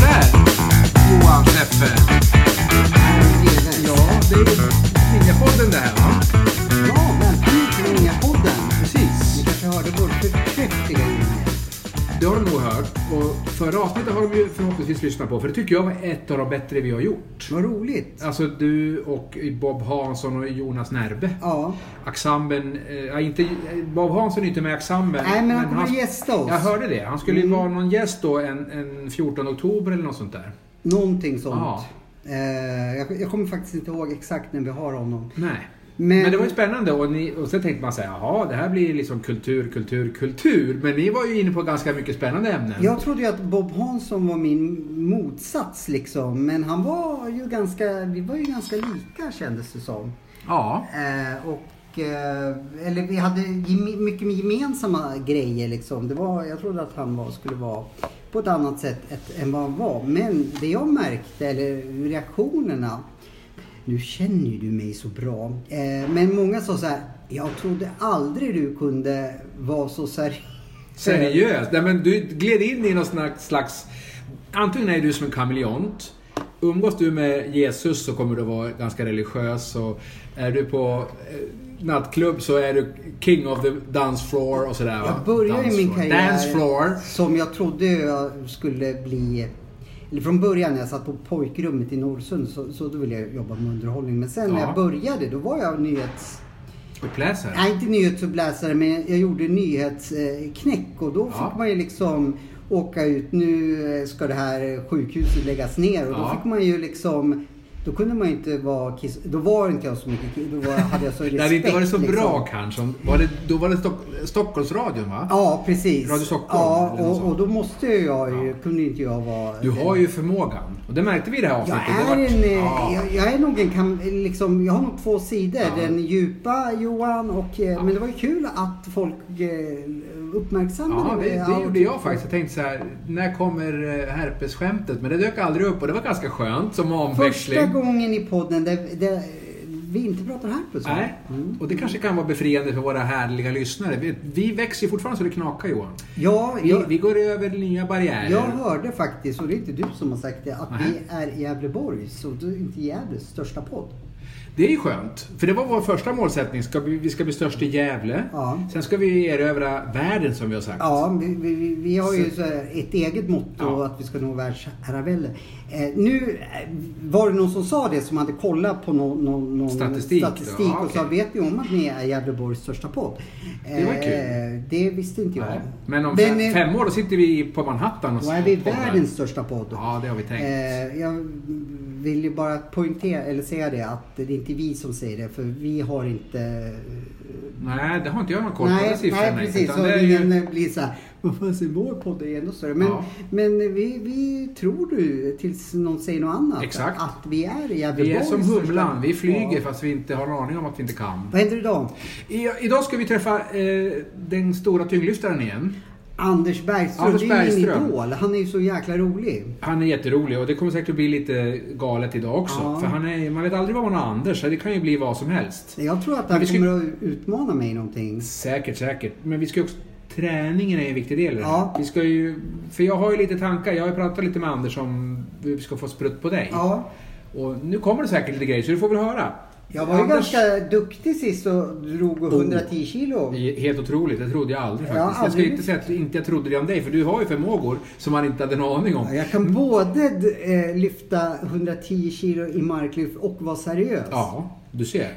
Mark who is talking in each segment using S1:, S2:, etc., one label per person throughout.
S1: Där! Johan Leffe. Ja, det är Ninjapodden det här va?
S2: Ja, välkommen till Ninjapodden.
S1: Precis.
S2: Ni kanske hörde vår förträffliga inledning.
S1: Det har de nog hört. Och förra avsnittet har de ju förhoppningsvis lyssnat på. För det tycker jag var ett av de bättre vi har gjort.
S2: Vad roligt.
S1: Alltså du och Bob Hansson och Jonas Närbe.
S2: Ja.
S1: Axamben, eh, ja, inte, eh, Bob Hansson är inte med i Axamben.
S2: Nej, men han kommer gästa oss. Mm.
S1: Jag hörde det. Han skulle ju vara någon gäst då en, en 14 oktober eller något sånt där.
S2: Någonting sånt.
S1: Ja.
S2: Eh, jag, jag kommer faktiskt inte ihåg exakt när vi har honom.
S1: Nej. Men,
S2: Men-
S1: det var ju spännande och, ni, och sen tänkte man säga, jaha det här blir liksom kultur, kultur, kultur. Men ni var ju inne på ganska mycket spännande ämnen.
S2: Jag trodde ju att Bob Hansson var min motsats liksom. Men han var ju ganska, vi var ju ganska lika kändes det som.
S1: Ja.
S2: Eh, och, eh, eller vi hade geme- mycket gemensamma grejer liksom. Det var, jag trodde att han var, skulle vara på ett annat sätt ett, än vad han var. Men det jag märkte, eller reaktionerna. Nu känner ju du mig så bra. Eh, men många sa så här. Jag trodde aldrig du kunde vara så seriös.
S1: Seriöst? Nej, men du gled in i någon slags, slags... Antingen är du som en kameleont. Umgås du med Jesus så kommer du vara ganska religiös. Och är du på eh, nattklubb så är du king of the dance floor och sådär. va?
S2: Jag började
S1: dance
S2: min
S1: floor.
S2: karriär
S1: Dance floor.
S2: som jag trodde jag skulle bli... Eller från början när jag satt på pojkrummet i Norrsund så, så då ville jag jobba med underhållning. Men sen när
S1: Ja.
S2: jag började då var jag nyhets...
S1: Uppläsare.
S2: Nej, inte nyhetsuppläsare men jag gjorde nyhetsknäck och då
S1: Ja.
S2: fick man ju liksom åka ut. Nu eh, ska det här sjukhuset läggas ner och då
S1: Ja.
S2: fick man ju liksom... Då kunde man ju inte vara kiss... Då var inte jag så mycket kiss... Då var, hade jag så respekt.
S1: Det hade inte varit så
S2: liksom.
S1: bra kanske. om- Var det, då var det Stock, Stockholmsradion va?
S2: Ja, precis.
S1: Radio Stockholm,
S2: Ja,
S1: eller något
S2: och,
S1: sånt.
S2: och då måste ju jag ju, kunde inte jag vara...
S1: Du har ju förmågan. Och det märkte vi i det här
S2: Jag
S1: avsnittet. Det vart-
S2: är, en, eh,
S1: Ja.
S2: jag, jag är nog en kam, liksom, jag har nog två sidor.
S1: Ja.
S2: Den djupa Johan och... eh, Men det var ju kul att folk eh, uppmärksammade
S1: Ja, det,
S2: Ja, typ.
S1: det gjorde jag faktiskt. Jag tänkte så här, när kommer eh, herpesskämtet? Men det dök aldrig upp och det var ganska skönt som omväxling.
S2: typ Första gången i podden där, där vi inte pratar herpes. va?
S1: Nej,
S2: Mm.
S1: och det kanske kan vara befriande för våra härliga lyssnare. Vi, vi växer ju fortfarande så det knakar Johan.
S2: Ja,
S1: Vi,
S2: jag,
S1: vi går över nya barriärer.
S2: jag hörde faktiskt, och det är inte du som har sagt det, att
S1: Nej.
S2: vi är Gävleborg, så det är inte Gävles största podd.
S1: Det är ju skönt, för det var vår första målsättning. Ska vi, vi ska bli störst i Gävle.
S2: Ja.
S1: Sen ska vi erövra världen som vi har sagt.
S2: Ja, vi, vi- vi, vi har ju så här ett eget motto
S1: Alltså. Ja.
S2: att vi ska nå världsherravälde. Eh, nu eh, var det någon som sa det som hade kollat på någon, någon, någon
S1: Statistik då?
S2: statistik
S1: Ja,
S2: och sa
S1: okej.
S2: vet ni om att ni är Gävleborgs största podd?
S1: Det var
S2: Eh,
S1: kul.
S2: det visste inte jag.
S1: Nej. Men om
S2: eh,
S1: fem, fem år då sitter vi på Manhattan och
S2: Då är vi
S1: poddar.
S2: världens största podd.
S1: Ja, det har vi tänkt.
S2: Eh, jag vill ju bara poängtera, eller säga det, att det är inte vi som säger det, för vi har inte...
S1: Nej, det har inte jag någon koll på. de
S2: nej,
S1: siffrorna,
S2: nej, precis.
S1: utan
S2: Så
S1: det är
S2: det
S1: ju-
S2: blir så här, vad fan ser vår podd är ändå större. Men,
S1: Ja.
S2: men vi, vi tror du, tills någon säger något annat,
S1: Exakt.
S2: att vi är i
S1: Vi är
S2: Gävleborgs
S1: som
S2: största-
S1: humlan, vi flyger
S2: Ja.
S1: fast vi inte har en aning om att vi inte kan.
S2: Vad händer idag?
S1: I, idag ska vi träffa eh, den stora tyngdlyftaren igen.
S2: Anders Bergström,
S1: Anders
S2: det är
S1: Bergström.
S2: min idol. Han är ju så jäkla rolig.
S1: Han är jätterolig och det kommer säkert att bli lite galet idag också.
S2: Ja.
S1: För han är, man vet aldrig vad man har Anders, så det kan ju bli vad som helst.
S2: Jag tror att
S1: Men vi
S2: han
S1: skulle-
S2: kommer att utmana mig i någonting.
S1: Säkert, säkert. Men vi ska ju också... Träningen är en viktig del i det här.
S2: Ja.
S1: Vi ska ju... För jag har ju lite tankar, jag har ju pratat lite med Anders om hur vi ska få sprutt på dig.
S2: Ja.
S1: Och nu kommer det säkert lite grejer, så du får väl höra.
S2: Jag var ju
S1: Anders-
S2: ganska duktig sist och drog
S1: Oh.
S2: 110 kilo.
S1: Helt otroligt, det trodde jag aldrig
S2: Ja,
S1: faktiskt. Jag ska
S2: aldrig.
S1: inte säga att inte jag trodde det om dig, för du har ju förmågor som man inte hade en aning om.
S2: Jag kan både eh, lyfta 110 kilo i marklyft och vara seriös.
S1: Ja, du ser.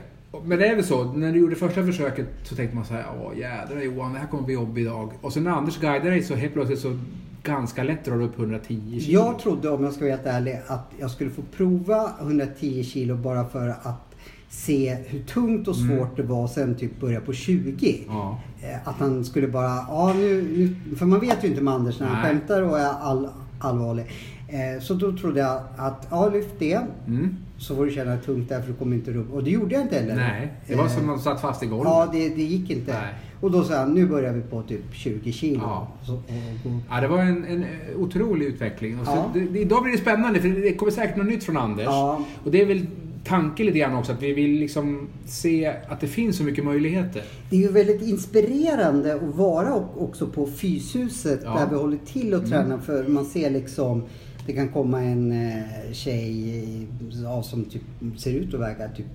S1: Men det är väl så, när du gjorde första försöket så tänkte man så här, åh jädrar Johan, det här kommer bli jobb idag. Och sen när Anders guidade dig så helt plötsligt så ganska lätt drar du upp 110 kilo.
S2: Jag trodde, om jag ska vara helt ärlig, att jag skulle få prova 110 kilo bara för att se hur tungt och svårt
S1: Mm.
S2: det var och sen typ börja på 20.
S1: Ja.
S2: Eh, Att han skulle bara, ja nu, nu, för man vet ju inte med Anders när han
S1: Nej.
S2: skämtar och är all, allvarlig. Eh, Så då trodde jag att, ja lyft det.
S1: Mm.
S2: så får du känna det tungt där för du kommer inte upp. Och det gjorde jag inte heller.
S1: Nej, det var
S2: Eh,
S1: som man satt fast i golvet.
S2: Ja, det, det gick inte.
S1: Nej.
S2: Och då sa han, nu börjar vi på typ 20 kilo.
S1: Ja.
S2: Så, och, och,
S1: Ja, det var en, en eh, otrolig utveckling. Och så,
S2: Ja.
S1: det, det, idag blir det spännande för det kommer säkert något nytt från Anders.
S2: Ja.
S1: Och det är väl tanken lite grann också att vi vill liksom se att det finns så mycket möjligheter.
S2: Det är ju väldigt inspirerande att vara o- också på Fyshuset
S1: Ja. Mm.
S2: där vi håller till och tränar för man ser liksom det kan komma en eh, tjej i- ja, som typ, ser ut att väga typ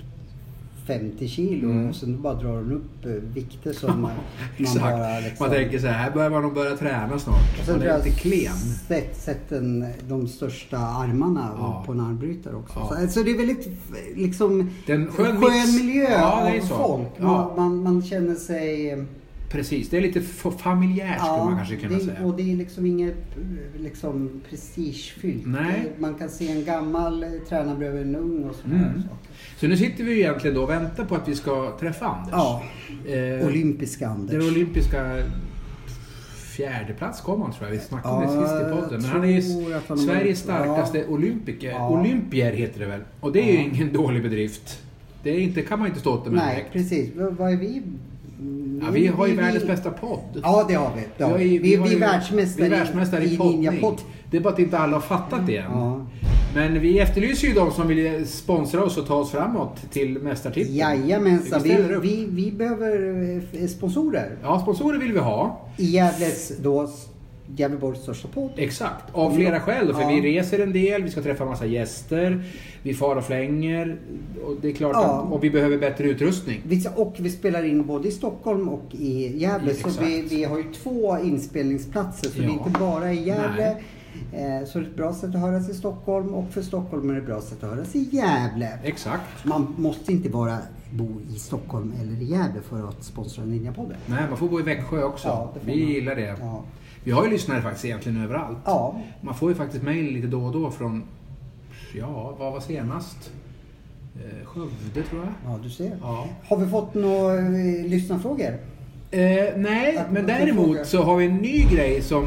S2: 50 kilo
S1: Mm.
S2: och sen bara drar hon upp eh, vikter som man, man
S1: Exakt.
S2: bara liksom...
S1: Man tänker så här, här börjar man nog börja träna snart.
S2: Och sen
S1: Man
S2: tror
S1: är
S2: jag
S1: lite klen.
S2: Sett, sett den, de största armarna
S1: Ja.
S2: på en armbrytare också.
S1: Ja.
S2: Så, så det är väldigt liksom
S1: Det är en skön mix.
S2: miljö
S1: Ja, det
S2: av
S1: är så.
S2: folk.
S1: Ja.
S2: Man, man, man känner sig... eh,
S1: Precis, det är lite f- familjärt skulle man kanske kunna
S2: det,
S1: säga.
S2: Och det är liksom inget eh, liksom, prestigefyllt.
S1: Nej.
S2: Det- Man kan se en gammal eh, träna bredvid en ung och sådana
S1: Mm.
S2: här saker.
S1: Så nu sitter vi ju egentligen då och väntar på att vi ska träffa Anders.
S2: Ja,
S1: Eh,
S2: olympiska Anders.
S1: Den olympiska fjärdeplats kom han tror jag. Vi snackade om det
S2: Ja,
S1: sist i
S2: jag
S1: podden. Men han är
S2: tror
S1: ju
S2: att han har
S1: Sveriges
S2: varit-
S1: starkaste olympiker.
S2: Ja.
S1: Olympier heter det väl? Och det är ju
S2: Ja.
S1: ingen dålig bedrift. Det är inte, kan man inte stå åt det med
S2: Nej,
S1: direkt.
S2: precis. V- Vad är vi? Mm,
S1: Ja, vi har ju
S2: vi-
S1: världens bästa podd.
S2: Ja, det har vi. Det har
S1: har
S2: vi.
S1: ju-
S2: Vi, vi,
S1: har ju-
S2: är världsmästare,
S1: vi är världsmästare i, poddning.
S2: ninjapodd.
S1: Det är bara att inte alla har fattat det än.
S2: Ja.
S1: Men vi efterlyser ju de som vill sponsra oss och ta oss framåt till mästartiteln.
S2: Jajamensan,
S1: Vi ställer
S2: vi,
S1: upp.
S2: vi, vi behöver eh, f- sponsorer.
S1: Ja, sponsorer vill vi ha.
S2: I Gävles, då, s- Gävleborgs största podd.
S1: Exakt, av flera skäl. Då, för
S2: Ja.
S1: vi reser en del, vi ska träffa massa gäster, vi far och flänger. Och det är klart
S2: Ja.
S1: att, och vi behöver bättre utrustning.
S2: Vi- Och vi spelar in både i Stockholm och i Gävle.
S1: Ja,
S2: Så vi,
S1: exakt.
S2: vi har ju två inspelningsplatser. Så
S1: Ja.
S2: det är inte bara i Gävle. Eh, Så det är ett bra sätt att höras i Stockholm och för Stockholm är det ett bra sätt att höras i Gävle.
S1: Exakt.
S2: Man måste inte bara bo i Stockholm eller i Gävle för att sponsra Ninjapodden.
S1: Nej, man får bo i Växjö också.
S2: Ja, det får
S1: vi
S2: man.
S1: gillar det.
S2: Ja.
S1: Vi har ju lyssnare faktiskt egentligen överallt.
S2: Ja,
S1: Man får ju faktiskt mejl lite då och då från, ja, vad var senast? Eh, Skövde tror jag.
S2: ja du ser.
S1: Ja.
S2: Har vi fått några eh, lyssnarfrågor?
S1: Eh, nej,
S2: Att
S1: men
S2: man kan fråga.
S1: däremot så har vi en ny grej som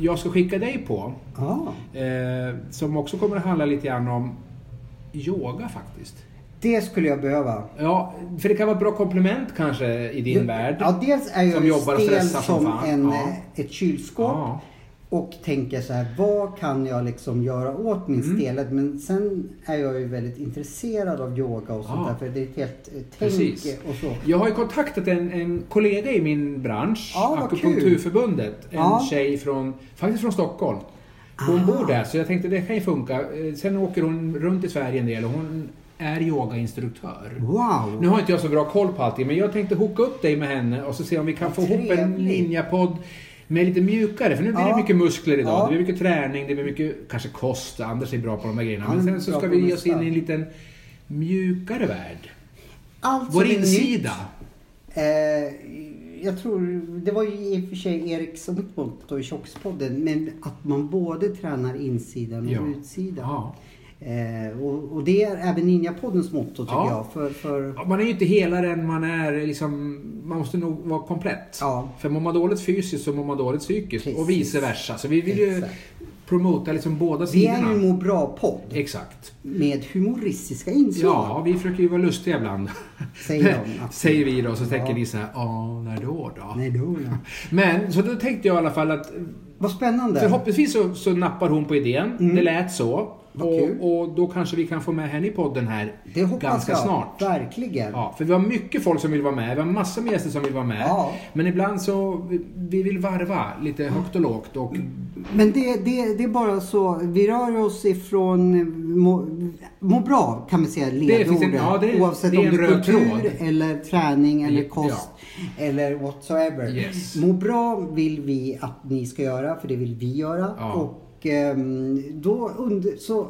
S1: jag ska skicka dig på.
S2: Ja.
S1: Eh, som också kommer att handla lite grann om yoga faktiskt.
S2: Det skulle jag behöva.
S1: Ja, för det kan vara ett bra komplement kanske i din
S2: Ja,
S1: värld.
S2: Ja, dels är
S1: Som
S2: jag
S1: jobbar och
S2: stel
S1: stressar
S2: som,
S1: som fan.
S2: en,
S1: Ja.
S2: eh, ett kylskåp.
S1: Ja.
S2: Och tänker så här, vad kan jag liksom göra åt min
S1: Mm.
S2: stelhet? Men sen är jag ju väldigt intresserad av yoga och sånt
S1: Ja.
S2: där. För det är ett helt eh, tänk
S1: Precis.
S2: och så.
S1: Jag har ju kontaktat en, en kollega i min bransch,
S2: Ja, vad kul.
S1: Akupunkturförbundet. En
S2: Ja.
S1: tjej från, faktiskt från Stockholm. Hon
S2: Ah.
S1: bor där, så jag tänkte det kan ju funka. Eh, Sen åker hon runt i Sverige en del och hon är yogainstruktör.
S2: Wow!
S1: Nu har inte jag så bra koll på allting, men jag tänkte hooka upp dig med henne och så se om vi kan få ihop en
S2: Trevligt.
S1: linjapodd med lite mjukare. För nu blir
S2: Ja.
S1: det mycket muskler idag.
S2: Ja.
S1: Det blir mycket träning, det blir mycket kanske kost. Anders är bra på de här grejerna.
S2: Han
S1: Men
S2: är
S1: sen så
S2: bra
S1: ska
S2: på
S1: vi
S2: det
S1: ge oss in
S2: mesta.
S1: i en liten mjukare värld.
S2: Allt som
S1: Vår
S2: är nytt.
S1: insida.
S2: Eh, jag tror, det var ju i och för sig Erik som gick på då i Tjockspodden, men att man både tränar insidan och
S1: Ja.
S2: utsidan.
S1: Ja.
S2: Eh, och, och det är även Ninjapoddens motto tycker
S1: Ja.
S2: jag. För, för,
S1: Ja, Man är ju inte helare än man är liksom, man måste nog vara komplett.
S2: Ja.
S1: För mår man dåligt fysiskt så mår man dåligt psykiskt och
S2: Precis.
S1: vice versa. Så vi vill ju
S2: Exakt.
S1: promota liksom båda
S2: vi är ju
S1: sidorna.
S2: en må bra-podd
S1: Exakt.
S2: med humoristiska inslag.
S1: Ja, vi försöker ju vara lustiga ibland.
S2: Säger de, absolut.
S1: Säger vi då, så tänker
S2: Ja.
S1: ni så här, ja, när då då?
S2: Nej, då, ja.
S1: Men, så då tänkte jag i alla fall att
S2: Vad spännande.
S1: förhoppningsvis så, så nappar hon på idén. Det lät så.
S2: Mm. Vad kul.
S1: Och, och då kanske vi kan få med henne i podden här
S2: det hoppas
S1: ganska
S2: jag.
S1: snart.
S2: Verkligen.
S1: Ja, för vi har mycket folk som vill vara med. Vi har massor med gäster som vill vara med.
S2: Ja. Mm.
S1: Men ibland så vi- vi vill varva lite högt och lågt. Och,
S2: Men det, det, det är bara så, vi rör oss ifrån eh, må, må bra kan man säga,
S1: finns en-
S2: ledordet.
S1: ja, det är-
S2: oavsett
S1: det är
S2: om det
S1: en
S2: är
S1: röd
S2: kultur
S1: tråd.
S2: eller träning eller
S1: Ja.
S2: kost eller whatsoever.
S1: Yes.
S2: Må bra vill vi att ni ska göra, för det vill vi göra.
S1: Ja.
S2: Och ehm, då under, så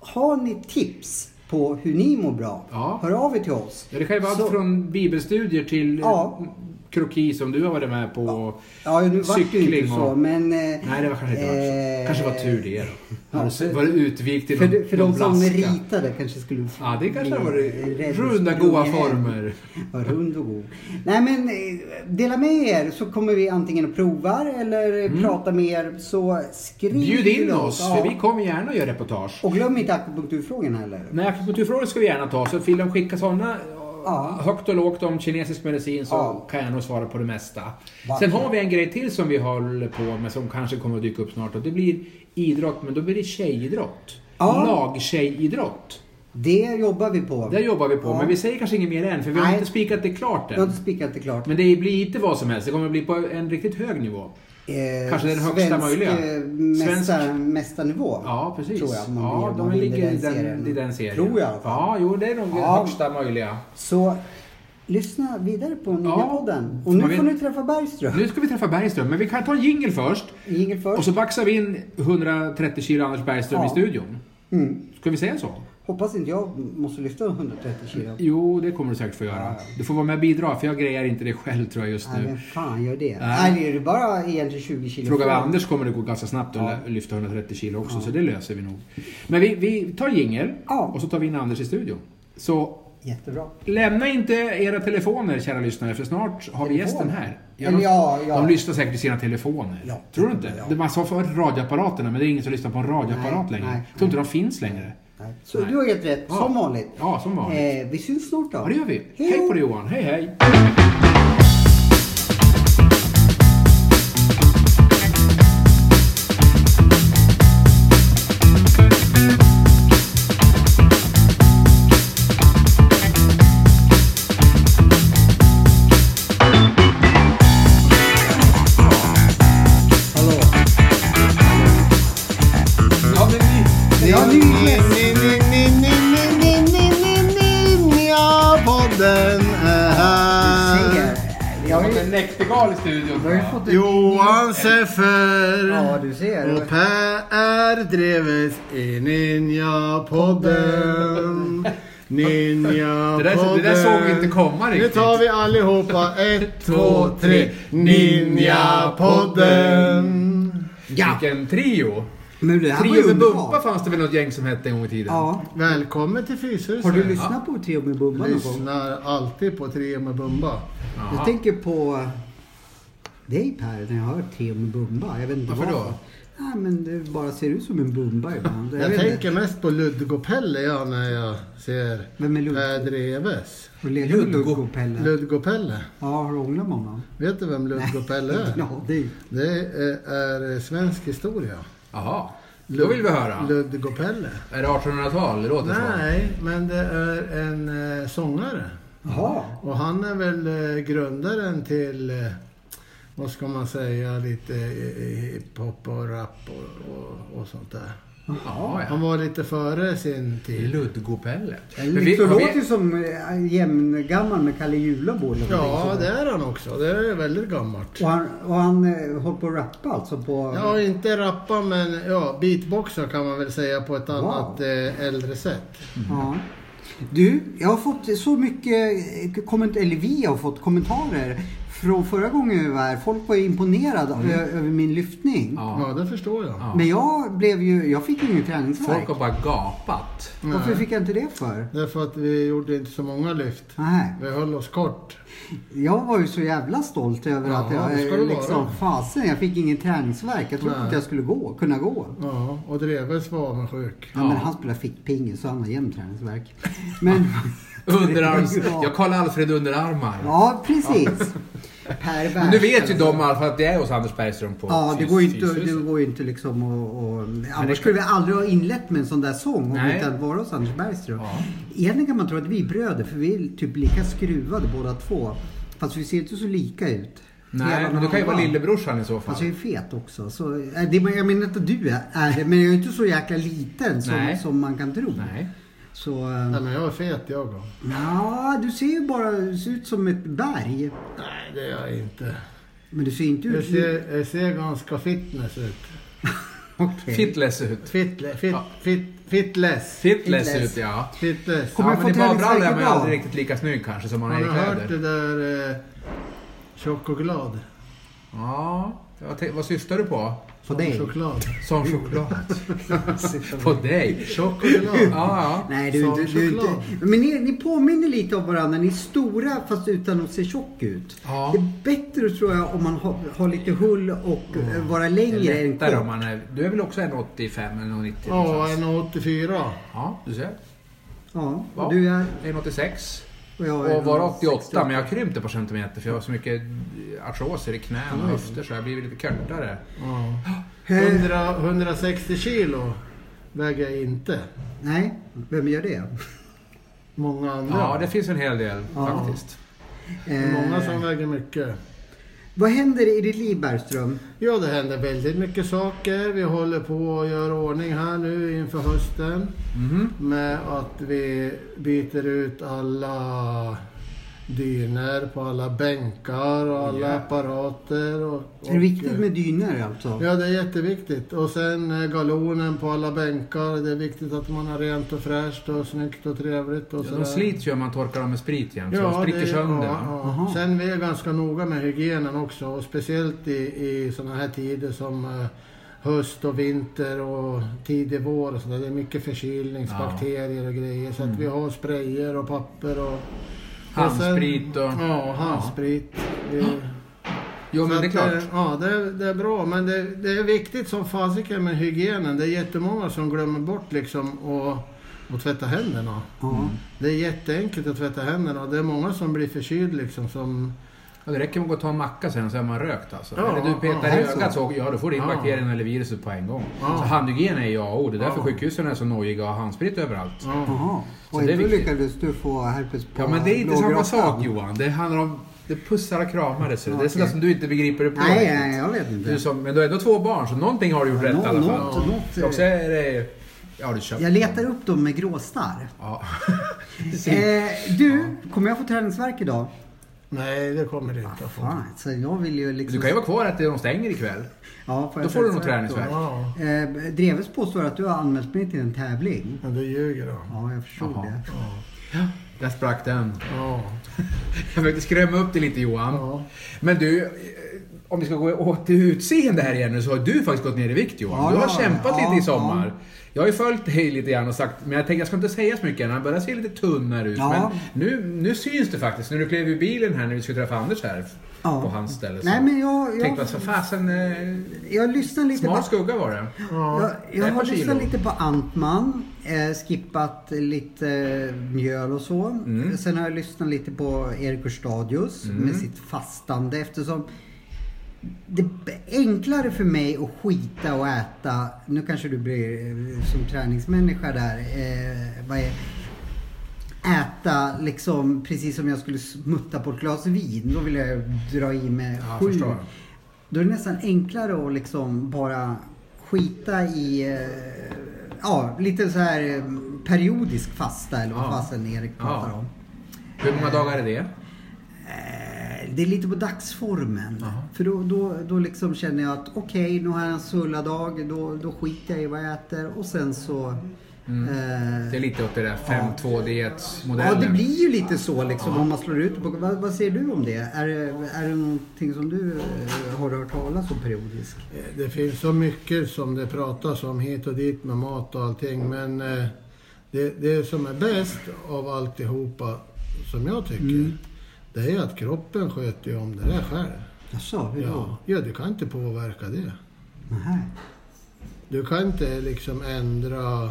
S2: har ni tips på hur ni mår bra,
S1: Ja.
S2: hör av er till oss.
S1: ja, det kan ju vara
S2: Så-
S1: allt från bibelstudier till eh,
S2: Ja.
S1: kroki som du har varit med på.
S2: Ja, nu vart det ju
S1: Cykling
S2: inte så,
S1: och-
S2: men... eh,
S1: Nej, det var kanske inte eh...
S2: eh,
S1: kanske var tur det då.
S2: Ja,
S1: Har
S2: för-
S1: du- var det utvikt i
S2: För,
S1: någon,
S2: de- för
S1: någon
S2: de som
S1: blaska?
S2: ritade kanske skulle... få
S1: Ja, det kanske har varit
S2: bli rädd-
S1: runda, goa
S2: rädd.
S1: former.
S2: Ja, rund och god. Nej men eh, dela med er så kommer vi antingen att prova eller eh, prata med er så skriv
S1: Mm. Bjud
S2: till
S1: in oss,
S2: Ja.
S1: för vi kommer gärna att göra reportage.
S2: Och glöm inte akupunkturfrågan heller.
S1: Nej, akupunkturfrågor ska vi gärna ta, så vill de skicka sådana
S2: Ja.
S1: högt och lågt om kinesisk medicin så
S2: Ja.
S1: kan jag nog svara på det mesta.
S2: Vackert.
S1: Sen har vi en grej till som vi håller på med som kanske kommer att dyka upp snart och det blir idrott, men då blir det tjejidrott.
S2: Ja.
S1: Lagtjejidrott.
S2: Det jobbar vi på.
S1: Där jobbar vi på,
S2: Ja.
S1: men vi säger kanske inget mer än för vi har
S2: Nej.
S1: inte spikat det klart
S2: Jag har
S1: än.
S2: inte spikat det klart.
S1: Men det blir inte vad som helst, det kommer att bli på en riktigt hög nivå.
S2: Eh,
S1: kanske den högsta
S2: svensk,
S1: möjliga.
S2: eh,
S1: Svensk-
S2: Mästar, mästarnivå.
S1: Ja, precis.
S2: Tror jag. Man
S1: ja,
S2: blir-
S1: de
S2: man vinner
S1: ligger i
S2: den
S1: den,
S2: serien.
S1: i den serien.
S2: Tror jag.
S1: Ja, jo, det är nog
S2: Ja.
S1: högsta möjliga.
S2: Så lyssna vidare på nya
S1: Ja.
S2: podden.
S1: Så
S2: Och
S1: man
S2: nu
S1: vet-
S2: får ni träffa Bergström.
S1: Nu ska vi träffa Bergström, men vi kan ta en jingle först.
S2: Jingel först.
S1: Och så baxar vi in 130 kilo Anders Bergström
S2: Ja.
S1: i studion.
S2: Mm.
S1: Ska vi säga så?
S2: Hoppas inte jag måste lyfta 130 kilo.
S1: Jo, det kommer du säkert få göra.
S2: Ja.
S1: Du får vara med och bidra, för jag grejar inte det själv tror jag just
S2: Nej, vem
S1: nu.
S2: fan gör det?
S1: Nej.
S2: Nej, är det bara egentligen 20 kilo
S1: Frågar vi
S2: från?
S1: Anders kommer det gå ganska snabbt att
S2: Ja.
S1: lyfta 130 kilo också, så det löser vi nog. Men vi, vi tar jingel
S2: Ja.
S1: och så tar vi in Anders i studion. Så
S2: Jättebra.
S1: lämna inte era telefoner, kära lyssnare, för snart har vi
S2: Telefoner?
S1: gästen här.
S2: Eller
S1: de,
S2: ja, ja.
S1: de lyssnar säkert i sina telefoner.
S2: Ja.
S1: Tror du inte?
S2: Ja.
S1: Det Man sa för radioapparaterna, men det är ingen som lyssnar på en radioapparat
S2: Nej,
S1: längre.
S2: nej,
S1: tror inte de finns längre.
S2: Så
S1: Nej.
S2: du har helt rätt,
S1: Ja.
S2: som vanligt.
S1: Ja, som vanligt.
S2: Eh, vi syns snart då.
S1: Ja, det gör vi.
S2: Hej
S1: Hej
S2: då.
S1: på dig Johan. Hej, hej.
S2: Hallå.
S1: Ja, men vi...
S2: Vi har ny gäst.
S3: Ninja-podden är här.
S2: Ser. Vi
S1: Jag
S2: har
S1: har
S2: ju-
S1: fått en näktergal i studion.
S2: vi har ju fått en
S3: Johan
S2: ny- Ja,
S3: Seffer
S2: du ser.
S3: och Per Dreves i Ninja-podden. Ninja-podden.
S1: Det där- det där såg vi inte komma
S3: Nu
S1: riktigt.
S3: tar vi allihopa. Ett, två, tre. Ninja-podden.
S2: Ja.
S1: Vilken trio.
S2: Men det här var
S1: Trio
S2: ju
S1: med Bumpa
S2: underbart.
S1: fanns det väl något gäng som hette en gång i tiden?
S2: Ja.
S3: Välkommen till Fyshuset.
S2: Har du lyssnat på Trio med Bumba någon gång?
S3: Lyssnar alltid på Trio med Bumba.
S1: Jaha.
S2: Jag tänker på dig Per, när jag hör Trio med Bumba. Jag vet inte
S1: Varför då?
S2: Nej, men du bara ser ut som en Bumba ibland.
S3: Jag,
S2: vet inte.
S3: tänker mest på Ludgopelle jag när jag ser
S2: Vem är Lud-
S1: eh,
S3: Per Dreves.
S2: Och leder med Ludgo-Pelle.
S3: Ludgopelle.
S2: ja, har du hånglat med honom?
S3: Vet du vem Ludgopelle är?
S2: Ja, det
S3: Det är, är eh, svensk historia.
S1: Jaha. Då vill vi höra.
S3: Ludgopelle.
S1: Är det 1800-tal? Det låter så.
S3: Nej, men det är en eh, sångare.
S2: Jaha.
S3: Och han är väl eh, grundaren till, eh, vad ska man säga, lite eh, hiphop och rap och, och, och sånt där.
S1: Jaha, ja.
S3: Han var lite före sin tid.
S1: Ludgopelle. Men vi-
S2: Liksom
S1: har vi-
S2: låter ju som eh, jämngammal med Kalle Julabo eller någonting
S3: Ja,
S2: sådär.
S3: det är han också. Det är väldigt gammalt.
S2: Och han, och han eh, håller på att rappa alltså på...
S3: Ja, inte rappa men ja, beatboxa kan man väl säga på ett annat eh, äldre sätt.
S2: Ja. Du, jag har fått så mycket komment eller vi har fått kommentarer från förra gången vi var här. Folk var ju imponerade ö- över min lyftning.
S3: Ja,
S1: Ja.
S3: det förstår jag.
S1: Ja.
S2: Men jag blev ju, jag fick ju ingen träningsvärk.
S1: Folk har bara gapat.
S2: Varför fick jag inte det för?
S3: Därför att vi gjorde inte så många lyft.
S2: Nej.
S3: Vi höll oss kort.
S2: Jag var ju så jävla stolt över att
S3: Ja, det
S2: jag
S3: ska du
S2: liksom,
S3: vara.
S2: fasen jag fick ingen träningsvärk. Jag trodde
S3: Nej.
S2: inte jag skulle gå, kunna gå.
S3: Ja, och Dreves var avundsjuk.
S2: Ja,
S1: Ja.
S2: men han spelar fickpinge så han har jämn träningsvärk. Men...
S1: Underarms...
S2: Ja.
S1: Jag kallar Alfred underarmar.
S2: Ja, precis. Per
S1: Men nu vet ju
S2: Bergström.
S1: de i alla fall att det är hos Anders Bergström på
S2: Ja, det
S1: Fys-
S2: går ju inte,
S1: Fyshuset.
S2: det går ju inte liksom och, och,
S1: det-
S2: Annars skulle vi aldrig ha inlett med en sån där sång om vi
S1: Nej.
S2: inte hade varit hos Anders Bergström.
S1: Ja.
S2: Egentligen kan man tro att vi är bröder för vi är typ lika skruvade båda två. Fast vi ser inte så lika ut.
S1: Nej, men du kan ju vara lillebrorsan i så fall.
S2: Alltså jag är fet också. Så, äh, det, jag menar inte att du är är det, men jag är inte så jäkla liten som,
S1: Nej.
S2: som man kan tro.
S1: Nej.
S2: Så,
S3: Nej,
S2: äh,
S3: men jag är fet jag och.
S2: ja, du ser ju bara du ser ut som ett berg.
S3: Nej, det är jag inte.
S2: Men du ser inte
S3: Jag
S2: ut...
S3: ser, jag ser ganska fitness ut.
S2: Okej.
S1: Fitless ut.
S3: Fitle, fit,
S1: Ja.
S3: fit, fitless.
S1: Fitless
S2: Fitless.
S1: ut, ja.
S3: Fitless.
S2: Kommer
S1: ja,
S2: jag
S1: men
S2: få
S1: i badbrallor är
S2: träningsvärk
S1: man ju
S2: idag?
S1: aldrig riktigt lika snygg kanske som man
S3: Har
S1: är i
S3: du hört det
S1: kläder.
S3: där eh, Tjock och glad.
S1: Ja, jag tänkte- vad syftar du på?
S2: På
S3: Som
S2: dig?
S3: Choklad.
S1: Som choklad. på dig?
S3: Tjock och glad.
S1: Ja, ja.
S2: Nej, du,
S3: Som
S2: du, du, du,
S3: choklad.
S2: men ni, ni påminner lite om varandra. Ni är stora fast utan att se tjock ut.
S1: Ja.
S2: Det är bättre tror jag om man har, har lite hull och eh, vara
S1: Mm. Det
S2: längre
S1: är
S2: än
S1: lättare om
S2: kort.
S1: man är... Du är väl också en 85 eller 90
S3: Ja, en 84.
S1: Ja, du ser.
S2: Ja,
S1: Ja.
S2: och du är...
S1: En 86.
S2: Och, jag är
S1: Och var
S2: 68.
S1: 88, men jag krympte på centimeter för jag har så mycket artroser i knän
S3: Mm.
S1: och höfter så jag har blivit lite kortare.
S3: Ja. 100, 160 kilo väger jag inte.
S2: Nej, vem gör det?
S3: Många andra.
S1: Ja, det finns en hel del
S2: Ja.
S1: faktiskt.
S3: Det är många
S2: Eh,
S3: som väger mycket.
S2: Vad händer i ditt liv Bergström?
S3: Ja, det händer väldigt mycket saker. Vi håller på att göra ordning här nu inför hösten.
S1: Mhm.
S3: Med att vi byter ut alla dyner på alla bänkar och alla
S1: Ja.
S3: apparater.
S2: är
S3: Och,
S2: det
S3: och-
S1: eh,
S2: viktigt med dyner alltså?
S3: Ja, det är jätteviktigt. Och sen eh, galonen på alla bänkar. Det är viktigt att man har rent och fräscht och snyggt och trevligt. Och
S1: Ja,
S3: sådär.
S1: de slits ju om man torkar dem med sprit igen, så
S3: Ja,
S1: de spricker
S3: det-
S1: sönder.
S3: ja,
S1: va?
S3: ja.
S2: Aha.
S3: Sen vi är ganska noga med hygienen också och speciellt i, i sådana här tider som eh, höst och vinter och tidig vår och sådär. Det är mycket förkylningsbakterier och grejer så
S1: Mm.
S3: att vi har sprayer och papper och... och
S1: Handsprit och...
S3: Sen, ja, handsprit. Det-
S1: Jo, men
S3: så
S1: det är
S3: att,
S1: klart.
S3: eh, Ja, det, är- det är bra. Men det, det är viktigt som fasiken med hygienen. Det är jättemånga som glömmer bort liksom att, att tvätta händerna.
S2: Ja.
S3: Det är jätteenkelt att tvätta händerna och det är många som blir förkyld liksom som...
S1: Ja, det räcker med att gå och ta en macka sen och så är man rökt alltså.
S3: Ja,
S1: eller du petar i
S3: ja,
S1: ögat så, ja då får du in
S3: Ja.
S1: bakterien eller viruset på en gång.
S3: Ja.
S1: Så handhygien är ju A och O. Det är därför
S3: Ja.
S1: sjukhusen är så nojiga och har handsprit överallt.
S3: Ja.
S2: Jaha.
S1: Så
S2: Och
S1: det
S2: inte
S1: är
S2: du
S1: viktigt.
S2: lyckades du få herpes på
S1: Ja, men det är inte samma
S2: blågrottan?
S1: sak Johan. Det handlar om... Det pussar och kramar det. ser du. Det är sådär
S2: Okej.
S1: som du inte begriper det på.
S2: Nej,
S1: riktigt.
S2: nej, jag vet
S1: Du
S2: inte.
S1: som, men du har ändå två barn, så någonting har du gjort
S2: Ja,
S1: rätt i
S2: nå-
S1: alla fall.
S2: något- något,
S1: Och så är det... Ja, du köpt.
S2: Jag letar upp dem med gråstarr.
S1: Ja.
S2: Eh, du, kommer jag få träningsvärk idag?
S3: Nej, det kommer det inte att få.
S2: Fan, så jag vill ju liksom...
S1: Du kan ju vara kvar att de stänger ikväll.
S2: Ja, får
S1: Då
S2: jag
S1: får du nog
S2: träningsvärk
S3: Ja,
S2: då? Eh, Dreves påstår att du har anmält mig till en tävling.
S3: men du ljuger då.
S2: Ja, jag förstod
S1: Jaha.
S2: det.
S1: Där sprack den.
S3: Ja.
S1: Jag försökte skrämma upp dig lite Johan.
S3: Ja.
S1: Men du, eh, om vi ska gå åt till utseende här igen nu så har du faktiskt gått ner i vikt Johan.
S2: Ja,
S1: du har
S2: ja,
S1: kämpat
S2: ja,
S1: lite i
S2: ja.
S1: sommar. Jag har ju följt dig lite grann och sagt, men jag tänkte jag ska inte säga så mycket än. Han börjar se lite tunnare ut.
S2: Ja.
S1: Men nu, nu syns det faktiskt. När du klev ur bilen här när vi skulle träffa Anders här
S2: Ja.
S1: på hans ställe.
S2: Nej, men jag...
S1: Tänkte
S2: Jag,
S1: vad fasen, eh,
S2: jag lyssnar lite på...
S1: smal skugga var det.
S3: ja.
S2: Jag,
S1: det är
S2: jag
S1: ett
S2: har
S1: par
S2: lyssnat
S1: kilo.
S2: lite på Antman, eh, skippat lite eh, mjöl och så.
S1: Mm.
S2: Sen har jag lyssnat lite på Erik Hörstadius med sitt fastande eftersom det är enklare för mig att skita och äta, nu kanske du blir eh, som träningsmänniska där, eh, vad är, äta liksom precis som jag skulle smutta på ett glas vin. Då vill jag dra i mig
S1: Ja,
S2: sju.
S1: förstår.
S2: Då är det nästan enklare att liksom bara skita i eh, ja, lite så här eh, periodisk fasta eller vad
S1: Ja.
S2: fasen Erik pratar
S1: Ja.
S2: om.
S1: Hur många dagar är det?
S2: Eh, Det är lite på dagsformen.
S1: Jaha.
S2: För då, då, då liksom känner jag att okej, nu har jag en sulladag, då, då skiter jag i vad jag äter och sen så... eh,
S1: Mm. Det är lite åt det där 5-2 dietsmodellen.
S2: Ja, det blir ju lite så liksom om man slår ut på... Vad, vad säger du om det? Är, det- är det någonting som du eh, har hört talas om periodiskt?
S3: Det finns så mycket som det pratas om hit och dit med mat och allting men eh, det, det som är bäst av alltihopa, som jag tycker, det är att kroppen sköter ju om det där själv.
S2: Jaså, hur då?
S3: Ja, ja du kan inte påverka det.
S2: Nähä.
S3: Du kan inte liksom ändra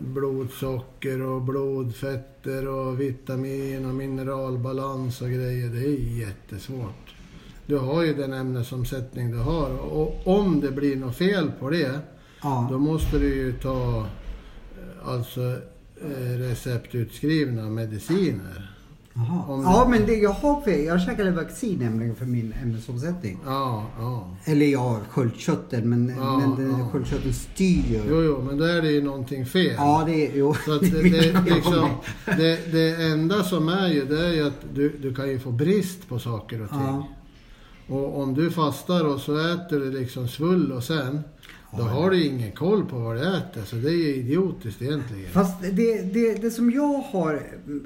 S3: blodsocker och blodfetter och vitamin och mineralbalans och grejer. Det är jättesvårt. Du har ju den ämnesomsättning du har och om det blir något fel på det då
S2: Ja.
S3: måste du ju ta eh, alltså eh, receptutskrivna mediciner.
S2: Jaha.
S3: Om-
S2: ja, men det, jag har fel. Jag käkade vaccin nämligen för min ämnesomsättning.
S3: Ja, ja.
S2: Eller ja, sköldkörteln, men,
S3: Ja,
S2: men den,
S3: ja.
S2: sköldkörteln styr ju.
S3: Jo, jo, men då är det ju någonting fel.
S2: Ja, det är... Jo.
S3: Så att
S2: är
S3: det,
S2: mycket
S3: det,
S2: fel på
S3: liksom,
S2: mig.
S3: det, det enda som är ju, det är ju att du, du kan ju få brist på saker och ting.
S2: Ja.
S3: Och om du fastar och så äter du liksom svull och sen, då har du ingen koll på vad du äter. Så det är ju idiotiskt egentligen.
S2: Fast det, det, det som jag har,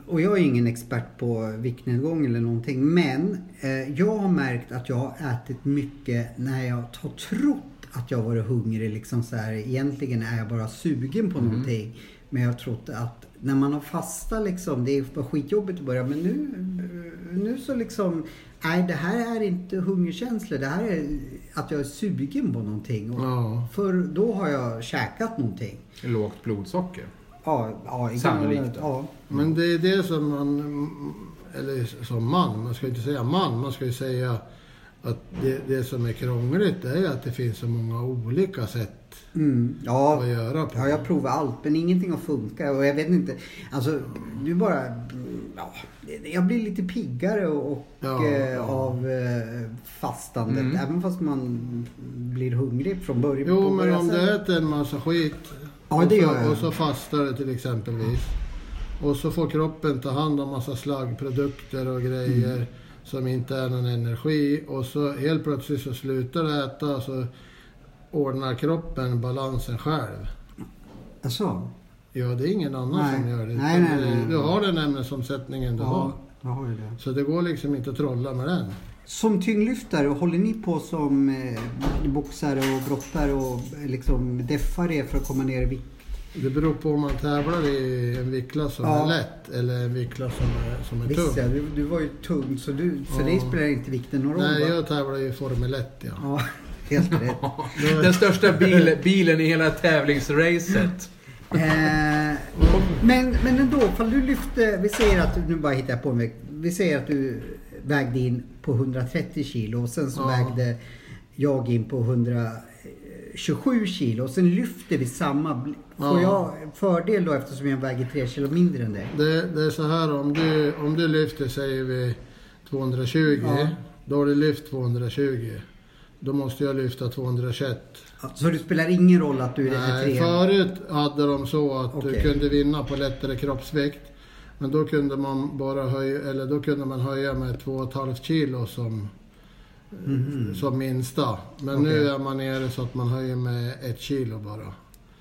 S2: och jag är ingen expert på viktnedgång eller någonting, men eh, jag har märkt att jag har ätit mycket när jag har trott att jag varit hungrig. Liksom så här, egentligen är jag bara sugen på någonting. Men jag har trott att när man har fasta liksom, det är bara skitjobbigt i början, men nu, nu så liksom, nej det här är inte hungerkänslor, det här är att jag är sugen på någonting. Och
S3: Ja.
S2: för då har jag käkat någonting.
S1: Lågt blodsocker.
S2: Ja, ja i-
S1: Sannolikt då.
S2: Ja.
S3: Men det är det som man, eller som man, man ska ju inte säga man, man ska ju säga att det, det som är krångligt det är att det finns så många olika sätt
S2: Mm. Ja,
S3: att göra på.
S2: ja, jag provar allt men ingenting har funkat och jag vet inte. Alltså, du bara... Ja, jag blir lite piggare och, och,
S3: Ja,
S2: eh,
S3: ja. Mm.
S2: av eh, fastandet. Även fast man blir hungrig från början.
S3: Jo,
S2: på
S3: men
S2: början
S3: om
S2: sen.
S3: du äter en massa skit
S2: Ja,
S3: och,
S2: det
S3: så,
S2: gör jag.
S3: och så fastar du till exempelvis. Och så får kroppen ta hand om massa slaggprodukter och grejer
S2: Mm.
S3: som inte är någon energi. Och så helt plötsligt så slutar du äta så ordnar kroppen balansen själv.
S2: Alltså,
S3: Ja, det är ingen annan
S2: Nej.
S3: som gör det.
S2: Nej, nej, nej, nej.
S3: Du har den ämnesomsättningen du har.
S2: ja, jag har ju det.
S3: Så det går liksom inte att trolla med den.
S2: Som tyngdlyftare, håller ni på som eh, boxare och brottare och eh, liksom deffar er för att komma ner i vikt?
S3: Det beror på om man tävlar i en viktklass som
S2: Ja.
S3: är lätt eller en viktklass som är, som är
S2: Visst ja,
S3: tung.
S2: du, du var ju tung så du, för dig
S3: Ja.
S2: spelar inte vikten någon roll
S3: Nej,
S2: va?
S3: jag tävlar ju i Formel 1 ja.
S2: Ja, helt rätt.
S1: Den största bil, bilen i hela tävlingsracet.
S2: Eh, men, men ändå, ifall du lyfte, vi säger att, du- nu bara hittar jag på mig, vi säger att du vägde in på 130 kilo och sen så
S3: Ja.
S2: vägde jag in på 127 kilo och sen lyfter vi samma. Får
S3: Ja.
S2: jag fördel då eftersom jag väger 3 kilo mindre än dig?
S3: Det, det är så här om du, om du lyfter, säger vi 220.
S2: Ja.
S3: Då har du lyft 220. Då måste jag lyfta 221.
S2: Så det spelar ingen roll att du är
S3: Nej,
S2: tre?
S3: förut hade de så att
S2: Okej.
S3: du kunde vinna på lättare kroppsvikt. Men då kunde man bara höja, eller då kunde man höja med 2,5 kilo som, som minsta. Men nu
S2: Mhm. Okej.
S3: är man nere så att man höjer med ett kilo bara.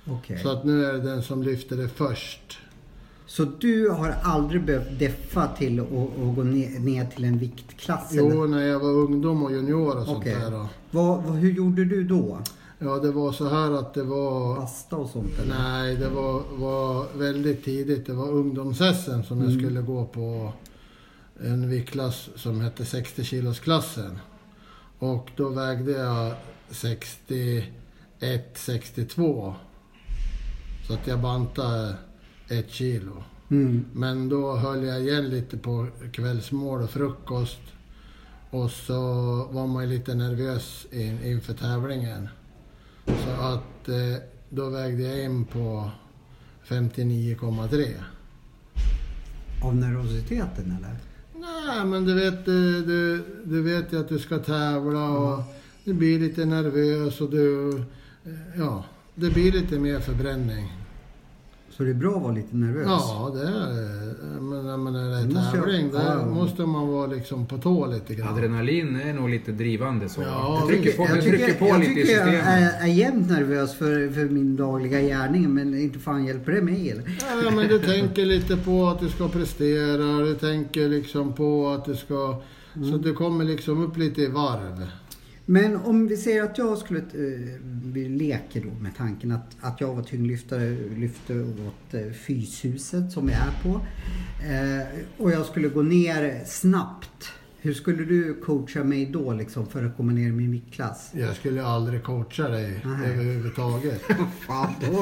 S2: Okej.
S3: Så att nu är det den som lyfter det först.
S2: Så du har aldrig behövt deffa till att att gå ner, ner till en viktklass? eller?
S3: Jo, när jag var ungdom och junior och sånt
S2: Okej.
S3: där. Då.
S2: Vad, vad, hur gjorde du då?
S3: Ja, det var så här att det var...
S2: Basta och sånt eller?
S3: Nej, det var, var väldigt tidigt. Det var ungdoms-SM som jag skulle gå på. En viktklass som hette 60-kilosklassen. Och då vägde jag 61-62. Så att jag bantade ett kilo.
S2: Mm.
S3: Men då höll jag igen lite på kvällsmål och frukost. Och så var man ju lite nervös in, inför tävlingen. Så att eh, då vägde jag in på 59,3.
S2: Av nervositeten eller?
S3: Nej, men du vet, du, du, du vet ju att du ska tävla och du blir lite nervös och du... eh, Ja, det blir lite mer förbränning.
S2: Så det är bra att vara lite nervös?
S3: Ja, det är men, jag menar, det.
S2: Det
S3: är
S2: måste jag-
S3: tävling, där
S2: ja.
S3: måste man vara liksom på tå lite grann.
S1: Adrenalin är nog lite drivande så.
S3: Ja,
S1: det trycker på,
S2: jag
S1: det trycker på
S2: jag,
S1: lite i
S2: tycker eh, jag
S1: systemet.
S2: är, är jämt nervös för, för min dagliga gärning men inte fan hjälper det mig eller?
S3: Ja, men du tänker lite på att du ska prestera, du tänker liksom på att du ska...
S2: Mm.
S3: Så du kommer liksom upp lite i varv.
S2: Men om vi säger att jag skulle, eh, vi leker då med tanken att, att jag var tyngdlyftare, lyfte åt eh, Fyshuset som jag är på. Eh, och jag skulle gå ner snabbt. Hur skulle du coacha mig då liksom för att komma ner i min viktklass?
S3: Jag skulle aldrig coacha dig
S2: Nej.
S3: överhuvudtaget.
S2: Fan, då.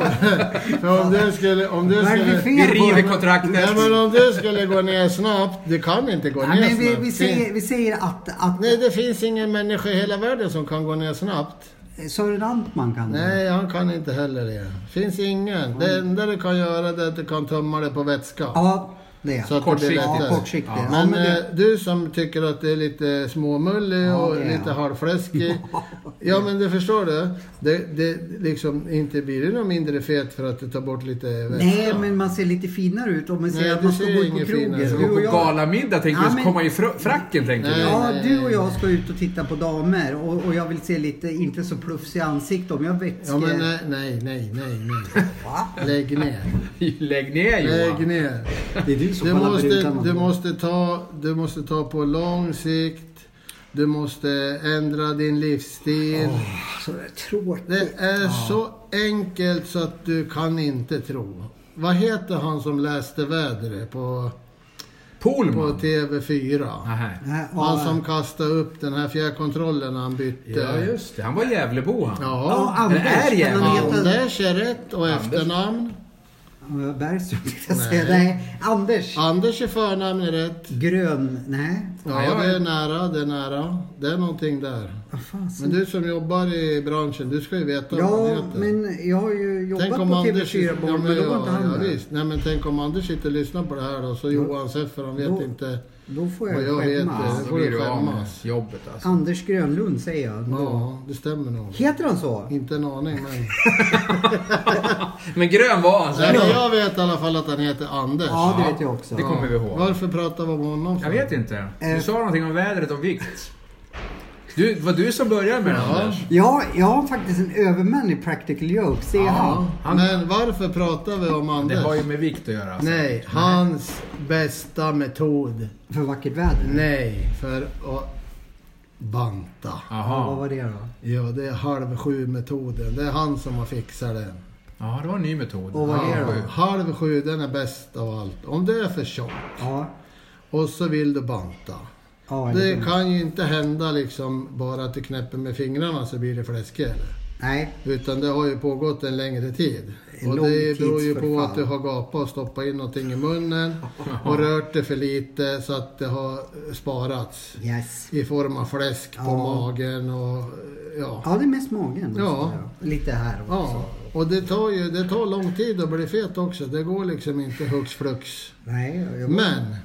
S3: För om du skulle... Om du
S2: Vad är det för
S3: skulle
S2: fel?
S1: Vi river
S3: Nej,
S1: kontraktet.
S3: men om du skulle gå ner snabbt, du kan inte gå
S2: Nej,
S3: ner
S2: men vi,
S3: snabbt.
S2: vi, säger, vi säger att, att
S3: Nej, det finns ingen människa i hela världen som kan gå ner snabbt.
S2: eh, Sören Antman kan det.
S3: Nej, han kan inte heller det. Finns ingen. Det enda du kan göra det är att du kan tömma det på vätska.
S2: Mm. Ja, Det är
S3: Så att det blir
S1: Kortsiktigt.
S2: Ja,
S3: lättare.
S2: kortsiktigt. Ja,
S3: Men,
S2: men det,
S3: eh, du som tycker att det är lite småmullig
S2: Ja,
S3: och
S2: det är
S3: lite
S2: jag.
S3: halvfläskig. ja men du förstår du. Det, det liksom inte blir det någon mindre fet för att du tar bort lite vätska.
S2: nej, men man ser lite finare ut om man
S3: Nej,
S2: säger att
S3: du
S2: man ska
S3: ser
S2: gå ut på
S3: ingen
S2: krogen.
S3: finare ut.
S1: Gå
S2: Du och
S1: på
S2: jag,
S1: galamiddag tänkte
S2: Ja,
S1: du,
S2: men-
S1: komma i fr- fracken tänkte du.
S3: Nej.
S2: ja, du och jag ska ut och titta på damer och, och jag vill se lite, inte så plufsig ansikte om jag växer.
S3: Ja men eh, nej, nej, nej, nej. nej. Lägg ner.
S1: Lägg ner
S3: Lägg
S1: Johan.
S3: ner.
S2: det är du som
S3: Du
S2: kallar
S3: måste,
S2: brudarna.
S3: du, måste ta, du måste ta på lång sikt. Du måste ändra din livsstil.
S2: Så det är tråkigt.
S3: Det är så enkelt så att du kan inte tro. Vad heter han som läste vädret på, på
S1: Polman.
S3: TV4?
S1: Nähä.
S2: Nej, ja,
S3: Han som kastade upp den här fjärrkontrollen när han bytte.
S1: Ja just det, han var Gävlebo han.
S2: Ja,
S3: Ja.
S2: Anders.
S1: Det är
S2: kan han
S1: jävligt.
S2: heta-
S3: Anders är rätt och efternamn.
S2: Ja, Bergström tänkte jag säga.
S3: Nej.
S2: Nej, Anders.
S3: Anders är förnamn är rätt.
S2: Grön. Nej.
S1: Ja, jag
S3: Ja, det är nära, det är nära. Det är någonting där.
S2: Vad fan.
S3: Men du som jobbar i branschen, du ska ju veta vad han
S2: Ja,
S3: heter.
S2: men jag har ju jobbat på TV4
S3: ja,
S2: Barn, men då var inte han
S3: ja,
S2: där.
S3: visst. Nej, men tänk om Anders sitter och lyssnar på det här då, så Johan Seffer, han vet
S2: Då-
S3: inte.
S2: Då får jag
S3: Vad jag
S2: skämmas.
S3: heter.
S1: Då
S3: får
S1: blir
S3: du
S1: du av med
S3: skämmas.
S1: jobbet alltså.
S2: Anders Grönlund säger jag. då.
S3: Ja, det stämmer nog.
S2: Heter han så?
S3: Inte en aning, men...
S1: Men grön var han så
S3: Nej, men jag vet i alla fall att han heter Anders.
S2: Ja, det vet jag också.
S1: det kommer vi ihåg.
S3: Varför pratar vi om honom för?
S1: Jag vet inte. Du
S2: Eh.
S1: sa någonting om vädret och vikt. Du, var du som började med det
S3: Ja.
S1: Anders?
S2: Ja, jag har faktiskt en överman i Practical Jokes. Det är han.
S3: Ja,
S1: Han-
S3: Men varför pratar vi om
S1: Det
S3: Anders?
S1: har ju med vikt att göra. Alltså.
S3: Nej, hans bästa metod.
S2: För vackert väder.
S3: Nej, för att banta.
S2: Ja, vad
S1: Jaha.
S2: var det då?
S3: Ja, det är halv sju-metoden. Det är han som har fixat den.
S1: Ja, det var en ny metod.
S2: Och vad är det
S1: Ja.
S2: då?
S3: Halv sju, den är bäst av allt. Om du är för tjock
S2: Ja.
S3: och så vill du banta.
S2: ja eller-
S3: Det kan ju inte hända liksom bara att du knäpper med fingrarna så blir det fläskigare.
S2: Nej.
S3: Utan det har ju pågått en längre tid.
S2: En
S3: Och
S2: lång
S3: det
S2: tids
S3: beror ju på
S2: förfall.
S3: att du har gapat och stoppat in någonting i munnen och rört det för lite så att det har sparats
S2: Yes.
S3: i form av fläsk på
S2: Ja.
S3: magen och ja.
S2: Ja, det är mest magen.
S3: Ja.
S2: Lite här också.
S3: Ja, och det tar ju det tar lång tid att bli fet också. Det går liksom inte hux flux.
S2: Nej, jag...
S3: Men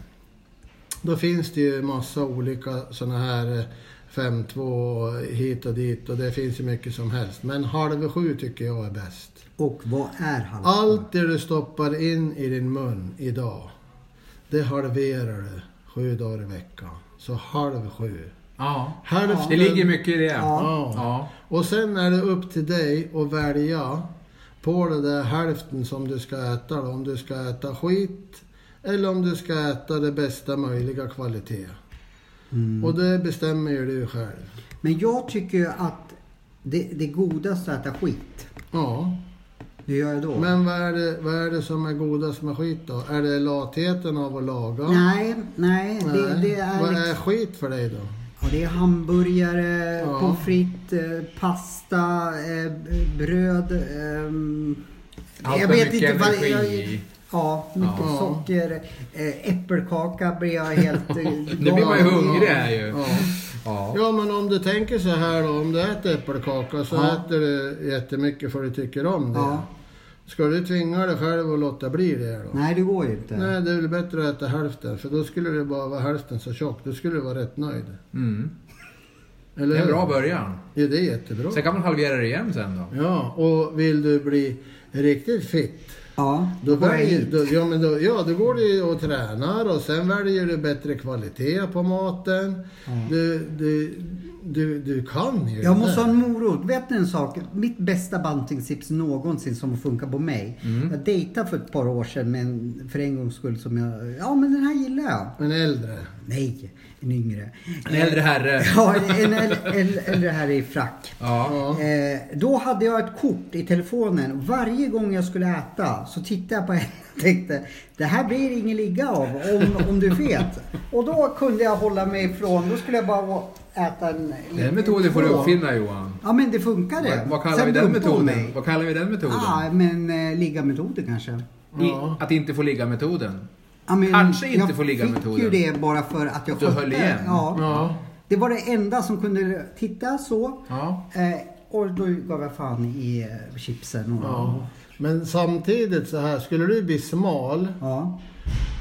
S3: då finns det ju massa olika såna här eh, 5-2 hit och dit och det finns ju mycket som helst. Men halv sju tycker jag är bäst.
S2: Och vad är han?
S3: Allt det du stoppar in i din mun idag, det halverar du sju dagar i veckan. Så halv sju.
S1: Ja.
S3: Hälften,
S1: Det ligger mycket i det.
S2: Ja.
S1: Ja.
S3: Och sen är det upp till dig att välja på det där hälften som du ska äta. Då. Om du ska äta skit eller om du ska äta det bästa möjliga kvalitet. Och det bestämmer ju du själv.
S2: Mm. Men jag tycker ju att det, det är godast att äta skit.
S3: Ja,
S2: Det gör jag då.
S3: men vad är, det, vad är det som är godast med skit då? Är det latheten av att laga?
S2: Nej, nej. Det,
S3: Nej.
S2: det är,
S3: vad
S2: liksom,
S3: är skit för dig då?
S2: ja, det är hamburgare,
S3: Ja.
S2: pommes frites, eh, pasta, eh, bröd. ehm,
S1: Allt med mycket energi i.
S2: Ja, mycket
S3: Ja.
S2: socker. Eh, äppelkaka blir jag helt... eh,
S1: Nu blir man ju hungrig här ju.
S3: Ja.
S1: Ja.
S3: Ja men om du tänker så här då, om du äter äppelkaka så
S2: Ja.
S3: äter du jättemycket för du tycker om det.
S2: Ja.
S3: Ska du tvinga dig själv att låta bli det då?
S2: Nej, det går ju inte.
S3: Nej, det är väl bättre att äta hälften för då skulle du bara vara hälften så tjock. Då skulle du vara rätt nöjd.
S1: Mm.
S3: Eller
S1: Det är en
S3: hur?
S1: bra början.
S3: Ja, det är jättebra.
S1: Sen kan man halvera det igen sen då.
S3: Ja, och vill du bli riktigt fit
S2: Ja,
S3: Då
S2: går jag
S3: väljer,
S2: hit.
S3: då, ja, men då, ja, då går du ju och tränar och sen väljer du bättre kvalitet på maten. Du, du, du, du kan ju
S2: Jag
S3: det
S2: måste
S3: där.
S2: ha en morot. Vet ni en sak? Mitt bästa bantingtips någonsin som funkar på mig.
S1: Mm.
S2: Jag dejtade för ett par år sedan med en, för en gångs skull som jag... Ja, men den här gillar jag.
S3: En äldre.
S2: Nej, en yngre.
S1: En äldre herre.
S2: Ja, en äl- äl- äldre här i frack.
S1: Ja.
S2: Eh, då hade jag ett kort i telefonen. Varje gång jag skulle äta så tittade jag på henne och tänkte det här blir ingen ligga av om, om du är fet. Och då kunde jag hålla mig ifrån. Då skulle jag bara å- äta en...
S1: Den metoden får du
S2: två.
S1: uppfinna Johan.
S2: Ja men det funkade.
S1: Vad, vad, kallar
S2: Sen
S1: vi den
S2: dumpade hon
S1: metoden?
S2: mig.
S1: vad kallar vi den metoden?
S2: Ja, men eh, ligga-metoden kanske.
S1: I, att inte få ligga-metoden.
S2: Ja, men
S1: Kanske inte får
S2: Jag
S1: ligga-metoden.
S2: fick ju det bara för att jag
S1: Du höll igen.
S2: Ja.
S3: Ja.
S2: Det var det enda som kunde titta så.
S1: Ja.
S2: Eh, och då gav jag fan i eh, chipsen och...
S3: Ja. Men samtidigt så här, skulle du bli smal
S2: Ja.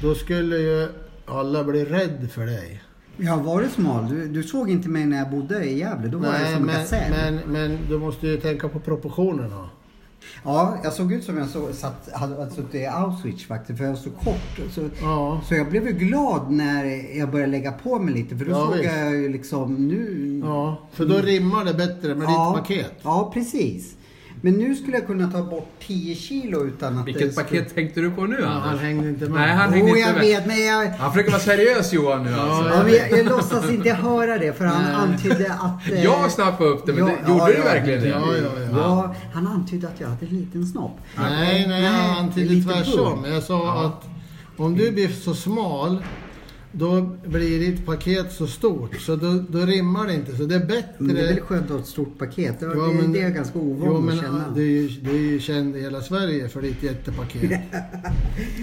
S3: Då skulle ju alla bli rädd för dig.
S2: Jag har varit smal. Du, du såg inte mig när jag bodde i Gävle. Då var jag som en
S3: men,
S2: gasell.
S3: men, men du måste ju tänka på proportionerna.
S2: Ja, jag såg ut som jag så, satt, hade suttit i Auschwitz faktiskt. För jag var så kort. Så,
S3: Ja.
S2: så jag blev ju glad när jag började lägga på mig lite. För då
S3: Ja,
S2: såg
S3: visst.
S2: jag ju liksom nu...
S3: Ja, för då rimmar det bättre med ditt paket.
S2: Ja, precis. Men nu skulle jag kunna ta bort 10 kilo utan att... det
S1: Vilket
S2: skulle-
S1: paket tänkte du på nu
S3: Ja, han
S1: Anders?
S3: hängde inte med.
S1: Nej, han hängde
S2: Jo,
S1: inte
S2: jag
S1: med.
S2: vet, men jag...
S1: Han försöker vara seriös Johan nu alltså.
S2: Ja, men jag, jag låtsas inte höra det för han antydde att... eh,
S1: Jag snappade upp det, men
S2: ja,
S1: det, gjorde
S2: ja,
S1: du
S2: ja,
S1: verkligen det?
S3: Ja, ja, ja.
S2: Ja, han antydde att jag hade en liten snopp.
S3: Nej, nej, jag
S2: Nej,
S3: antydde
S2: lite
S3: tvärtom.
S2: bull.
S3: Jag sa att om du blir så smal, då blir ditt paket så stort. Så då, då rimmar det inte. Så det är bättre...
S2: Men Mm, det är väl skönt att ha ett stort paket? Det,
S3: Ja,
S2: det,
S3: men-
S2: det är jag ganska
S3: Jo,
S2: ovan
S3: men,
S2: att känna.
S3: ah, Du är, ju, du är ju känd i hela Sverige för ditt jättepaket.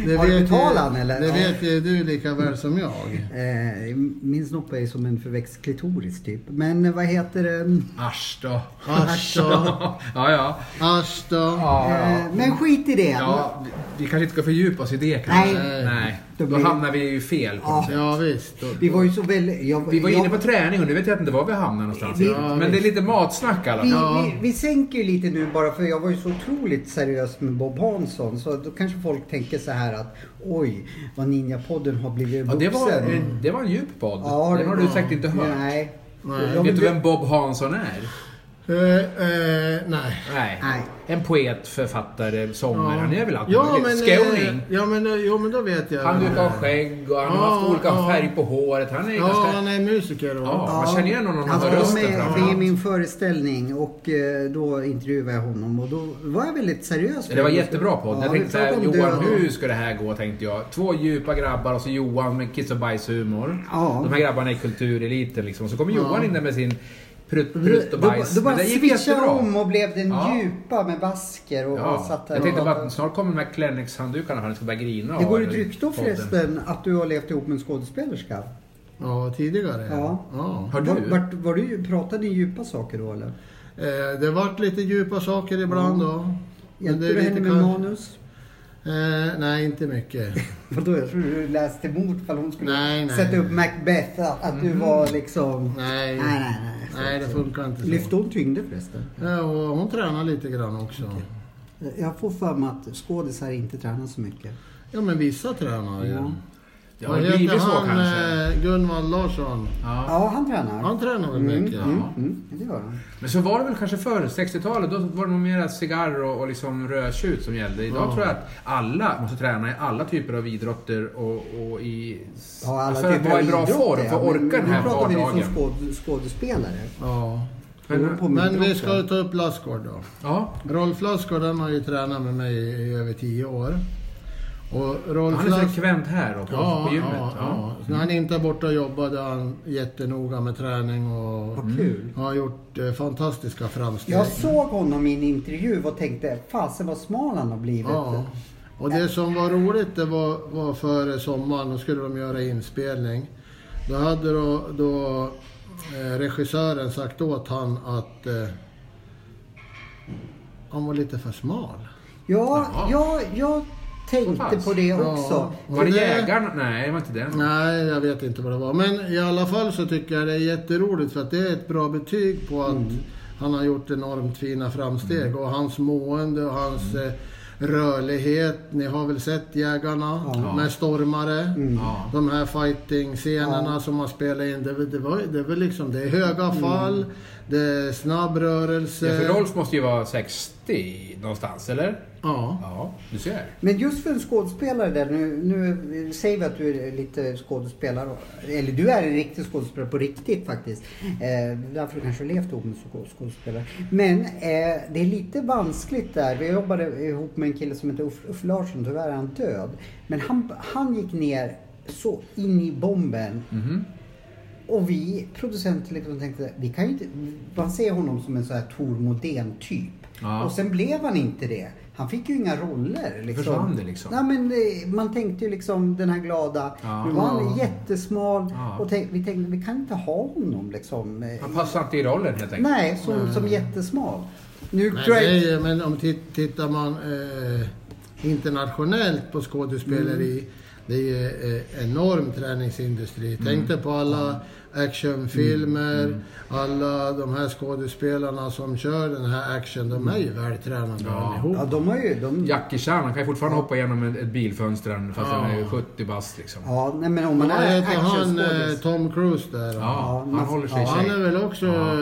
S3: Det
S2: Har du
S3: vet ju-
S2: betalat han, eller?
S3: Det
S2: Ja.
S3: vet ju du lika väl som jag.
S2: Eh, min snopp är ju som en förväxt klitoris typ. Men eh, vad heter det?
S1: Asch då.
S3: Asch då.
S1: Ja, ja.
S3: Asch då.
S1: ja.
S2: Eh, men skit i det.
S1: ja vi, vi kanske inte ska fördjupa oss i det kanske.
S2: Nej.
S1: Nej.
S2: Då
S1: Då
S2: blir-
S1: hamnar vi ju fel. på
S2: Ja.
S1: något sätt.
S3: Ja, visst.
S2: Vi var ju så väldigt... jag-
S1: Vi var
S2: jag-
S1: inne på träning och nu vet jag inte var vi hamnar någonstans.
S2: Vi-
S1: men det är lite matsnack i alla
S2: Vi,
S1: fall.
S3: Ja.
S2: vi, vi sänker ju lite nu bara för jag var ju så otroligt seriös med Bob Hansson så då kanske folk tänker så här att oj vad Ninjapodden har blivit
S1: Ja,
S2: vuxen.
S1: det, var, det var en djup podd.
S2: Ja,
S1: Den har du säkert inte hört.
S2: Nej.
S3: Nej.
S2: Ja, men
S1: Vet du
S2: det-
S1: vem Bob Hansson är?
S3: Eh, eh, nej.
S1: Nej.
S2: Nej.
S1: En poet, författare, sångare. Han är väl allt
S3: ja, men,
S1: möjligt.
S3: eh,
S1: Skåning.
S3: Ja, men, eh, jo, men då vet jag.
S1: Han
S3: vem
S1: brukar
S3: det är.
S1: ha skägg och han har
S3: Ja,
S1: haft olika
S3: ja.
S1: färg på håret. Han är
S3: Ja,
S1: ganska...
S3: han är musiker. va?
S1: Ja, man känner igen honom när man
S2: Han
S1: hör
S2: var
S1: rösten
S2: med
S1: framför
S2: för
S1: allt.
S2: min föreställning och eh, då intervjuade jag honom och då var jag väldigt seriös.
S1: Det var jättebra podd. jag
S2: vi
S1: tänkte såhär,
S2: pratade om
S1: Johan
S2: döden.
S1: hur ska det här gå tänkte jag. Två djupa grabbar och så Johan med kiss och bajshumor.
S2: Ja.
S1: De här grabbarna är kultureliten liksom. Så kommer Johan in där med sin prutt, prutt och
S2: Då-
S1: bajs.
S2: Då bara
S1: Men det gick
S2: switchade
S1: jättebra.
S2: om och blev den
S1: Ja.
S2: djupa med basker och, och
S1: Ja,
S2: satt där
S1: jag
S2: och
S1: tänkte bara
S2: pratade.
S1: att snart kommer de här Kleenex-handdukarna för att ska börja grina.
S2: Det
S1: av
S2: går ju ett rykte om
S1: podden.
S2: förresten att du har levt ihop med en skådespelerska.
S3: ja tidigare.
S2: Ja.
S3: ja.
S1: Har
S2: Var,
S1: du?
S2: vart, var du pratade ni djupa saker då eller?
S3: Eh, det vart lite djupa saker ibland då. Men
S2: Mm. Hjälpte
S3: det är
S2: du henne
S3: lite
S2: med
S3: kan...
S2: manus?
S3: eh, Nej, inte mycket.
S2: Vadå, jag trodde du läste mot ifall hon skulle
S3: Nej, nej.
S2: sätta upp Macbeth. Att, att du var liksom...
S3: Nej.
S2: Nej, nej, nej.
S3: Nej, det funkar inte så.
S2: Lyfte hon tyngder förresten?
S3: Ja, och hon tränar lite grann också.
S2: Jag får för mig att skådisar inte tränar så mycket.
S3: Ja, men vissa tränar ju.
S2: Ja.
S1: Det
S3: Vad
S1: har
S3: heter
S1: blivit så
S3: han,
S1: kanske.
S3: eh, Gunvald Larsson.
S1: Ja.
S2: Ja, han tränar.
S3: Han tränar väl
S2: Mm,
S3: mycket?
S2: Mm, mm, det gör han.
S1: Men så var det väl kanske förr, 60-talet. Då var det nog mera cigarr och, och liksom rödtjut som gällde. Idag
S3: Ja.
S1: tror jag att alla måste träna i alla typer av idrotter och, och i...
S2: Ja, alla
S1: för att
S2: typer
S1: vara i
S2: av
S1: bra
S2: idrotter,
S1: form, för
S2: ja,
S1: att
S2: men-
S1: orka den här
S2: Nu pratar liksom vi ju som
S1: vardagen.
S2: skåd, skådespelare.
S3: Ja.
S1: Men,
S2: På
S3: Men
S2: idrotten.
S3: vi ska ju ta upp Lassgård då.
S1: ja.
S3: Rolf Lassgård han har ju tränat med mig i över tio år. Och Rolf
S1: Han är så
S3: Lass-
S1: frekvent här då, på,
S3: Ja,
S1: på gymmet.
S3: ja, ja. Så När han inte är borta och jobbar då är han jättenoga med träning och
S1: Mm.
S2: Vad kul.
S3: har gjort eh, fantastiska framsteg.
S2: Jag såg honom i en intervju och tänkte, fasen vad smal han har blivit.
S3: Ja. Och det som var roligt det var, var före sommaren, då skulle de göra inspelning. Då hade då, då eh, regissören sagt åt han att eh, han var lite för smal.
S2: Ja,
S1: Jaha.
S2: ja, jag
S1: Så
S2: tänkte
S1: pass.
S2: på det
S3: Ja.
S2: också.
S1: Var det
S3: Och det-
S2: eh,
S1: jägarna? Nej, det var inte den.
S3: Nej, jag vet inte vad det var. Men i alla fall så tycker jag det är jätteroligt för att det är ett bra betyg på att
S1: Mm.
S3: han har gjort enormt fina framsteg. Och hans mående och hans
S1: Mm.
S3: eh, rörlighet. Ni har väl sett Jägarna
S1: Ja. Mm.
S3: med stormare.
S1: Ja.
S3: De här fighting-scenerna som man spelar in. Det, det, var, det är väl liksom, det är höga fall, det är snabb rörelse.
S1: Mm. Ja, för
S2: eh,
S1: Rolf måste ju vara 60 någonstans, eller?
S3: Ja.
S1: Ja, du ser.
S2: Men just för en skådespelare där, nu, nu säger vi att du är lite skådespelare, eller du är en riktig skådespelare på riktigt faktiskt.
S3: Mm.
S2: Eh, därför du kanske har levt ihop med skå- skådespelare. Men eh, det är lite vanskligt där. Vi jobbade ihop med en kille som heter Uff, Uff Larsson, tyvärr är han död. Men han, han gick ner så in i bomben
S1: Mhm.
S2: Och vi producenter liksom tänkte, vi kan ju inte, man ser honom som en sån här Tor Modén typ.
S1: Ja.
S2: Och sen blev han inte det. Han fick ju inga roller. Liksom.
S1: Försvann det liksom?
S2: Nej, men eh, man tänkte ju liksom den här glada.
S1: Ja.
S2: Nu var han jättesmal.
S1: Ja.
S2: Och tänk, vi tänkte, vi kan inte ha honom liksom. eh,
S1: Han passar inte i rollen helt enkelt.
S2: Nej, som, som jättesmal. Nu
S3: Men,
S2: tror jag-
S3: det är,
S1: Mm.
S3: men om tit- tittar man eh, internationellt på skådespeleri det är ju eh, enorm träningsindustri. Tänk dig på alla
S1: Mm.
S3: actionfilmer, alla de här skådespelarna som kör den här action, de är ju vältränade
S1: Mm. Ja.
S3: allihop.
S2: Ja, de har ju... De,
S1: Jackie-kärnan kan ju fortfarande hoppa igenom ett, ett bilfönster fast han är ju 70 bast liksom. Ja,
S2: ja, nej men om man
S3: Vad
S2: är
S3: heter han, eh,
S2: actionskådis.
S3: Tom Cruise där?
S1: han
S2: man-
S1: håller sig i
S3: Ja, han är
S1: shape.
S3: väl också... Han,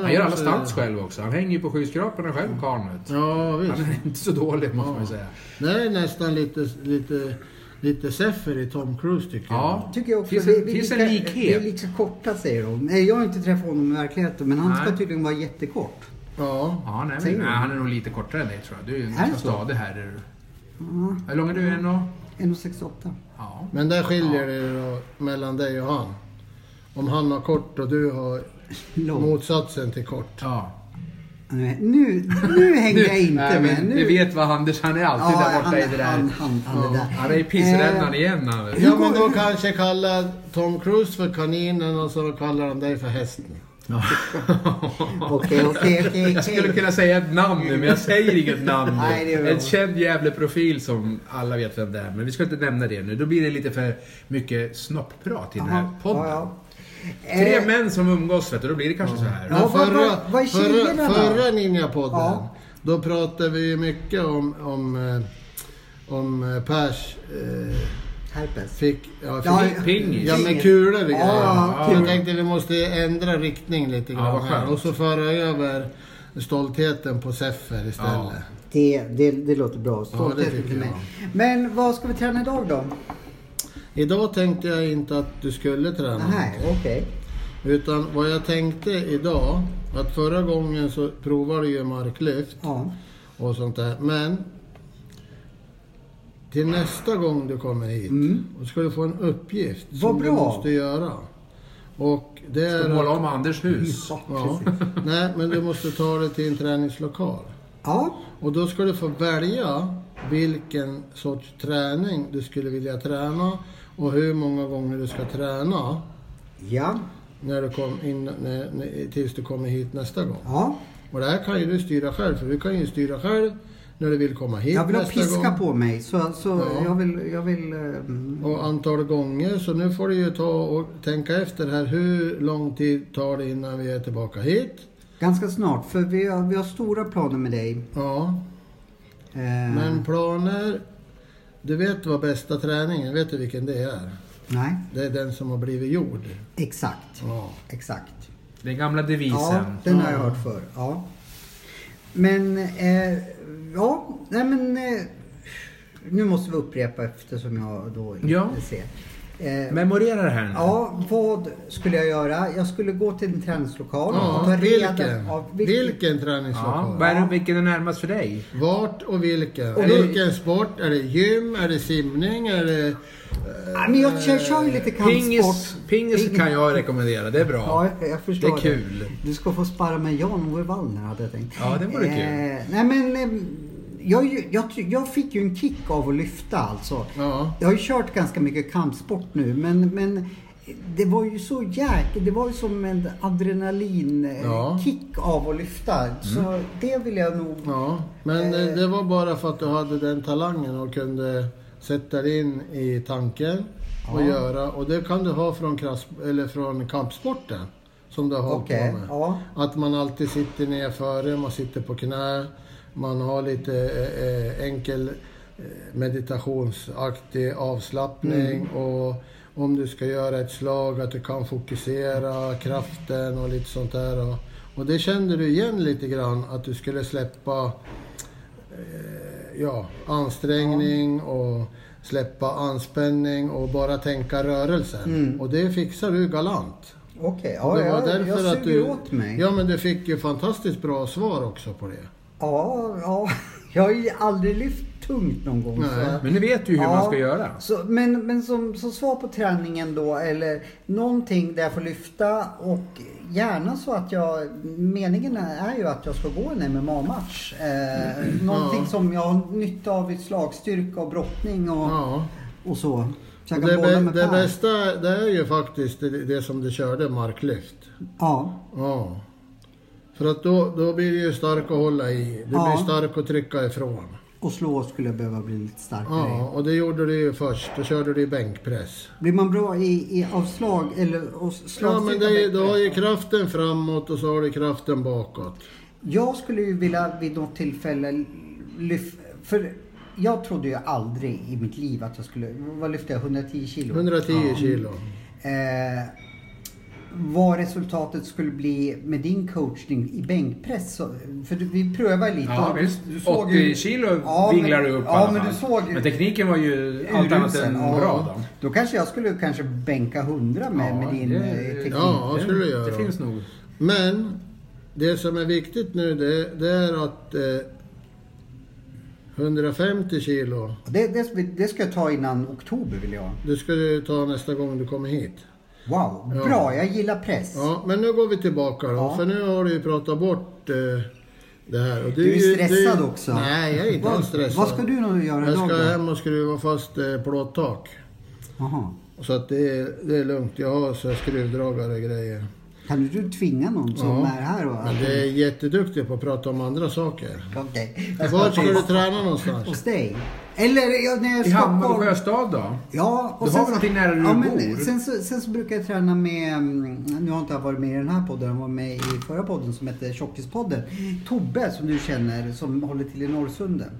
S3: är
S1: Han gör alla
S3: också-
S1: stunts själv också. Han hänger ju på skyskraporna själv, karln. vet du.
S3: Ja,
S1: Han
S3: visst.
S1: är inte så dålig måste man ju säga.
S3: Det är nästan lite, lite, lite Seffer i Tom Cruise tycker
S1: Ja.
S2: Tycker jag också.
S1: Finns
S2: vi,
S1: en-
S2: vi,
S1: finns en
S2: lika,
S1: likhet?
S2: Vi är lika korta säger de. Nej, jag har inte träffat honom i verkligheten men han ska
S1: Nej.
S2: tydligen vara jättekort.
S3: jag. Ja.
S1: Ja, nej, men,
S2: Säger
S1: nej,
S2: du?
S1: han är nog lite kortare än dig tror jag. Du är ju en
S2: det
S1: ganska
S2: så?
S1: stadig herre. du.
S2: Ja,
S1: Hur lång är du? En och...
S2: 1,68.
S1: Ja.
S3: Men där skiljer det då mellan dig och han. Om han har kort och du har
S2: Lång.
S3: motsatsen till kort.
S1: ja.
S2: Nej, Nu, nu hängde jag inte
S1: Nej,
S2: med.
S1: men
S2: Nu.
S1: Vi vet vad Anders, han är alltid
S2: ja,
S1: där borta
S2: han,
S1: i det där. Eh,
S2: Han, han, han,
S3: Ja.
S2: det där.
S1: Han är i pissrännan igen han. vet du.
S3: Ja men då kanske kallar Tom Cruise för kaninen och så kallar han dig för hästen.
S2: Okej, okej, okej.
S1: Jag skulle kunna säga ett namn nu, men jag säger inget namn
S2: Nej, det är
S1: nu.
S2: bra.
S1: En känd jävla profil som alla vet vem det är. Men vi ska inte nämna det nu. Då blir det lite för mycket snoppprat i den här
S2: Jaha,
S1: podden.
S2: ja, ja.
S1: Tre
S2: Eh,
S1: män som umgås, vet du, då blir det kanske så här.
S2: Ja,
S3: Men
S2: vad-
S3: förra,
S2: vad- vad är
S3: förra,
S2: tjejerna då?
S3: förra Ninja-podden,
S2: Ja.
S3: då pratade vi ju mycket om, om, eh, om eh, Pers eh,
S2: Herpes.
S3: fick... Ja,
S2: Ja,
S3: fick
S1: Pingis.
S3: ja men
S2: Pingis.
S3: kulor och grejer.
S2: Ja,
S1: ja,
S3: Så
S1: kul.
S3: jag tänkte vi måste ändra riktning lite
S1: Ja,
S3: grann
S1: vad skönt.
S3: här och så föra över stoltheten på Seffer
S1: Ja.
S3: istället.
S2: Det, det, det låter bra. Stolthet
S3: tycker
S2: inte
S3: jag.
S2: mig. Men vad ska vi träna idag då?
S3: Idag tänkte jag inte att du skulle träna
S2: Nej,
S3: någonting.
S2: okej.
S3: Utan vad jag tänkte idag, att förra gången så provade du ju marklyft
S2: Ja.
S3: och sånt där. Men till nästa gång du kommer hit då ska du få en uppgift
S2: Vad
S3: som du
S2: bra.
S3: måste göra. Och det
S1: Ska
S3: är...
S1: måla om Anders hus.
S2: Ja,
S3: Ja.
S2: precis.
S3: Nej, men du måste ta dig till en träningslokal.
S2: Ja,
S3: Och då ska du få välja vilken sorts träning du skulle vilja träna och hur många gånger du ska träna
S2: ja,
S3: när du kom in, när, när, tills du kommer hit nästa gång.
S2: ja.
S3: Och det här kan ju du styra själv, för du kan ju styra själv när du vill komma hit
S2: Jag vill ha
S3: nästa
S2: piska
S3: gång.
S2: på mig. Så, så
S3: Ja.
S2: jag vill... Jag vill eh, mm.
S3: Och antal gånger, så nu får du ju ta och tänka efter här. Hur lång tid tar det innan vi är tillbaka hit?
S2: ganska snart, för vi har, vi har stora planer med dig.
S3: Ja,
S2: Eh,
S3: men planer. Du vet vad bästa träningen, vet du vilken det är?
S2: Nej,
S3: Det är den som har blivit gjord.
S2: exakt.
S3: Ja.
S2: Exakt.
S1: Den gamla
S2: Ja,
S1: devisen.
S2: den har jag hört för. Ja. Men, eh, ja, nej men... Eh, nu måste vi upprepa eftersom jag då inte
S1: Ja.
S2: ser. Eh,
S1: Memorera det här nu.
S2: Ja, vad skulle jag göra? Jag skulle gå till en träningslokal och ta
S3: Ja,
S2: reda
S3: vilken?
S2: Ja,
S3: Vilken
S1: Ja,
S3: träningslokal?
S1: vad är det, vilken är närmast för dig?
S3: Vart och vilken?
S2: Och
S3: är
S2: då-
S3: det vilken sport? Är det gym? Är det simning? Är det... eh,
S2: Ja, men jag kör, kör ju lite
S1: Eh, Pingis,
S2: kampsport.
S1: pingis kan jag rekommendera, det är bra.
S2: Ja, jag- jag förstår
S1: Det är kul.
S2: Du ska få sparra med Jan-Ove Wallner hade jag tänkt. Eh,
S1: Ja, det vore kul.
S2: nej men, eh, jag, är ju- jag, ty- jag fick ju en kick av att lyfta alltså.
S3: Ja.
S2: Jag har ju kört ganska mycket kampsport nu men, men det var ju så jäkla... Det var ju som en
S3: Ja. Mm.
S2: adrenalinkick av att lyfta. Så det vill jag nog...
S3: Ja, men eh, det var bara för att du hade den talangen och kunde sätta dig in i tanken och
S2: Ja.
S3: göra. Och det kan du ha från, krass, eller från kampsporten som du har hållit
S2: Okej,
S3: på med.
S2: ja.
S3: Att man alltid sitter ner före, man sitter på knä, man har lite eh, eh, enkel eh, meditationsaktig avslappning och om du ska göra ett slag att du kan fokusera kraften och lite sånt där. Och, och det kände du igen lite grann att du skulle släppa eh, ja, ansträngning och släppa anspänning och bara tänka rörelsen. Och det fixar du galant.
S2: Okej, ja,
S3: det
S2: jag, jag suger åt mig.
S3: Ja, men du fick ju fantastiskt bra svar också på det.
S2: Ja, ja. Jag har ju aldrig lyft tungt någon gång.
S3: Nej.
S2: Så.
S1: Men nu vet du ju hur
S2: Ja.
S1: man ska göra.
S2: Så, men men som, som svar på träningen då, eller någonting där jag får lyfta och gärna så att jag... Meningen är ju att jag ska gå en MMA-match. Eh, någonting
S3: Mm. Ja.
S2: som jag har nytta av i slagstyrka och brottning och,
S3: Ja.
S2: och så. Så jag
S3: Och
S2: kan
S3: det,
S2: bolla
S3: bä-
S2: med
S3: det
S2: Per.
S3: bästa det är ju faktiskt det, det som du körde, marklyft.
S2: Ja.
S3: Ja. För att då, då blir du ju stark att hålla i. Du
S2: Ja.
S3: blir stark att trycka ifrån.
S2: Och slå skulle jag behöva bli lite starkare i.
S3: Ja, och det gjorde du ju först. Då körde du ju bänkpress.
S2: Blir man bra i, i avslag eller av
S3: Ja, men det är, ju-
S2: slagsidan-
S3: du har ju kraften framåt och så har du kraften bakåt.
S2: Jag skulle ju vilja vid något tillfälle lyfta... För jag trodde ju aldrig i mitt liv att jag skulle... Vad lyfte jag? 110 kilo?
S3: 110 kilo.
S2: Eh, vad resultatet skulle bli med din coachning i bänkpress. Så, för du, vi prövade lite.
S1: Ja,
S2: och
S1: visst.
S2: du såg
S1: 80
S2: ju-
S1: kilo
S2: Ja, men-
S1: vinglar du upp i
S2: Ja,
S1: alla
S2: men du
S1: fall.
S2: såg ju-
S1: Men tekniken var ju allt annat än
S2: Urusel, ja.
S1: bra då.
S2: Då kanske jag skulle kanske bänka 100 med, med din
S1: det-
S2: eh, teknik.
S3: ja.
S1: det-
S3: skulle du göra.
S1: Det finns nog.
S3: Men det som är viktigt nu det, det är att eh, 150 kilo,
S2: Det, det, det ska jag ta innan oktober vill jag.
S3: det ska du ta nästa gång du kommer hit.
S2: Wow,
S3: Ja.
S2: bra. Jag gillar press.
S3: Ja, men nu går vi tillbaka då.
S2: Ja.
S3: För nu har du ju pratat bort eh, det här. Och
S2: Du är
S3: ju-
S2: stressad också.
S3: Nej, jag är inte
S2: Vad-
S3: alls stressad.
S2: vad ska du nu göra
S3: Jag
S2: idag
S3: ska
S2: då?
S3: hem och skruva fast eh, plåttak.
S2: Jaha.
S3: Så att det är, det är lugnt. Jag har så här skruvdragare och grejer.
S2: Kan du- du tvinga någon som
S3: Ja.
S2: är här? Och,
S3: Men det är jätteduktig på att prata om andra saker.
S2: Okej.
S3: Var ska du träna någonstans?
S2: Hos dig? Eller ja, när jag
S1: I
S2: är
S1: Hammar och
S2: Stockholm.
S1: Sjöstad då?
S2: Ja,
S1: Du har väl någonting nära du
S2: ja,
S1: bor?
S2: men, sen, så, sen så brukar jag träna med, mm, nu har inte jag varit med i den här podden, jag var med i förra podden som hette Tjockispodden. Tobbe som du känner som håller till i Norrsunden.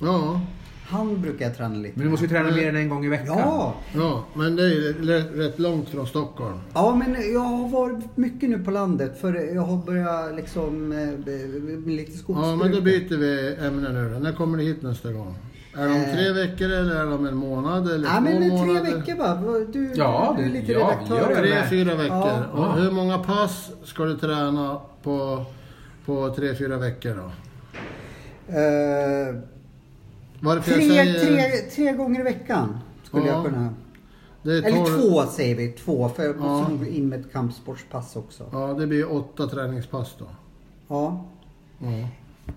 S3: Ja,
S2: Han brukar jag träna lite
S1: Men du måste ju träna
S3: Mm.
S1: mer än en gång i veckan.
S2: Ja!
S3: ja, men det är ju l- rätt långt från Stockholm.
S2: Ja men jag har varit mycket nu på landet för jag har börjat liksom eh, med lite skogsbruk.
S3: Ja, men då byter vi ämne nu då. När kommer du hit nästa gång? Är det om tre veckor eller är det om en månad eller
S2: Eh. Ja
S3: två
S2: men det är
S3: månader?
S2: tre veckor va? Du,
S1: Ja,
S2: du är
S1: det-
S2: lite
S1: ja,
S2: redaktör.
S1: gör det.
S3: Tre, fyra veckor.
S2: Ja.
S3: Och hur många pass ska du träna på, på tre, fyra veckor då?
S2: Eh,
S3: Varför jag
S2: tre,
S3: säger...
S2: tre, tre gånger i veckan skulle
S3: Ja.
S2: jag kunna.
S3: det är
S2: Eller
S3: tolv-
S2: två säger vi, två. För jag
S3: Ja.
S2: måste nog gå in med ett kampsportspass också.
S3: Ja, det blir åtta träningspass då.
S2: Ja.
S3: Ja.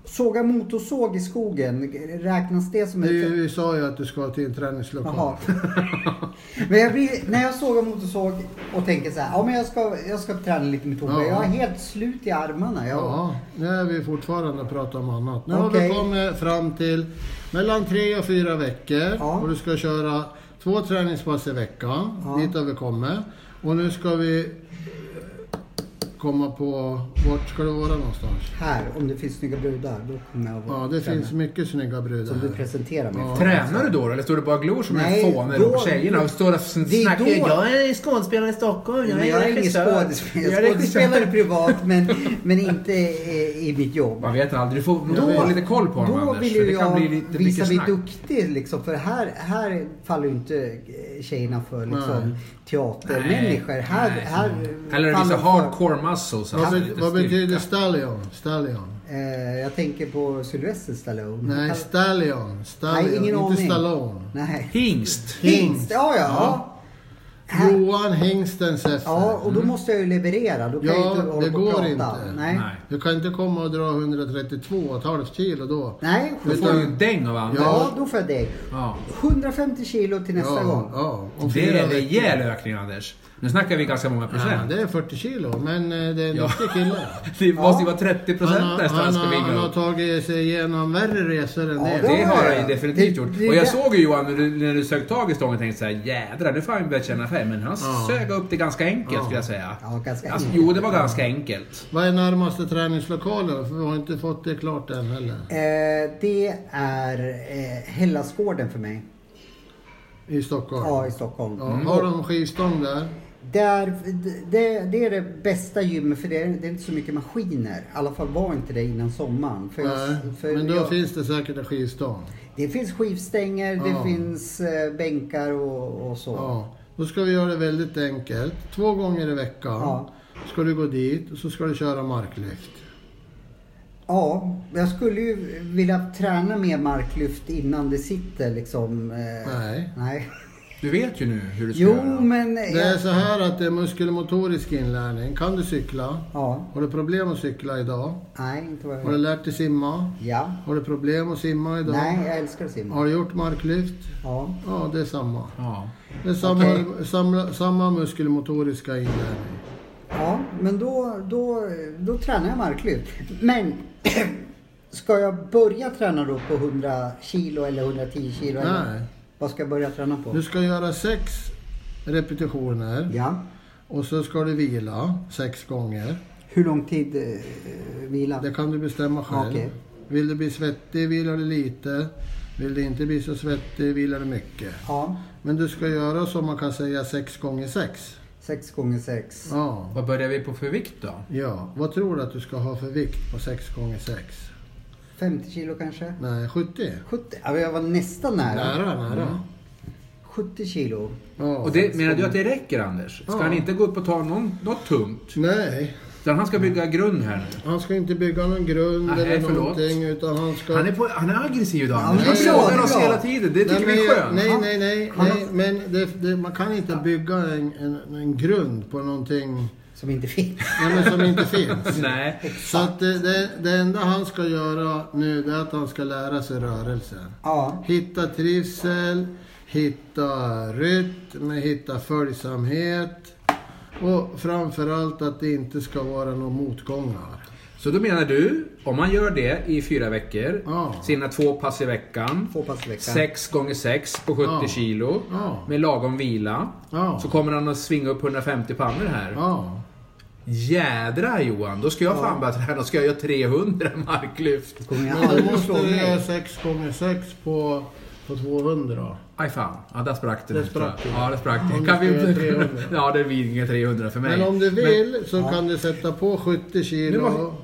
S2: Såga motorsåg i skogen, räknas det som
S3: Du,
S2: ett...
S3: vi sa ju att du ska till en träningslokal.
S2: Jaha. men jag blir, när jag sågar motorsåg och tänker så här, ja men jag ska, jag ska träna lite med Tobbe.
S3: Ja.
S2: Jag är helt slut i armarna. Jag,
S3: Ja, nu är vi fortfarande och pratar om annat. Nu har
S2: Okej.
S3: vi kommit fram till mellan tre och fyra veckor
S2: Ja.
S3: och du ska köra två träningspass i veckan.
S2: Ja.
S3: Dit har vi kommit. Och nu ska vi eh, komma på, vart ska du vara någonstans?
S2: Här, om det finns snygga brudar, då kommer jag
S3: Ja, det finns mycket snygga brudar
S2: Som du
S3: här.
S2: presenterar mig
S3: Ja.
S2: för.
S1: Tränar du då eller står du bara och glor som
S2: Nej,
S1: en fåne
S2: då-
S1: på tjejerna och står och sn-
S2: Det är
S1: snackar?
S2: då-
S1: är skådespelare i Stockholm,
S2: Men jag är ingen
S1: regissör.
S2: skådespelare.
S1: Jag
S2: Jag
S1: är
S2: är
S1: regissör.
S2: skådespelare privat, men, men inte eh, i mitt jobb.
S1: Man vet aldrig, du får nog
S3: vet.
S1: ha lite koll på honom
S2: då
S1: Anders.
S2: vill
S1: för
S2: ju
S1: det kan
S2: jag
S1: bli lite
S2: visa
S1: mycket
S2: mig
S1: snack.
S2: duktig liksom, för här, här faller ju inte eh, tjejerna för liksom,
S3: Nej.
S2: teatermänniskor. Här, här
S1: Eller
S2: faller
S1: visa
S2: de
S1: hardcore muscles.
S3: Vad,
S1: alltså,
S3: be,
S1: lite
S3: vad betyder
S1: styrka.
S3: stallion? Stallion?
S2: för, eh, jag tänker på Sylvester Stallone.
S3: Nej,
S2: Han-
S3: stallion. Stallion,
S2: Nej, ingen
S3: inte
S2: aning.
S3: Stallone.
S2: Nej.
S1: Hingst.
S2: Hingst, ja ja.
S3: Ja.
S2: Här-
S3: Johan Hingsten Seffer.
S2: Ja, och då måste jag ju leverera. Då kan
S3: Ja,
S2: jag ju inte hålla
S3: det
S2: på och
S3: går
S2: prata.
S3: inte.
S2: Nej.
S1: Nej.
S3: Du kan inte komma och dra 132,5 kilo då.
S2: Nej,
S1: Då
S2: då
S1: får
S2: får,
S1: du ju en däng av Anders.
S2: ja, då får jag dig.
S1: Ja.
S2: 150 kilo till nästa
S3: ja,
S2: gång.
S3: Ja, om
S1: Det är
S3: fyra
S1: en
S3: veckor.
S1: rejäl ökning Anders. Nu snackar vi ganska många
S3: Ja,
S1: procent.
S3: det är 40 kilo, men eh, det är en
S1: Ja.
S3: duktig kille.
S1: Det måste ju vara 30
S3: Han,
S1: procent
S3: har-
S1: nästan han
S3: han,
S1: ska
S3: har- han
S1: vinga
S3: har
S1: upp.
S3: tagit sig igenom värre resor än
S2: Ja,
S3: det.
S2: det
S1: Det har han
S2: ja.
S1: ju definitivt
S2: Det-
S1: gjort.
S2: det-
S1: Och jag
S2: det-
S1: såg ju Johan när du, när du sög tag i stången tänkte såhär jädrar nu får han börja känna färg. Men han
S3: Ja.
S1: sög upp det ganska enkelt
S3: Ja.
S1: skulle jag säga.
S2: Ja, ganska
S1: Alltså,
S2: enkelt.
S1: jo det var ganska enkelt.
S3: Vad är närmaste träningslokalen? För vi har inte fått det klart än heller.
S2: Eh, det är eh, Hellasgården för mig.
S3: I Stockholm.
S2: Ja, i Stockholm.
S3: Ja, Har de skivstång där?
S2: Där, det, det är det bästa gymmet för det är, det är inte så mycket maskiner. I alla fall var inte det innan sommaren. För jag-
S3: Nej.
S2: för
S3: Men då
S2: jag-
S3: finns det säkert en skivstång.
S2: Det finns skivstänger,
S3: Ja.
S2: det finns eh, bänkar och, och så.
S3: Ja, då ska vi göra det väldigt enkelt. Två gånger i veckan
S2: Ja.
S3: ska du gå dit och så ska du köra marklyft.
S2: Ja, jag skulle ju vilja träna mer marklyft innan det sitter liksom. Eh,
S3: Nej.
S2: nej.
S1: Du vet ju nu hur du ska
S2: Jo,
S1: göra.
S2: men...
S3: Det är så här att det är muskelmotorisk inlärning. Kan du cykla?
S2: Ja,
S3: Har du problem att cykla idag?
S2: nej, inte vad jag
S3: Har du lärt dig simma?
S2: Ja.
S3: Har du problem att simma idag?
S2: Nej, jag älskar att simma.
S3: Har du gjort marklyft?
S2: Ja.
S3: Ja, det är samma.
S1: Ja.
S3: Det är samma,
S2: Okej.
S3: samla, samma muskelmotoriska inlärning.
S2: Ja, men då, då, då tränar jag marklyft. Men Ska jag börja träna då på 100 kilo eller 110 kilo? Eller
S3: Nej.
S2: vad ska jag börja träna på?
S3: Du ska göra sex repetitioner
S2: Ja.
S3: och så ska du vila sex gånger.
S2: Hur lång tid eh, vila?
S3: Det kan du bestämma själv.
S2: Okej.
S3: Vill du bli svettig vilar du lite. Vill du inte bli så svettig vilar du mycket.
S2: Ja,
S3: Men du ska göra som man kan säga sex gånger sex.
S2: sex gånger sex.
S3: Ja.
S1: Vad börjar vi på för vikt då?
S3: ja. Vad tror du att du ska ha för vikt på sex gånger sex?
S2: 50 kilo kanske?
S3: Nej, 70?
S2: 70? Ja, jag var nästan nära.
S3: Nära, nära.
S2: 70 kilo.
S3: Ja.
S1: Mm. Och det, menar du att det räcker Anders? Ska
S3: Ja.
S1: han inte gå upp och ta någon, något tungt?
S3: Nej,
S1: Utan han ska bygga grund här nu.
S3: han ska inte bygga någon grund
S1: Nej,
S3: eller
S1: förlåt.
S3: någonting utan han ska...
S1: Han är, på, han är aggressiv idag.
S2: Ja,
S1: Han
S3: det är bra,
S1: sågar
S2: det är
S1: oss
S2: bra.
S1: hela tiden. Det tycker
S3: nej,
S1: vi är
S3: men-
S1: skönt.
S3: Nej, nej, nej.
S2: Han-
S3: nej men det, det, man kan inte bygga en, en, en grund på någonting
S2: Som inte fick.
S3: nej, men som inte finns.
S1: Nej.
S3: Så att det, det, det enda han ska göra nu det är att han ska lära sig rörelser.
S2: Ja.
S3: Hitta trivsel, hitta rytm, hitta följsamhet och framförallt att det inte ska vara några motgångar.
S1: Så då menar du, om man gör det i fyra veckor,
S3: Ja.
S1: sina två pass i veckan,
S2: Två pass i veckan.
S1: sex gånger sex på 70
S3: Ja.
S1: kilo,
S3: Ja.
S1: med lagom vila,
S3: Ja.
S1: så kommer han att svinga upp 150 pannor här.
S3: Ja.
S1: Jädrar Johan, då ska jag fan börja träna. Då ska jag göra 300 marklyft.
S2: Kommer jag
S3: Men då
S2: aldrig att
S3: måste
S2: slå
S3: du göra
S2: mig?
S3: 6 gånger 6 på, på 200.
S1: Aj fan, ja, där sprack det.
S3: Där
S1: nu, tror jag.
S3: sprack det.
S1: Ja, där sprack
S3: Om
S1: det.
S3: du
S1: Kan
S3: ska göra
S1: vi...
S3: 300.
S1: ja, det blir inga 300 för mig.
S3: Men om du vill så
S2: Ja.
S3: kan du sätta på 70 kilo.
S1: Nu måste-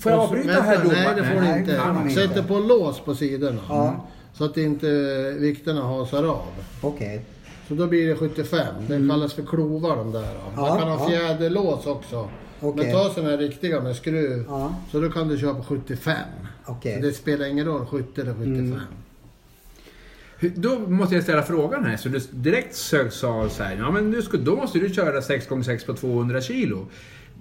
S1: Får jag
S3: Och så-
S1: avbryta här
S3: vänta, Nej,
S1: domaren?
S3: det får
S2: Nej,
S3: du
S2: det får man
S3: inte.
S2: inte.
S3: Sätter på lås på sidorna.
S2: Ja.
S3: Så att inte vikterna hasar av.
S2: Okej.
S3: Så då blir det 75. Det kallas för klovar de där. då.
S2: Mm.
S3: Man
S2: Ja,
S3: kan ha
S2: ja.
S3: fjäderlås också.
S2: Okej.
S3: Men ta sådana här riktiga med skruv.
S2: Ja.
S3: Så då kan du köpa 75.
S2: Okej. Mm.
S3: Så det spelar ingen roll 70 eller 75.
S1: Hur- Då måste jag ställa frågan här. Så du direkt sö- sa så här, ja men nu ska, då måste du köra 6x6 på 200 kilo.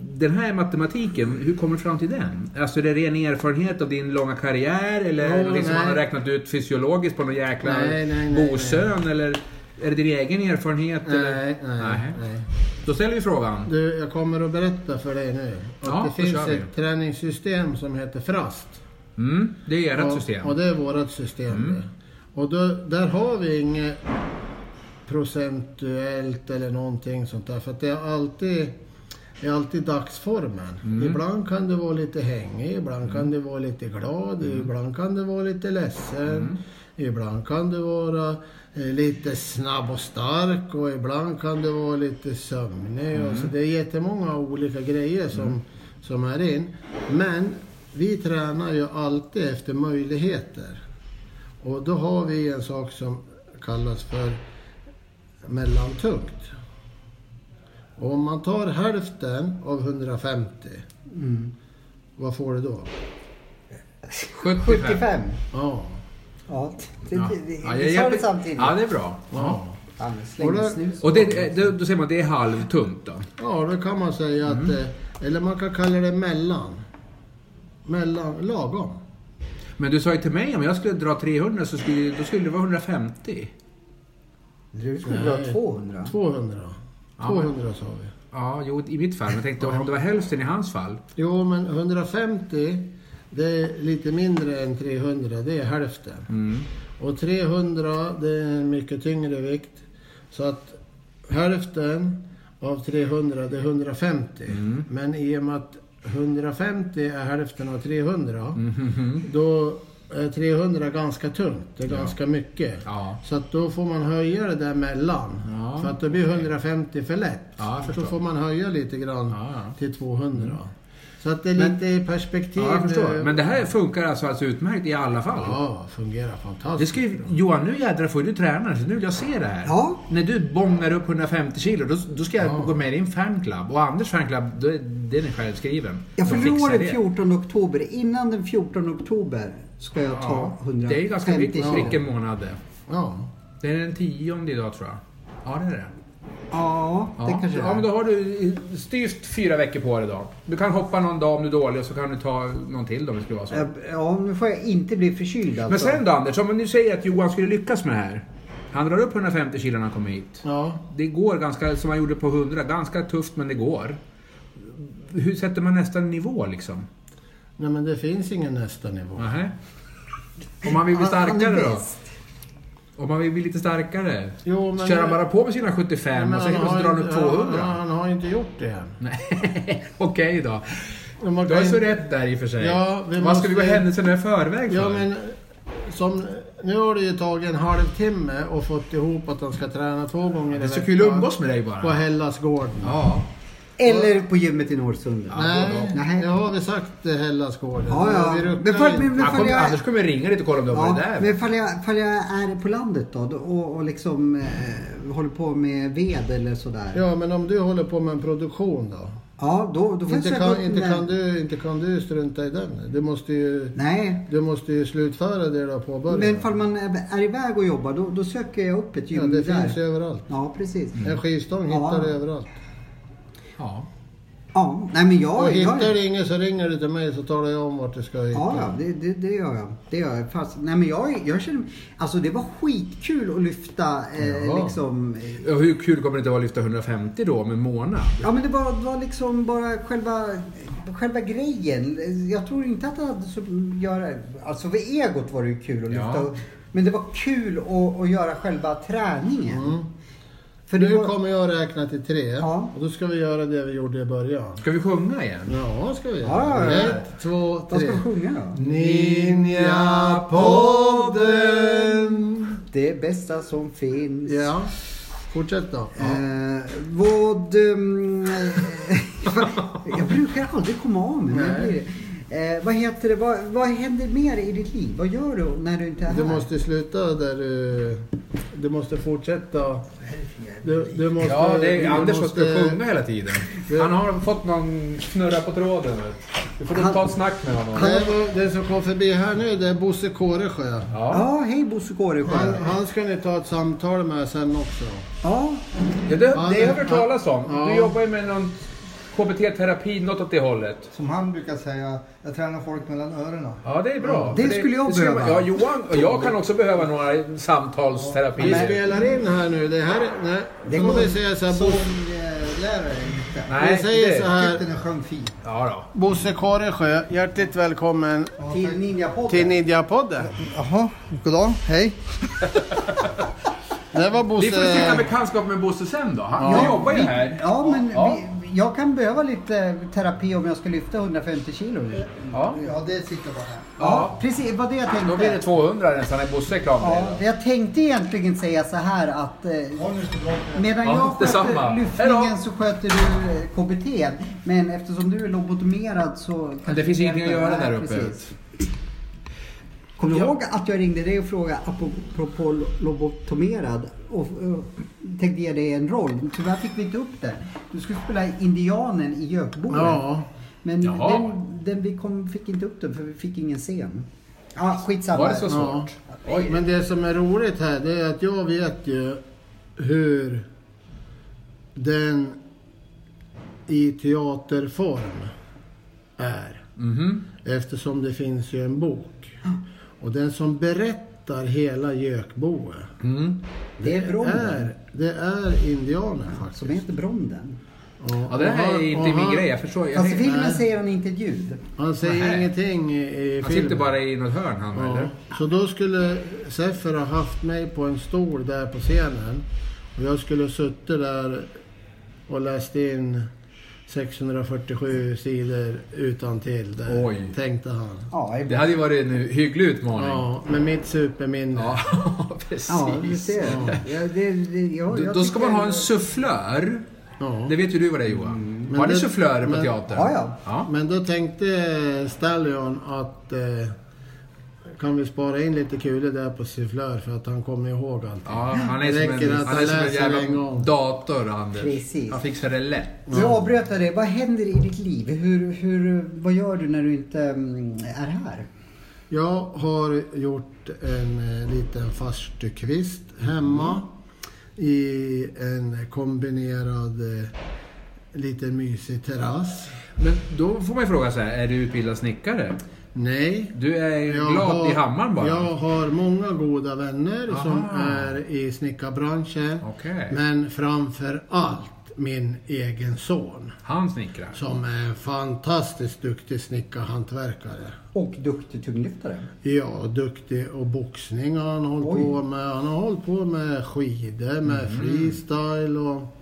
S1: Den här matematiken, hur kommer du fram till den? Alltså är det ren erfarenhet av din långa karriär eller är det
S3: Ja,
S1: någonting som
S3: nej.
S1: man har räknat ut fysiologiskt på någon jäkla
S3: Nej, nej, nej,
S1: bosön eller är det din egen erfarenhet? eller?
S3: Nej, nej,
S1: Nej.
S3: nej.
S1: Då ställer vi frågan.
S3: Du, jag kommer att berätta för dig nu. Att
S1: Ja,
S3: det
S1: då
S3: finns
S1: kör vi.
S3: ett träningssystem som heter FRAST.
S1: Mm, det är ert
S3: och,
S1: system. Mm.
S3: Och det är vårt system. det. Och då, där har vi inget procentuellt eller någonting sånt där. För att det är alltid, det är alltid dagsformen. Ibland kan du vara lite hängig, ibland kan du vara lite glad, ibland kan du vara lite ledsen. Ibland kan du vara eh, lite snabb och stark och ibland kan du vara lite sömnig. Och så det är jättemånga olika grejer som, som är in. Men vi tränar ju alltid efter möjligheter. Och då har vi en sak som kallas för mellantungt. Och om man tar hälften av 150,
S2: Mm.
S3: vad får du då?
S2: 75.
S3: Ja.
S2: Ja, det,
S1: Ja.
S2: det, det,
S1: Ja,
S2: vi
S1: jag-
S2: sa det samtidigt.
S1: Ja, det är bra.
S3: ja.
S2: Fan, släng
S3: Och det-
S2: snus.
S1: Och det, då, då säger man att det är halvtungt då?
S3: Ja, då kan man säga att... eh, Eller man kan kalla det mellan. Mellan, lagom.
S1: Men du sa ju till mig om jag skulle dra 300 så skulle, då skulle det vara 150.
S2: Du skulle dra
S3: Nej.
S2: 200.
S3: 200.
S1: Ja.
S3: 200 sa vi.
S1: Ja, jo, i mitt fall. Men jag tänkte om det var hälften i hans fall.
S3: Jo, men 150, det är lite mindre än 300. Det är hälften.
S1: Mm.
S3: Och 300, det är en mycket tyngre vikt. Så att hälften av 300, det är 150.
S1: Mm.
S3: Men i och med att 150 är hälften av 300,
S1: Mm,
S3: då är 300 ganska tungt. Det är ganska mycket.
S1: Ja.
S3: Så att då får man höja det där mellan.
S1: Ja,
S3: För att då blir 150 för lätt.
S1: Ja, jag
S3: då
S1: förstår.
S3: får man höja lite grann
S1: Ja, ja.
S3: till 200. Så att det är
S1: Mm. Men-
S3: lite i perspektiv.
S1: Ja, jag förstår.
S3: eh,
S1: Men det här funkar alltså alldeles utmärkt i alla fall.
S3: Ja, fungerar
S1: Det
S3: fantastiskt.
S1: ska ju, Johan, nu jädrar får du träna. Så nu vill jag se det här.
S2: Ja.
S1: När du bångar upp 150 kilo, då, då ska jag
S3: Ja.
S1: gå med i din fanclub. Och Anders fanclub, då är, den är självskriven.
S2: Jag
S1: De
S2: fyller år
S1: fixar
S2: den 14 oktober. Innan den 14 oktober ska jag ta
S1: Ja,
S2: 150
S1: det är ju ganska vitt prick
S2: kilo.
S1: en månad det.
S3: Ja.
S1: Det är den tionde idag tror jag. Ja, det är det.
S2: Ja, det
S1: Ja,
S2: kanske det
S1: ja men
S2: är.
S1: då har du styvt fyra veckor på dig idag. Du kan hoppa någon dag om du är dålig och så kan du ta någon till då om det skulle vara så.
S2: Eh, Ja, nu får jag inte bli förkyld
S1: Men
S2: alltså.
S1: sen då Anders, om nu säger att Johan skulle lyckas med det här. Han drar upp 150 kilo när han kommer hit.
S3: Ja.
S1: Det går ganska, som han gjorde på 100, ganska tufft men det går. Hur sätter man nästa nivå liksom?
S3: Nej men det finns ingen nästa nivå.
S1: Nähä. Om man vill bli
S2: Han- han är
S1: starkare då?
S2: bäst.
S1: Om man vill bli lite starkare?
S3: Jo, men-
S1: Kör han bara på med sina
S3: Nej,
S1: 75
S3: men
S1: och så helt plötsligt drar han upp
S3: inte- Han,
S1: 200?
S3: han har ju inte gjort det än.
S1: Nej, Okej då.
S3: Men man
S1: Du
S3: kan
S1: har
S3: ju-
S1: så rätt där i och för sig.
S3: Ja, vi
S1: Vad ska vi gå
S3: måste-
S1: händelserna i förväg för?
S3: Ja, men som, nu har det ju tagit en halvtimme och fått ihop att han ska träna två gånger i
S1: Det är så
S3: veckan.
S1: kul att umgås med dig
S3: På
S1: bara.
S3: Hellasgården.
S1: Ja.
S2: Eller på gymmet i Norrsunda.
S3: Nej,
S2: Nej.
S3: det har vi sagt eh, Hellasgården.
S2: Ja, ja.
S3: Vi ruckar
S2: Men för- men-
S3: inte.
S1: Han
S2: fan,
S1: kommer,
S2: jag-
S1: Annars kommer jag ringa dit och kolla om du har
S2: Ja,
S1: varit där.
S2: men ifall jag, ifall jag är på landet då då- och, och liksom eh, håller på med ved eller sådär. Ja,
S3: Ja, men om du håller på med en produktion då?
S2: då, då får
S3: Inte
S2: jag
S3: kan,
S2: söka
S3: inte,
S2: den.
S3: kan du, inte kan du strunta i den. Du måste ju,
S2: Nej,
S3: du måste ju slutföra det du har påbörjat.
S2: men ifall man är är iväg och jobbar då, då söker jag upp ett
S3: ja,
S2: gym
S3: det
S2: där.
S3: finns ju överallt.
S2: Ja, precis.
S3: En skivstång
S2: Ja.
S3: hittar du överallt.
S1: Ja.
S2: Ja, nej men
S3: Och
S2: jag... jag
S3: hittar du ingen så ringer du till mig så talar jag om vart du ska hitta.
S2: Ja, ja det, det, det gör jag. Det gör jag. Fast, nej, men jag, jag känner, alltså, det var skitkul att lyfta eh,
S3: Ja.
S2: liksom... eh,
S1: Ja, Hur kul kommer det inte vara att lyfta 150 då om en månad?
S2: Ja men det var, det var liksom bara själva, själva grejen. Jag tror inte att det hade så göra... Alltså för egot var det ju kul att
S1: Ja.
S2: lyfta. Men det var kul att, att göra själva träningen. För det
S3: Mm. Nu
S2: var,
S3: kommer jag räkna till tre
S2: Ja.
S3: och då ska vi göra det vi gjorde i början.
S1: Ska vi sjunga igen?
S3: Ja, ska vi
S2: Ja, ja,
S3: göra.
S2: ja.
S3: Ett, två,
S2: Vad
S3: tre.
S2: ska vi sjunga då?
S3: Ninja-podden.
S2: Det bästa som finns.
S3: Ja, fortsätt då.
S2: Eh, vad... ehm, jag brukar aldrig komma av mig. men jag
S3: Nej.
S2: blir det. Eh, vad heter det? Vad, vad händer mer i ditt liv? Vad gör du när du inte är här?
S3: Du måste sluta där du... Du måste fortsätta. Du, du måste...
S1: Ja, det
S3: du
S1: är Anders som
S3: måste-
S1: ska sjunga hela tiden. Han har fått någon snurra på tråden. vet du. Du får ta ett snack med honom.
S3: Det, var- det som kom förbi här nu, det är Bosse Kåresjö.
S1: Ja.
S2: Ja, hej Bosse
S3: Han,
S2: Kåresjö.
S3: han ska ni ta ett samtal med sen också.
S2: Ja,
S1: Ja, det, det har jag hört talas om.
S3: Ja.
S1: Du jobbar ju med någon KBT-terapi, något åt det hållet.
S4: Som han brukar säga, jag tränar folk mellan öronen.
S1: Ja, det är bra.
S2: Det
S1: För
S2: skulle jag
S1: skulle- Ja,
S2: behöva.
S1: Johan och jag kan också behöva några
S3: Vi
S1: samtalsterapier.
S3: spelar in här nu. Det här... är- Nej,
S2: Det
S3: då
S2: går-
S3: vi säga så här,
S4: Som
S3: Bosse,
S4: eh, lärare inte.
S1: Nej,
S3: vi säger
S1: det-
S3: så här.
S4: Tyckte den sjöng fint.
S1: Ja, då.
S3: Bosse Kåresjö, hjärtligt välkommen
S2: till Ninjapodden.
S3: till Ninja-podden.
S4: Jaha, goddag, hej.
S3: Det var
S1: Vi får stifta
S3: Bosse...
S1: bekantskap med Bosse sen då. Han han jobbar ju
S2: vi-
S1: här.
S2: Ja, men
S1: Ja.
S2: Vi, jag kan behöva lite eh, terapi om jag ska lyfta 150 kilo. Ja,
S1: Ja.
S4: Ja, det sitter bara här.
S1: Ja.
S2: precis. Vad det jag
S1: Då blir det
S2: tänkte.
S1: 200 nästan när Bosse är klar med
S2: Ja,
S1: det.
S2: jag tänkte egentligen säga så här att eh,
S4: Har ni så bra på det?
S2: medan
S1: Ja,
S2: jag
S1: detsamma.
S2: sköter lyftningen
S1: Hejdå.
S2: så sköter du eh, KBT. Men eftersom du är lobotomerad så... kanske
S1: det finns
S2: du
S1: ingenting att
S2: hjälper.
S1: göra
S2: Nej,
S1: där uppe.
S2: precis. Kommer du ihåg att jag ringde dig och frågade apropå lobotomerad och eh, tänkte ge dig en roll? Tyvärr fick vi inte upp den. Du skulle spela indianen i Gökboden.
S3: Ja.
S2: Men
S1: Jaha.
S2: den, den vi kom, fick inte upp den för vi fick ingen scen. Ja, skitsamma.
S1: Var det så
S3: Ja.
S1: svårt? Oj.
S3: Men det som är roligt här, det är att jag vet ju hur den i teaterform är.
S1: Mhm.
S3: Eftersom det finns ju en bok. Och den som berättar hela Gökboe,
S1: Mm.
S2: Det är Bronden.
S3: är, det är indianen
S2: Som
S3: faktiskt.
S2: heter Bronden.
S1: Ja, det här är inte min grej. Jag förstår. Jag
S2: Fast i
S1: tänkte,
S2: filmen säger han inte ett ljud.
S3: Han säger
S1: Nej.
S3: ingenting i, i
S1: han sitter
S3: filmen.
S1: bara i något hörn han,
S3: Ja,
S1: eller?
S3: så då skulle Seffer ha haft mig på en stol där på scenen. Och jag skulle ha suttit där och läst in 647 sidor utan till där,
S1: Oj.
S3: tänkte han.
S2: Ja,
S1: Det
S2: ibland.
S1: hade ju varit en hygglig utmaning.
S3: Ja, med mitt superminne.
S1: Ja,
S2: Ja, du
S1: precis.
S2: ser. Ja, det, det, jag,
S1: Då-
S2: jag
S1: Då ska
S2: tycker-
S1: man ha en sufflör.
S3: Ja.
S1: Det vet ju du vad det är Johan.
S2: Mm,
S3: Men
S1: Har ni
S3: det-
S1: sufflörer på
S3: men-
S1: teatern?
S2: Ja, ja.
S3: Men då tänkte Stallion att eh, kan vi spara in lite kulor där på Sufflör för att han kommer ihåg allt.
S1: Ja, han är
S3: Räcker
S1: som en, han
S3: att han
S1: är som en
S3: läser en
S1: jävla
S3: gång.
S1: dator, Anders.
S2: Precis.
S1: Han fixar det lätt.
S2: Nu avbröt jag dig. Vad händer i ditt liv? Hur, hur, vad gör du när du inte mm, är här?
S3: Jag har gjort en eh, liten farstukvist hemma
S1: Mm.
S3: i en kombinerad eh, liten mysig terrass.
S1: Men då får man ju fråga så här, är du utbildad snickare?
S3: Nej.
S1: Du är ju
S3: jag
S1: glad
S3: har-
S1: i hammaren bara.
S3: Jag har många goda vänner som
S1: Aha.
S3: är i snickarbranschen.
S1: Okej.
S3: Men framför allt min egen son.
S1: Han snickrar.
S3: Som är fantastiskt duktig snickarhantverkare.
S2: Och duktig tunglyftare.
S3: Ja, duktig och boxning har han hållit
S2: Oj.
S3: på med. Han har hållit på med skidor, med freestyle och...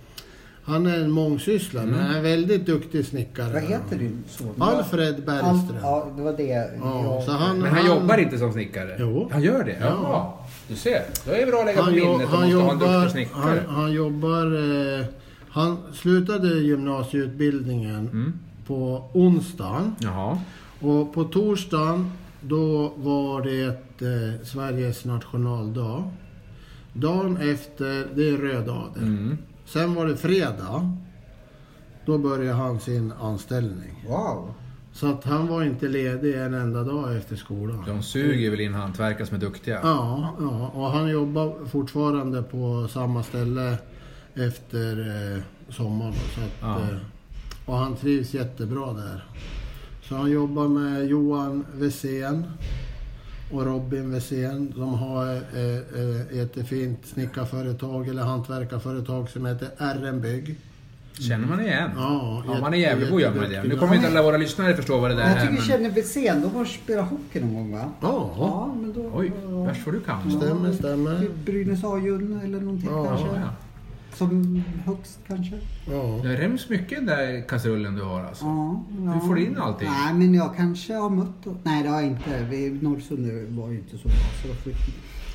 S3: Han är en mångsysslare, men han är en väldigt duktig snickare.
S2: Vad heter din son?
S3: Alfred Bergström.
S2: Al- ja, det var det.
S3: Ja,
S2: jag-
S3: så han,
S1: Men han jobbar inte som snickare?
S3: Jo.
S1: Han gör det?
S3: Ja.
S1: Jaha. Du ser. Då är det bra att lägga på
S3: han, jo,
S1: minnet att man
S3: han,
S1: ska ha en
S3: jobbar,
S1: duktig
S3: han,
S1: snickare.
S3: han jobbar... Eh, han slutade gymnasieutbildningen
S1: Mm.
S3: på onsdagen.
S1: Jaha.
S3: Och på torsdagen, då var det eh, Sveriges nationaldag. Dagen efter, det är röddagen.
S1: Mm.
S3: Sen var det fredag. Då började han sin anställning.
S2: Wow.
S3: Så att han var inte ledig en enda dag efter skolan.
S1: De suger väl in hantverkare som är duktiga?
S3: Ja, ja, och han jobbar fortfarande på samma ställe efter eh, sommaren. då, Så att,
S1: Ja.
S3: eh, och han trivs jättebra där. Så han jobbar med Johan Wesén och Robin Wesén. De har ett eh, eh, jättefint snickarföretag eller hantverkarföretag som heter RM Bygg.
S1: Känner man igen?
S3: Ja,
S1: Om man
S3: jätte-
S1: är Gävlebo gör man det.
S3: jätteduktig.
S1: Nu kommer inte alla våra lyssnare förstå vad det där
S2: Jag
S1: är.
S2: tycker vi
S1: Men...
S2: känner Bexén, då har spelat hockey någon gång va?
S3: Ja,
S2: Ja, men då...
S1: Oj, värst vad du kan.
S2: Ja. typ
S3: stämmer, stämmer.
S2: Brynäs A-jun eller någonting
S3: Ja,
S1: Ja,
S2: kanske.
S1: ja.
S2: Som högst kanske.
S3: Ja.
S1: Det är hemskt mycket den där kastrullen du har alltså.
S2: Ja, ja.
S1: Du får in allting.
S2: Nej, men jag kanske har mött... Nej, det har jag inte. Vi, Norrsund var ju inte så bra. Så då får vi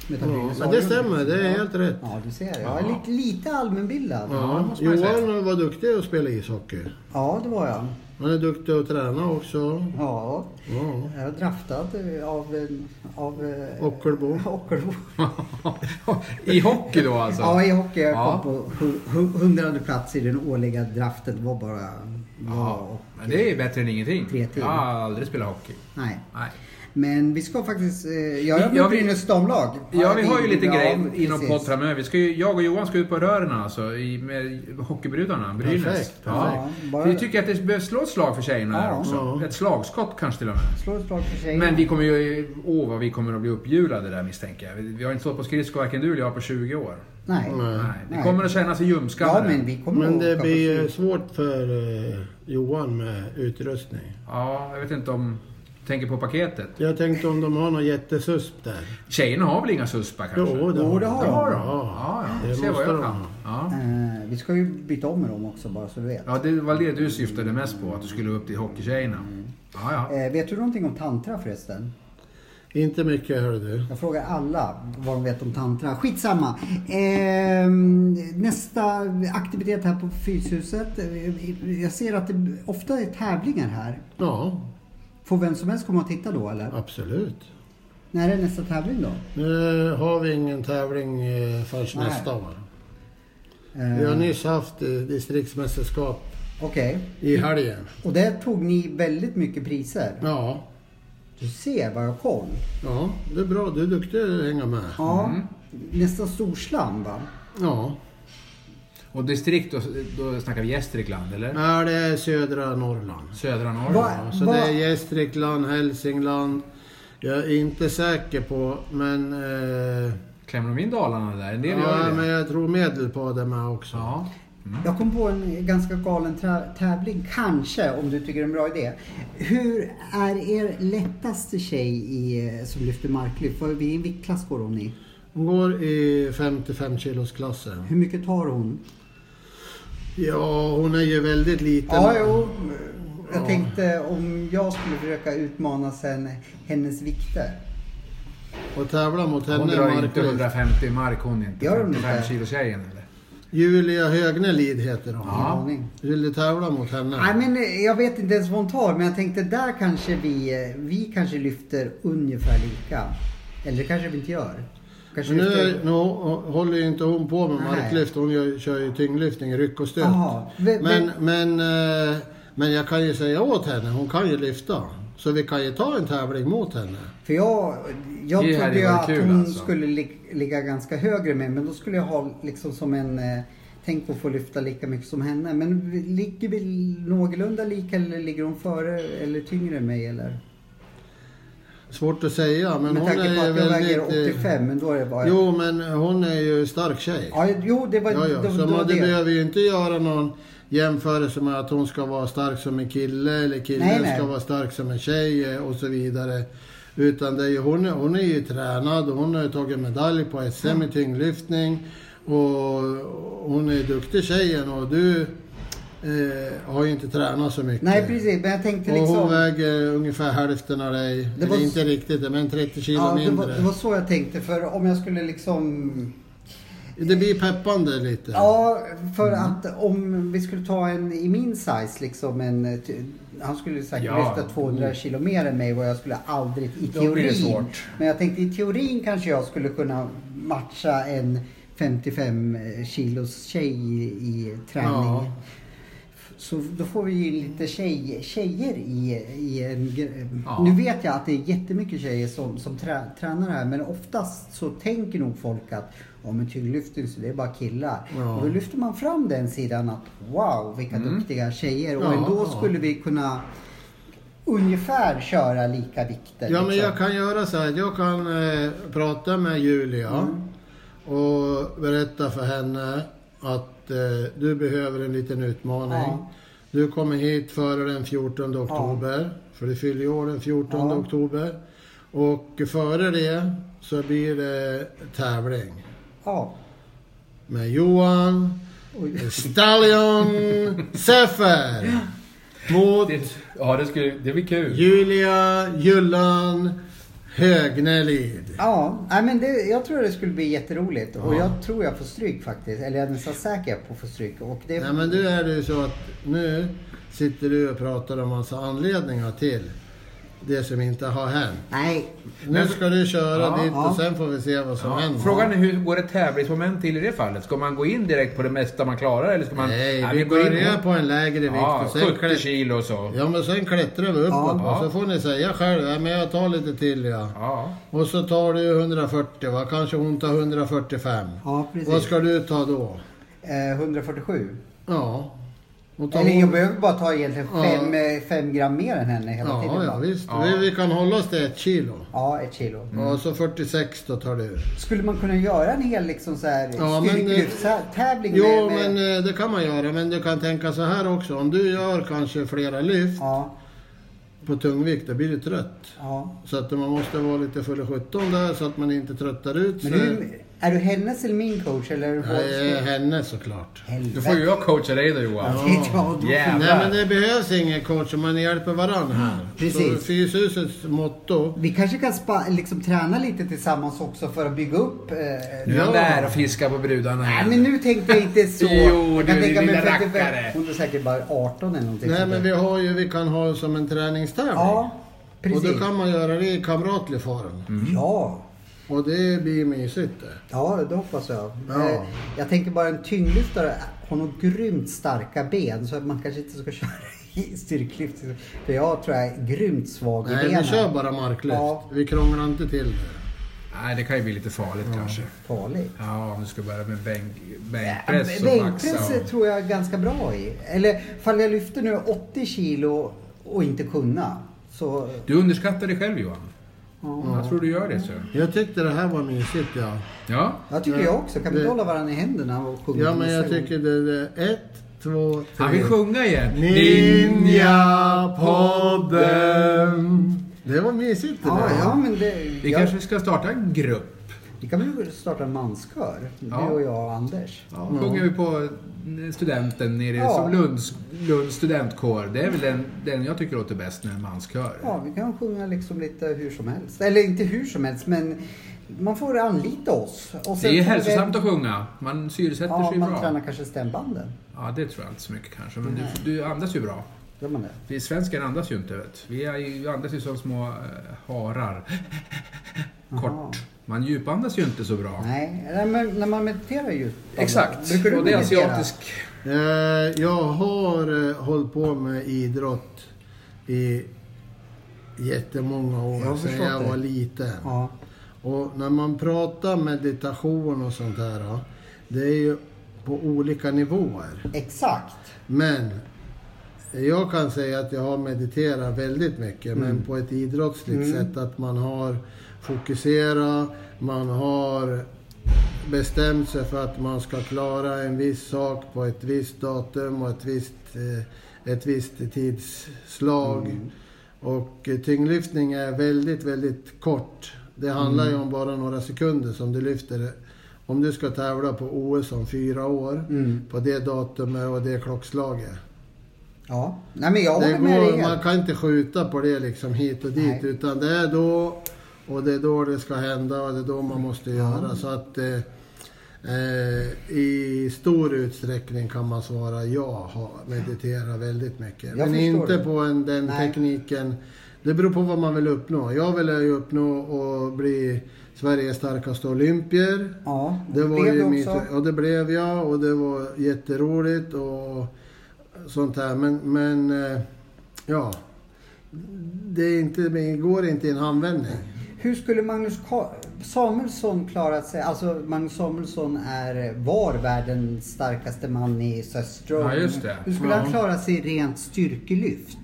S2: möta
S3: Ja,
S2: Brynäs
S3: men det
S2: A-jun.
S3: stämmer. Det är
S2: Ja.
S3: helt rätt.
S2: Ja, du ser. Jag är
S1: Ja.
S2: lite, lite allmänbildad.
S1: Ja, det
S3: Ja,
S1: måste man ju säga.
S3: Johan var duktig att spela ishockey.
S2: Ja, det var jag.
S3: Han är duktig att träna också.
S2: Ja,
S3: Ja.
S2: jag är draftad eh, av... en- av eh,
S3: Ockelbo.
S2: Ockelbo.
S1: I hockey då alltså?
S2: Ja, i hockey. Jag
S1: Ja.
S2: kom på hu- hu- hundrade plats i den årliga draften. Det var bara... Ja.
S1: Ja,
S2: och
S1: men det är bättre än ingenting.
S2: Tre till.
S1: Jag har aldrig spelat hockey.
S2: Nej.
S1: Nej.
S2: Men vi ska faktiskt... eh, Jag
S1: Ja,
S2: är med
S1: vi-
S2: Brynäs damlag.
S1: Ja, vi har ju lite
S2: Ja,
S1: grejer inom
S2: precis.
S1: podd framöver. Vi ska ju, jag och Johan ska ut på rören alltså, i, med hockeybrudarna, Brynäs.
S3: Perfekt,
S1: Ja.
S2: perfekt.
S1: Så Vi tycker att det behövs slå ett slag för tjejerna här
S2: Ja.
S1: också.
S3: Ja.
S1: Ett slagskott kanske till och med.
S2: Slå ett slag för sig.
S1: Men vi kommer ju... Åh, vad vi kommer att bli uppjulade där misstänker jag. Vi, vi har inte stått på skridskor varken du eller jag på 20 år.
S2: Nej.
S3: Nej.
S1: Nej, det
S2: Nej.
S1: kommer att kännas i
S2: Ja,
S1: ljumskallare.
S2: men vi kommer
S3: Men
S2: att
S3: det
S2: åka på
S3: blir ju
S2: slut.
S3: svårt för eh, Johan med utrustning.
S1: Ja, jag vet inte om... Tänker på paketet.
S3: Jag tänkte om de har någon jättesusp där.
S1: Tjejerna har väl inga suspar kanske?
S2: Jo, det har
S1: det har de.
S3: Ja.
S1: Ja, ja.
S3: Det
S1: Se vad
S3: måste
S1: jag
S3: de
S1: kan.
S3: ha.
S1: Ja.
S2: Eh, Vi ska ju byta om med dem också, bara så du vet.
S1: ja, det var det du syftade mest på. Att du skulle upp till hockeytjejerna. Ja, ja.
S2: Eh, Vet du någonting om tantra förresten?
S3: Inte mycket hör du.
S2: Jag frågar alla vad de vet om tantra. Skitsamma. Eh, nästa aktivitet här på Fyshuset. Eh, Jag ser att det ofta är tävlingar här.
S3: Ja,
S2: Får vem som helst komma och titta då eller?
S3: absolut.
S2: När är nästa tävling då?
S3: Nu har vi ingen tävling eh, förrän
S2: Nej.
S3: nästa år. Vi har
S2: Eh,
S3: nyss haft eh, distriktsmästerskap
S2: Okej.
S3: i
S1: Mm.
S3: helgen.
S2: Och där tog ni väldigt mycket priser.
S3: Ja,
S2: Du ser vad jag kom.
S3: ja det är bra. Du är duktig att hänga med.
S2: Ja. Nästa storslam va?
S3: Ja.
S1: Och distrikt, då, då snackar vi Gästrikland eller?
S3: Nej, det är södra Norrland.
S1: Södra
S2: Va?
S1: Norrland?
S3: Ja, så
S2: Va-
S3: det är Gästrikland, Hälsingland. Jag är inte säker på, men... Eh,
S1: Klämmer de in Dalarna där? En del gör
S3: ja,
S1: ju
S3: men
S1: det.
S3: jag tror Medelpad är med också.
S1: Ja.
S2: Jag kom på en ganska galen tra- tävling, kanske, om du tycker det är en bra idé. Hur är er lättaste tjej i, eh, som lyfter marklyft? Vad- I vilken klass går hon i?
S3: Hon går i 55 kilos klassen.
S2: Hur mycket tar hon?
S3: Ja, hon är ju väldigt liten.
S2: Ja, jo. Jag tänkte om jag skulle försöka utmana sen hennes vikter.
S3: Och tävlar mot
S1: Hon
S3: henne i
S1: drar inte
S3: marklyft.
S1: 150 mark hon inte.
S2: Gör hon
S1: 55
S2: inte?
S1: kilo tjejen eller?
S3: Julia Högnelid heter hon.
S1: Ja.
S2: Aning.
S3: Vill du tävla mot henne?
S2: Nej, men eh, jag vet inte ens vad hon tar, men jag tänkte där kanske vi, eh, vi kanske lyfter ungefär lika. Eller det kanske vi inte gör. Kanske
S3: Men nu,
S2: lyfter...
S3: är- nu håller ju inte hon på med
S2: Nej.
S3: marklyft. Hon gör, kör ju tyngdlyftning, ryck och stöt.
S2: Jaha. Ve-
S3: Men,
S2: ve-
S3: men, eh, men jag kan ju säga åt henne, hon kan ju lyfta. Så vi kan ju ta en tävling mot henne.
S2: För jag, jag
S1: Det hade
S2: trodde ju
S1: varit
S2: att
S1: kul,
S2: hon
S1: alltså.
S2: skulle lig- ligga ganska högre med men då skulle jag ha liksom som en eh, Tänk att få lyfta lika mycket som henne. Men vi- ligger vi någorlunda lika eller ligger hon före eller tyngre än mig eller?
S3: Svårt att säga, men
S2: Med
S3: hon
S2: tanke på
S3: är
S2: att jag
S3: väldigt... eh,
S2: väger eh. 85, men då är det bara...
S3: Jo, men hon är ju stark tjej.
S2: Ja, jo det var
S3: Ja,
S2: det.
S3: ja.
S2: var
S3: Så man, det
S2: det.
S3: behöver ju inte göra någon jämförelse med att hon ska vara stark som en kille eller killen
S2: Nej, nej.
S3: ska vara stark som en tjej eh, och så vidare. Utan det är ju, hon, är- hon är ju tränad och hon har ju tagit medalj på SM i tyngdlyftning. Och hon är duktig tjejen och du eh, har ju inte tränat så mycket.
S2: Nej, precis. Men jag tänkte
S3: Och hon
S2: liksom...
S3: väger ungefär hälften av dig.
S2: Det var-
S3: Eller inte riktigt, men 30 kilo
S2: Ja, det, var,
S3: mindre.
S2: det var så jag tänkte. För om jag skulle liksom...
S3: Det blir peppande lite.
S2: Ja, för
S1: Mm.
S2: att om vi skulle ta en i min size liksom en... eh, ty- Han skulle säkert
S1: Ja. Mm.
S2: lyfta 200 kilo mer än mig och jag skulle aldrig i
S1: Då blir det
S2: teorin.
S1: svårt.
S2: Men jag tänkte i teorin kanske jag skulle kunna matcha en 55 kilos tjej i, i träning.
S3: Ja.
S2: Så då får vi ju lite tjej, tjejer i, i en... gr-
S1: Ja.
S2: Nu vet jag att det är jättemycket tjejer som, som trä, tränar här men oftast så tänker nog folk att ja men tyngdlyftning så det är bara killar.
S3: Ja. Mm.
S2: Och då lyfter man fram den sidan att wow vilka duktiga tjejer och
S3: Ja,
S2: ändå
S3: ja.
S2: skulle vi kunna ungefär köra lika vikter.
S3: Ja, men
S2: liksom.
S3: jag kan göra så här. Jag kan eh, prata med Julia
S2: Mm.
S3: och berätta för henne att eh, du behöver en liten utmaning.
S2: Ja.
S3: Du kommer hit före den 14 oktober, för du fyller ju år den 14
S2: Ja.
S3: oktober. Och före det så blir det tävling
S2: Ja.
S3: med Johan
S2: Oj.
S3: Stallion Sefer mot
S5: Det, ja, det, skulle, det blir kul.
S3: Julia Jullan Högnelid.
S2: Ja, nej, men det, jag tror det skulle bli jätteroligt och jag tror jag får stryk faktiskt. Eller jag är nästan säker på att få stryk. Och det,
S3: Nej men du är det ju så att nu sitter du och pratar om massa anledningar till det som inte har hänt.
S2: Nej,
S3: Nu ska du köra
S5: Ja,
S3: dit
S2: ja.
S3: och sen får vi se vad som
S5: Ja.
S3: händer.
S5: Frågan är hur går ett tävlingsmoment till i det fallet? Ska man gå in direkt på det mesta man klarar eller ska man...
S3: Nej,
S5: Ja,
S3: vi
S5: går in-
S3: börjar på en lägre vikt
S5: ja,
S3: och sen
S5: 70
S3: klättrar,
S5: kilo och så.
S3: ja, men sen klättrar vi uppåt
S2: Ja.
S3: och så får ni säga själv, ja, men jag tar lite till ja.
S5: Ja.
S3: Och så tar du 140 va, kanske hon tar 145.
S2: ja precis.
S3: vad ska du ta då?
S2: Eh, 147.
S3: Ja. Och tar
S2: Eller
S3: hon-
S2: jag behöver bara ta egentligen
S3: Ja.
S2: fem, eh, fem gram mer än henne hela
S3: Ja,
S2: tiden.
S3: ja
S2: va?
S3: visst.
S5: Ja.
S3: Vi, vi kan hålla oss till ett kilo.
S2: ja, ett kilo.
S3: Och så 46 då tar du.
S2: Skulle man kunna göra en hel liksom så här
S3: Ja, men, eh,
S2: styrkelyftstävling med,
S3: Jo,
S2: med...
S3: men eh, det kan man göra. Men du kan tänka så här också. Om du gör kanske flera lyft
S2: Ja,
S3: på tungvikt, då blir du trött.
S2: ja.
S3: Så att man måste vara lite full i 17 där så att man inte tröttar ut
S2: Men
S3: sig.
S2: du, är du hennes eller min coach? Eller är du
S3: Nej,
S2: vår?
S3: henne såklart.
S5: Då får ju jag coacha dig då Johan.
S2: Ja, då får-
S5: Yeah.
S3: Nej, men det behövs ingen coach om man hjälper varandra här.
S2: precis.
S3: Så Fyshusets motto.
S2: Vi kanske kan spa, liksom träna lite tillsammans också för att bygga upp... Eh,
S1: Nu är han
S3: Ja.
S1: där och fiskar på brudarna
S2: Nej
S1: igen.
S2: men nu tänkte jag inte så.
S1: Jo, du,
S2: jag kan
S1: din
S2: tänka mig
S1: lilla
S2: 55.
S1: rackare.
S2: Hon är säkert bara 18 eller någonting.
S3: Nej,
S2: sånt där.
S3: men vi har ju, vi kan ha som en träningstävling.
S2: Ja, precis. Mm.
S3: Och då kan man göra det i kamratlig form.
S2: Ja.
S3: Och det blir mysigt det.
S2: Ja, det hoppas jag.
S3: Ja.
S2: Eh, Jag tänker bara en tyngdlyftare har nog grymt starka ben så att man kanske inte ska köra i styrklyft. För jag tror jag är grymt svag i
S3: Nej,
S2: benen.
S3: vi kör bara marklyft.
S2: Ja.
S3: Vi krånglar inte till det.
S1: Nej, det kan ju bli lite farligt kanske.
S2: Farligt.
S1: Ja, om du ska börja med bänk,
S2: Ja,
S1: bänkpress och
S2: Bänkpress
S1: maxa. Och...
S2: tror jag är ganska bra i. Eller fall jag lyfter nu 80 kilo och inte kunna. Så,
S1: Du underskattar dig själv Johan. Jag tror du gör det. Så.
S3: Jag tyckte det här var mysigt ja.
S1: Ja.
S2: jag tycker jag också. Kan vi
S3: Det-
S2: inte hålla varandra i händerna och sjunga?
S3: Ja men jag
S2: nästa gång?
S3: tycker det, det ett, två, tre.
S1: Han vill sjunga igen.
S3: Ninja-podden. Det var mysigt det
S2: Ja,
S3: där.
S2: ja, men det...
S1: Vi
S2: jag,
S1: kanske ska starta en grupp.
S2: Vi kan väl starta en manskör?
S1: Ja.
S2: Du och jag och Anders.
S1: Ja. Sjunger vi på eh, studenten nere
S2: Ja.
S1: som Lunds, Lunds studentkår. Det är väl den, den jag tycker låter bäst när en manskör.
S2: Ja, vi kan sjunga liksom lite hur som helst. Eller inte hur som helst, men man får anlita oss. Och
S1: Det är
S2: får
S1: hälsosamt
S2: vi-
S1: att sjunga. Man syresätter
S2: Ja,
S1: sig
S2: man
S1: bra.
S2: tränar kanske stämbanden.
S1: Ja, det tror jag inte så mycket kanske. Men du, du andas ju bra.
S2: Gör man det?
S1: Vi svenskar andas ju inte vet. Vi är ju, andas ju som små eh, harar.
S2: Aha.
S1: Kort. Man djupandas ju inte så bra.
S2: Nej, nej, men när man mediterar ju.
S1: Exakt.
S2: Brukar du
S1: och det är
S2: meditera?
S1: asiatisk...
S3: Eh, Jag har eh, hållit på med idrott i jättemånga
S2: Jag har
S3: år, sedan
S2: förstått
S3: jag
S2: det.
S3: var liten.
S2: Ja.
S3: Och när man pratar meditation och sånt där, ja, det är ju på olika nivåer.
S2: Exakt.
S3: Men Jag kan säga att jag har mediterat väldigt mycket, men på ett idrottsligt sätt. Att man har fokuserat, man har bestämt sig för att man ska klara en viss sak på ett visst datum och ett visst, eh, ett visst tidsslag. Och eh, tyngdlyftning är väldigt, väldigt kort. Det handlar ju om bara några sekunder som du lyfter. det. Om du ska tävla på OS om fyra år, på det datumet och det klockslaget.
S2: Ja. Nej men jag
S3: Det
S2: håller med dig
S3: går, man
S2: helt.
S3: kan inte skjuta på det liksom hit och dit,
S2: Nej.
S3: utan det är då och det är då det ska hända och det är då man måste göra. Så att eh, eh, i stor utsträckning kan man svara ja, ha, meditera väldigt mycket.
S2: Jag
S3: Men
S2: förstår
S3: inte
S2: det.
S3: på en, den
S2: Nej.
S3: tekniken. Det beror på vad man vill uppnå. Jag vill ju uppnå att bli Sveriges starkaste olympier.
S2: Ja,
S3: Det var
S2: blev
S3: ju
S2: det
S3: mitt,
S2: också.
S3: och det blev jag och det var jätteroligt och sånt där. Men, men eh, ja, det, är inte, det går inte i en handvändning.
S2: Hur skulle Magnus Ka- Samuelsson klarat sig? Alltså Magnus Samuelsson är, eh, var världens starkaste man i Söström.
S5: Ja, just det.
S2: Hur skulle
S5: Ja.
S2: han klara sig i rent styrkelyft?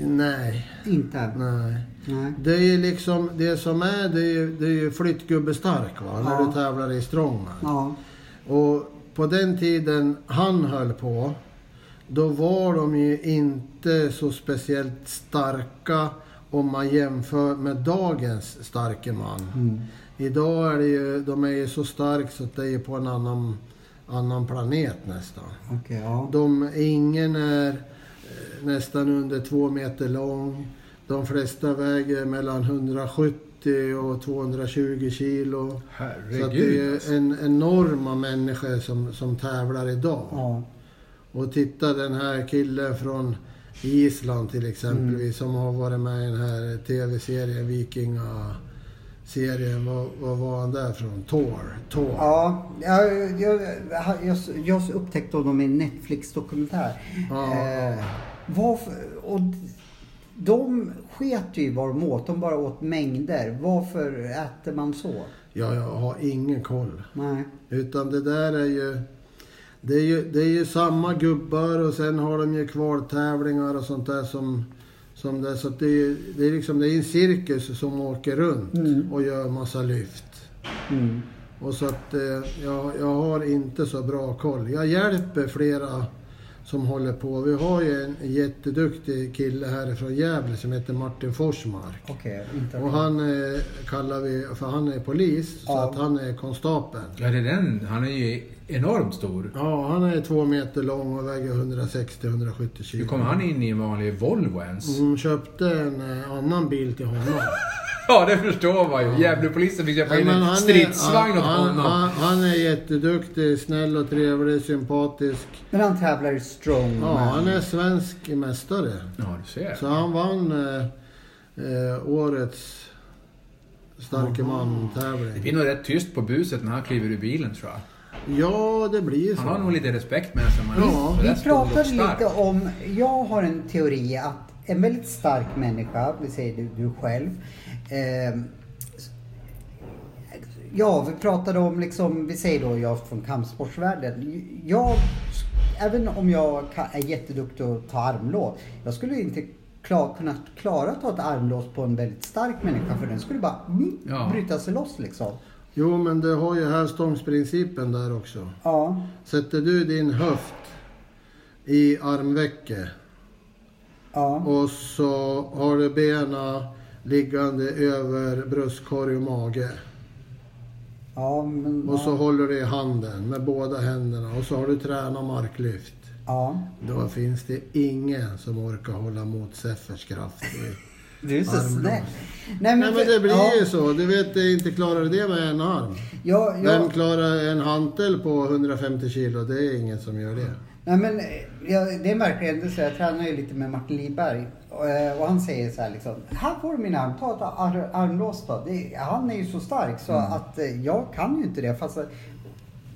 S3: Nej,
S2: Inte?
S3: nej.
S2: Nej.
S3: Det är ju liksom, det som är, det är ju, det är ju flyttgubbestark va, när
S2: Ja.
S3: du tävlar i strongman.
S2: Ja.
S3: Och på den tiden han höll på, då var de ju inte så speciellt starka om man jämför med dagens starke man. Idag är det ju, de är ju så starka så att det är på en annan, annan planet nästan.
S2: Okej, ja.
S3: De, ingen är eh, nästan under två meter lång. De flesta väger mellan 170 och 220 kilo. Så att det är
S5: Herregud.
S3: ju
S2: alltså.
S3: en enorma människor som, som tävlar idag.
S2: ja.
S3: Och titta den här killen från Island till exempel
S2: Mm.
S3: som har varit med i den här tv-serien, Vikingaserien. Vad, vad var han där från? Thor? Thor.
S2: Ja, jag, jag, jag, jag upptäckte honom i en Netflix-dokumentär.
S3: Ja.
S2: Eh, varför, och de sket ju i vad de åt, de bara åt mängder. Varför äter man så?
S3: Ja, jag har ingen koll.
S2: Nej.
S3: Utan det där är ju... Det är ju, det är ju samma gubbar och sen har de ju kvaltävlingar och sånt där som... som det, så att det, är, ju- det är liksom det är en cirkus som åker runt och gör massa lyft.
S2: Mm.
S3: Och så att eh, jag, jag har inte så bra koll. Jag hjälper flera som håller på. Vi har ju en jätteduktig kille härifrån Gävle som heter Martin Forsmark.
S2: Okej, inte
S3: Och han eh, kallar vi, för han är polis, så
S2: Ja.
S3: att han är konstapeln.
S5: Ja, det är den. Han är ju enormt stor.
S3: Ja, han är två meter lång och väger 160-170 kilo.
S5: Hur kom han in i en vanlig Volvo ens?
S3: Hon köpte en eh, annan bil till honom.
S5: Ja, det förstår man ju. Gävlepolisen fick köpa
S3: Nej,
S5: in
S3: men
S5: en stridsvagn åt
S3: han,
S5: honom.
S3: han, han är jätteduktig, snäll och trevlig, sympatisk.
S2: Men han tävlar i strongman.
S3: Ja, han är svensk mästare.
S5: Ja, du ser.
S3: Så han vann eh, eh, årets starke
S5: Det
S3: man-tävling.
S5: blir nog rätt tyst på buset när han kliver ur bilen tror jag.
S3: Ja, det blir ju så.
S5: Han har nog lite respekt med sig. men
S3: Ja.
S5: han är
S2: Vi
S5: rätt stor och
S2: pratade
S5: stark.
S2: lite om, jag har en teori att en väldigt stark människa, vi säger du, du själv. Eh, ja, vi pratade om liksom, vi säger då jag från kampsportsvärlden. Jag, även om jag ka- är jätteduktig att ta armlås, jag skulle inte klar, kunna klara att ta ett armlås på en väldigt stark människa för den skulle bara mm,
S5: Ja.
S2: bryta sig loss liksom.
S3: Jo, men du har ju hävstångsprincipen där också.
S2: Ja,
S3: Sätter du din höft i armvecket
S2: ja,
S3: och så har du benen liggande över bröstkorg och mage.
S2: ja, men,
S3: Och så håller du i handen med båda händerna och så har du tränat marklyft.
S2: ja.
S3: Då finns det ingen som orkar hålla mot Seffers kraft.
S2: Du är så
S3: Armlås.
S2: snäll.
S3: Nej men det
S2: ja.
S3: blir ju så. Du vet, det inte klarar du det med en arm.
S2: Ja,
S3: Vem
S2: ja,
S3: klarar en hantel på 150 kilo? Det är ingen som gör det.
S2: nej, men, eh, ja, det är en verklig händelse. Jag tränar ju lite med Martin Liberg och, eh, och han säger så här liksom. Här får du min arm. Ta ett ar- armlås då. Det, han är ju så stark så att eh, jag kan ju inte det. Fast eh,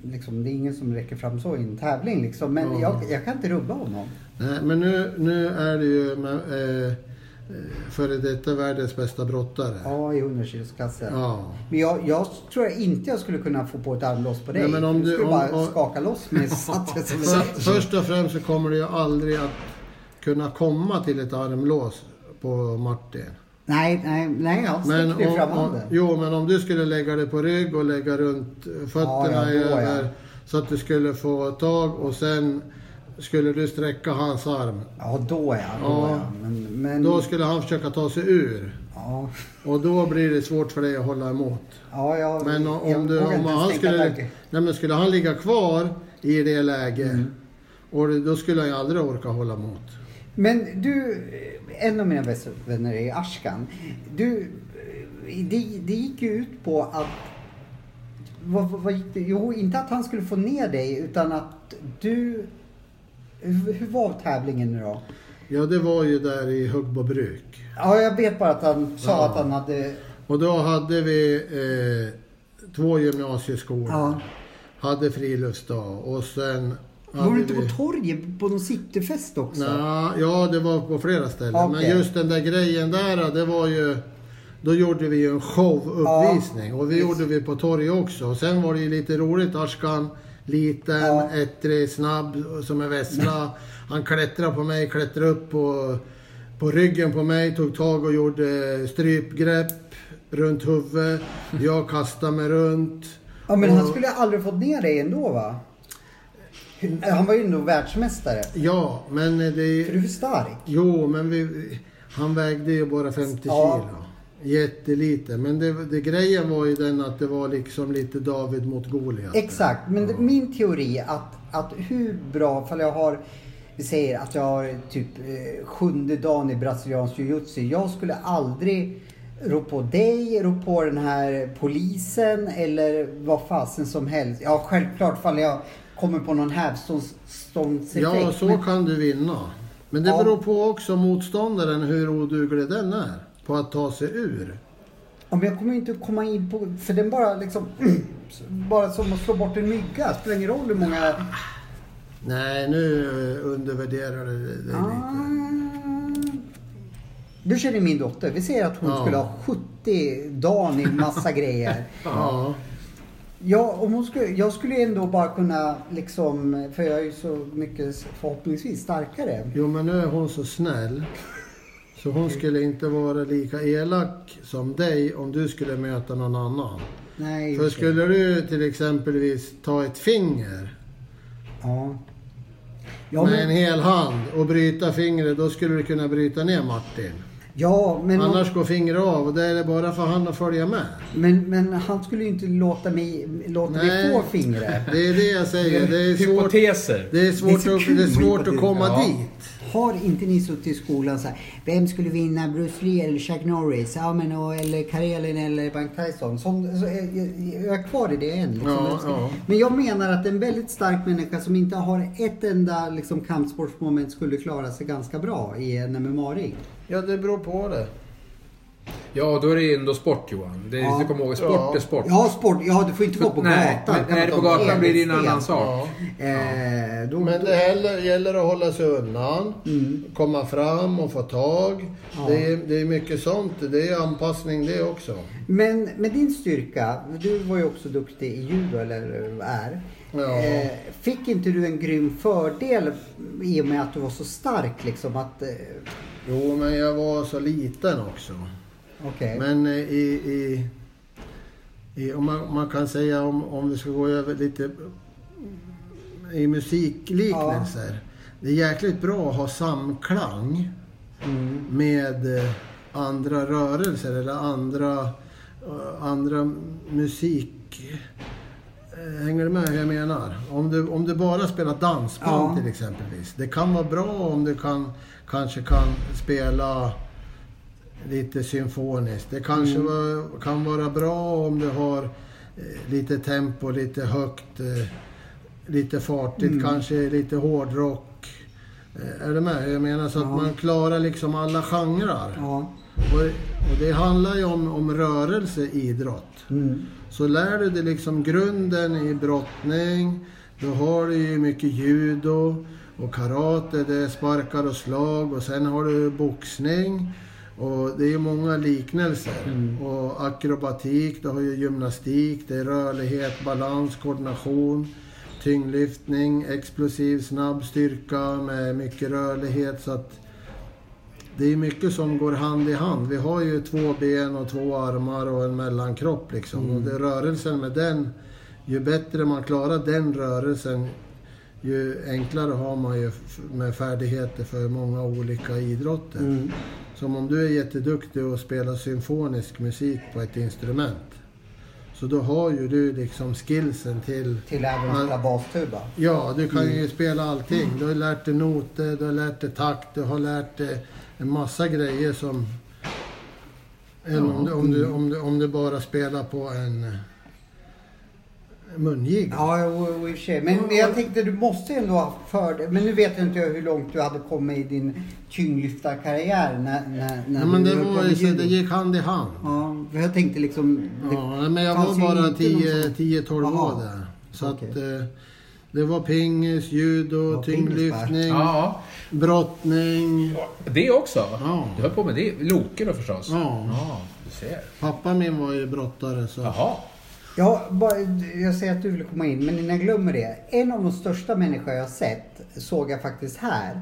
S2: liksom, det är ingen som räcker fram så i en tävling
S3: Mm.
S2: liksom. Men
S3: Ja.
S2: jag, jag kan inte rubba honom.
S3: Nej, men nu, nu är det ju med, eh, eh, före detta världens bästa brottare.
S2: Ja, i 100-kilosklassen.
S3: Ja.
S2: Men jag, jag tror inte jag skulle kunna få på ett armloss på dig.
S3: Nej, men om
S2: du
S3: du-
S2: skulle
S3: om-
S2: bara
S3: om-
S2: skaka loss mig. så att jag som en-
S3: För, först och främst så kommer du ju aldrig att kunna komma till ett armlås på Martin.
S2: nej, nej, nej. Jag
S3: Men
S2: sticker ju fram
S3: om, om,
S2: handen.
S3: jo, men om du skulle lägga dig på rygg och lägga runt fötterna
S2: Ja, ja, då,
S3: över
S2: ja.
S3: så att du skulle få tag och sen skulle du sträcka hans arm.
S2: Ja, då är jag. Då
S3: Ja.
S2: är jag. Men, men,
S3: Då skulle han försöka ta sig ur
S2: ja,
S3: och då blir det svårt för dig att hålla emot.
S2: ja, jag,
S3: Men om,
S2: jag
S3: om, du,
S2: vågar
S3: om
S2: inte
S3: han
S2: tänka
S3: skulle,
S2: tanken.
S3: nej, men skulle han ligga kvar i det läget
S2: Mm.
S3: och det- då skulle han ju aldrig orka hålla emot.
S2: Men du, eh, en av mina bästa vänner är Ashkan. Du, eh, det, det gick ju ut på att... Vad, vad, vad gick det? Jo, inte att han skulle få ner dig utan att du... Hur, hur var tävlingen nu då?
S3: Ja, det var ju där i Huggbo bruk.
S2: Ja, jag vet bara att han sa att han hade...
S3: Och då hade vi eh, två gymnasieskolor.
S2: Ja.
S3: Hade friluftsdag och sen...
S2: Var
S3: hade
S2: du inte på
S3: vi-
S2: torget på någon cityfest också?
S3: Nja, ja, det var på flera ställen.
S2: Okej.
S3: Men just den där grejen där, det var ju... Då gjorde vi ju en showuppvisning och vi gjorde vi på torget också. Och sen var det ju lite roligt. Ashkan, liten,
S2: Ja.
S3: ettrig, snabb som en vessla. Han klättrade på mig, klättrade upp på, på ryggen på mig, tog tag och gjorde strypgrepp runt huvudet. Jag kastade mig runt.
S2: Ja, men han
S3: Och-
S2: skulle aldrig fått ner dig ändå va? Eh, Han var ju ändå världsmästare.
S3: Ja, men det...
S2: För du är för stark.
S3: Jo, men vi, han vägde ju bara 50
S2: Ja.
S3: kilo. Jättelite. Men det, det, grejen var ju den att det var liksom lite David mot Goliat.
S2: Exakt, men det- min teori är att, att hur bra, ifall jag har, vi säger att jag har typ eh, sjunde dagen i brasiliansk jujutsu. Jag skulle aldrig rå på dig, rå på den här polisen eller vad fasen som helst. Ja, självklart ifall jag kommer på någon hävstångseffekt.
S3: Ja, så
S2: men-
S3: kan du vinna. Men det
S2: Ja.
S3: beror på också motståndaren hur oduglig den är på att ta sig ur.
S2: Ja, men jag kommer ju inte komma in på... För den bara liksom... bara som att slå bort en mygga. Det spelar ingen roll hur många...
S3: Nej, nu eh, undervärderar du dig
S2: Ah.
S3: lite.
S2: Du känner min dotter. Vi säger att hon
S3: Ja.
S2: skulle ha 70 dagar i massa grejer.
S3: Ja.
S2: Ja, om hon skulle, jag skulle ju ändå bara kunna liksom... För jag är ju så mycket förhoppningsvis starkare.
S3: Jo, men nu är hon så snäll. Så hon skulle inte vara lika elak som dig om du skulle möta någon annan.
S2: Nej,
S3: För skulle du till exempelvis ta ett finger
S2: Ja. Ja,
S3: med en
S2: men,
S3: hel hand och bryta fingret, då skulle du kunna bryta ner Martin.
S2: ja, men, om-
S3: Annars går fingret av och det är det bara för han att följa med.
S2: men, men han skulle ju inte låta mig, låta mig
S3: Nej.
S2: få fingret.
S3: Det är det jag säger. Det är svårt,
S5: Hypoteser.
S3: det är svårt,
S2: Det är så kul
S3: att, det är svårt att
S2: hypoteser.
S3: komma
S5: Ja.
S3: dit.
S2: Har inte ni suttit i skolan så här, vem skulle vinna Bruce Lee eller Chuck Norris? Ja, men, och, eller Karelin eller Bank Tyson? Som, så, jag, jag- jag är kvar i det än. Liksom.
S3: Ja, ja.
S2: Men jag menar att en väldigt stark människa som inte har ett enda liksom, kampsportsmoment skulle klara sig ganska bra i en MMA-ring.
S3: Ja, det beror på det.
S1: Ja, då är det ändå sport Johan. Det,
S2: Ja.
S1: Du kommer ihåg, sport
S3: Ja.
S1: är sport.
S2: Ja, sport. Ja, du får inte vara på
S1: nej,
S2: gatan.
S1: nej, på gatan blir det en annan sak.
S2: Eh, då,
S3: Men det gäller, gäller att hålla sig undan, komma fram och få tag.
S2: Ja.
S3: Det, är, det är mycket sånt. Det är anpassning det också.
S2: Men med din styrka, du var ju också duktig i judo, eller är.
S3: Ja.
S2: Eh, Fick inte du en grym fördel i och med att du var så stark liksom att... eh,
S3: Jo, men jag var så liten också.
S2: Okej.
S3: Men eh, i, i, i, om man, man kan säga om, om vi ska gå över lite i musikliknelser. Det är jäkligt bra att ha samklang
S2: Mm.
S3: med eh, andra rörelser eller andra, eh, andra musik. Eh, Hänger du med hur jag menar? Om du, om du bara spelar
S2: Ja.
S3: dansband till exempelvis. Det kan vara bra om du kan, kanske kan spela lite symfoniskt. Det kanske
S2: Mm.
S3: var, kan vara bra om du har eh, lite tempo, lite högt, eh, lite fartigt,
S2: Mm.
S3: kanske lite hårdrock. Eh, Är du med hur jag menar? Så
S2: Ja.
S3: att man klarar liksom alla genrer.
S2: Ja.
S3: Och, och det handlar ju om, om rörelse i idrott.
S2: Mm.
S3: Så lär du dig liksom grunden i brottning. Då har du ju mycket judo och karate, det är sparkar och slag och sen har du boxning. Och det är ju många liknelser. Och akrobatik, det har ju gymnastik, det är rörlighet, balans, koordination, tyngdlyftning, explosiv, snabb styrka med mycket rörlighet. Så att det är mycket som går hand i hand. Vi har ju två ben och två armar och en mellankropp liksom. Och det, rörelsen med den, ju bättre man klarar den rörelsen, ju enklare har man ju f- med färdigheter för många olika idrotter. Som om du är jätteduktig och spelar symfonisk musik på ett instrument. Så då har ju du liksom skillsen till...
S2: Till även
S3: Man-
S2: spela bastuba.
S3: Ja, du kan
S2: Mm.
S3: ju spela allting. Du har lärt dig noter, du har lärt dig takt, du har lärt dig en massa grejer som... Än om, du, om, du,
S2: mm.
S3: om, du, om du bara spelar på en eh, en mungiga.
S2: Ja, jo, jo, i och för sig. Men men jag tänkte du måste ju ändå ha fördel. Men nu vet inte jag hur långt du hade kommit i din tyngdlyftarkarriär när, när, när
S3: Ja, men
S2: du
S3: det,
S2: höll på
S3: var,
S2: med
S3: ju så- det
S2: judo.
S3: gick hand i hand.
S2: Ja, för jag tänkte liksom... det-
S3: Ja, men jag
S2: fanns
S3: var
S2: ju
S3: bara
S2: inte någon sån-
S3: 10-12
S2: Jaha.
S3: år där. Så
S2: Okej.
S3: att, eh, det var pingis, judo,
S2: Ja, pingis
S3: tyngdlyftning,
S5: Ja,
S3: brottning.
S5: ja. det också?
S3: Ja.
S5: Du höll på med det? Loke då förstås?
S3: Ja.
S5: ja du ser.
S3: Pappa min var ju brottare så...
S5: Jaha.
S2: Ja, bara, jag säger att du vill komma in, men innan jag glömmer det. En av de största människor jag sett såg jag faktiskt här.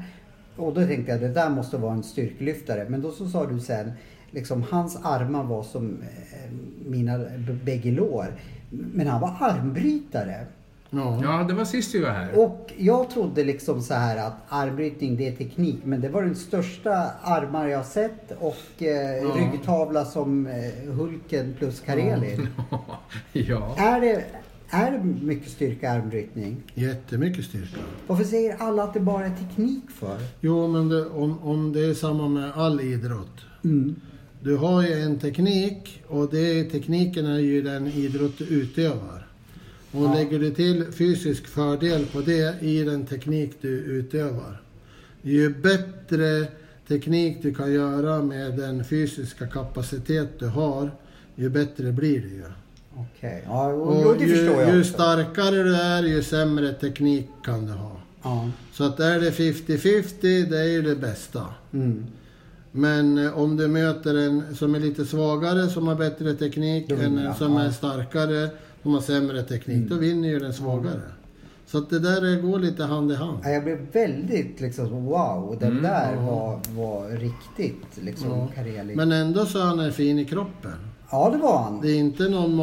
S2: Och då tänkte jag det där måste vara en styrkelyftare. Men då så sa du sen, liksom hans armar var som eh, mina b- bägge lår. Men han var armbrytare.
S3: Ja.
S5: Ja, det var sist vi var här.
S2: Och jag trodde liksom så här att armbrytning det är teknik. Men det var den största armar jag sett och eh, ryggtavla som eh, Hulken plus Kareli.
S5: ja.
S2: Är det, är det mycket styrka i armbrytning?
S3: Jättemycket styrka.
S2: Varför säger alla att det bara är teknik för?
S3: Jo, men det, om, om det är samma med all idrott. Mm. Du har ju en teknik och det, tekniken är ju den idrott du utövar. Och lägger du till fysisk fördel på det i den teknik du utövar. Ju bättre teknik du kan göra med den fysiska kapacitet du har, ju bättre blir det ju.
S2: Okej, ja, jo,
S3: Och
S2: jo, det
S3: ju,
S2: förstår jag
S3: ju
S2: också.
S3: starkare du är, ju sämre teknik kan du ha.
S2: Ja.
S3: Så att är det 50-50, det är ju det bästa.
S2: Mm.
S3: Men eh, om du möter en som är lite svagare, som har bättre teknik,
S2: Då
S3: än
S2: vinner
S3: en
S2: han,
S3: som
S2: ja. Mm.
S3: är starkare, som har sämre teknik, då vinner ju den svagare. Så att det där eh, går lite hand i hand.
S2: Ja, Jag blev väldigt liksom wow, den
S3: Mm,
S2: där var, var riktigt liksom Kareli.
S3: Men ändå så är han eh, fin i kroppen.
S2: Ja det var han.
S3: Det är inte någon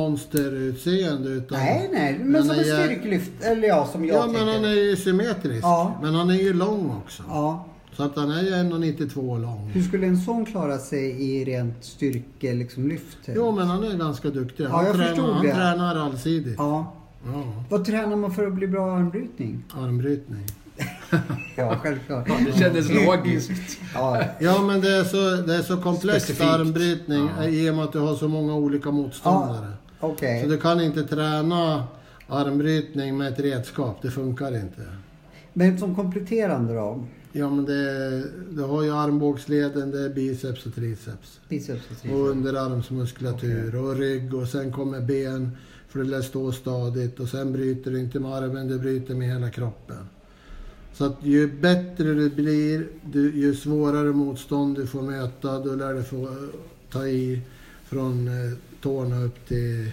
S3: monsterutseende utan...
S2: Nej nej, men,
S3: Men
S2: som en
S3: jag-
S2: styrkelyft, eller ja som jag
S3: Ja, men
S2: tänker.
S3: han är ju symmetrisk.
S2: Ja.
S3: Men han är ju lång också.
S2: Ja. Mm.
S3: Så att han är ju 1,92 lång.
S2: Hur skulle en sån klara sig i rent styrke, liksom lyft?
S3: Jo, men han är ganska duktig.
S2: Ja,
S3: Han,
S2: jag
S3: tränar,
S2: förstod
S3: han
S2: det.
S3: tränar allsidigt.
S2: Ja.
S3: Ja,
S2: Vad tränar man för att bli bra i armbrytning?
S3: armbrytning.
S2: Ja, självklart.
S1: Det kändes logiskt.
S2: Ja,
S3: Ja, men det är så, det är så komplex
S1: Specifikt.
S3: armbrytning i och med att du har så många olika motståndare.
S2: okej.
S3: Så du kan inte träna armbrytning med ett redskap. Det funkar inte.
S2: Men som kompletterande då?
S3: Ja, men det, du har ju armbågsleden, det är biceps och triceps.
S2: Biceps och
S5: Mm.
S2: triceps.
S3: Och underarmsmuskulatur och rygg och sen kommer ben. För det lär stå stadigt och sen bryter du inte med armen, du bryter med hela kroppen. Så att ju bättre du blir, du, ju svårare motstånd du får möta, då lär du få eh, ta i från eh, tårna upp till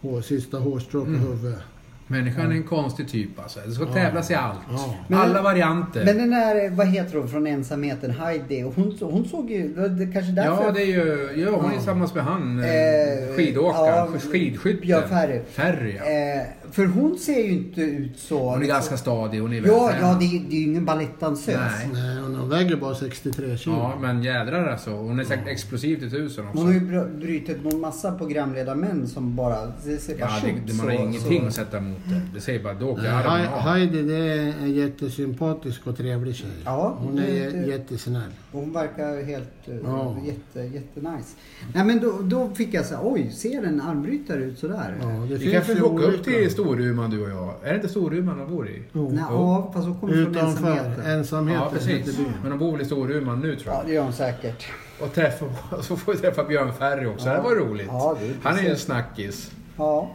S3: hår, sista hårstrået på
S2: Mm.
S3: huvudet.
S5: Människan är en konstig typ alltså. Det ska tävlas i allt.
S3: Ja.
S2: Men-
S5: Alla varianter.
S2: Men den där, vad heter hon från ensamheten, Heidi, hon, hon såg ju, det är kanske därför...
S5: Ja, det är ju... Ja, hon är tillsammans med han eh,
S2: Eh,
S5: skidåkaren,
S2: ja,
S5: skidskytten.
S2: Björn Ferry.
S5: Ferry, ja.
S2: eh, för hon ser ju inte ut så...
S5: Hon är ganska stadig, hon är
S2: Ja,
S5: vältränad.
S2: ja det, är- det är ju ingen balettdansös.
S5: Nej.
S3: Nej, och de väger bara 63 kilo.
S5: Ja, men jädrar alltså. Hon är säkert explosiv till tusen också.
S2: Hon har ju br- brutit mot massa programledarmän som bara... Det ser bara
S5: Ja, det,
S2: tjockt
S5: det, man har
S2: så-
S5: ingenting
S2: så-
S5: att sätta emot det. Det säger bara, då åker
S3: Hei-
S5: armen av.
S3: Heidi det är en jättesympatisk och trevlig tjej.
S2: Ja,
S3: Hon är
S2: det-
S3: jä-
S2: det-
S3: jättesnäll.
S2: Hon verkar helt eh,
S3: Ja.
S2: jätte, jättenice. Nej men då, då fick jag så här, oj, ser en armbrytare ut sådär?
S3: Ja, det
S5: Vi
S3: finns
S5: kanske
S3: ju
S5: får åka
S3: olika.
S5: upp till Storuman du och jag. Är det inte Storuman de bor i?
S3: Jo.
S2: Nej, ja, fast hon kommer från
S3: Utanför
S2: ensamheten.
S3: ensamheten.
S5: Ja, precis.
S3: heter byn.
S5: Men de bor väl i Storuman nu tror jag.
S2: Ja, det gör hon säkert.
S5: Och träffa, så får vi träffa Björn Ferry också. Det var roligt.
S2: Ja, det är
S5: Han är ju en
S2: precis.
S5: snackis.
S2: Ja.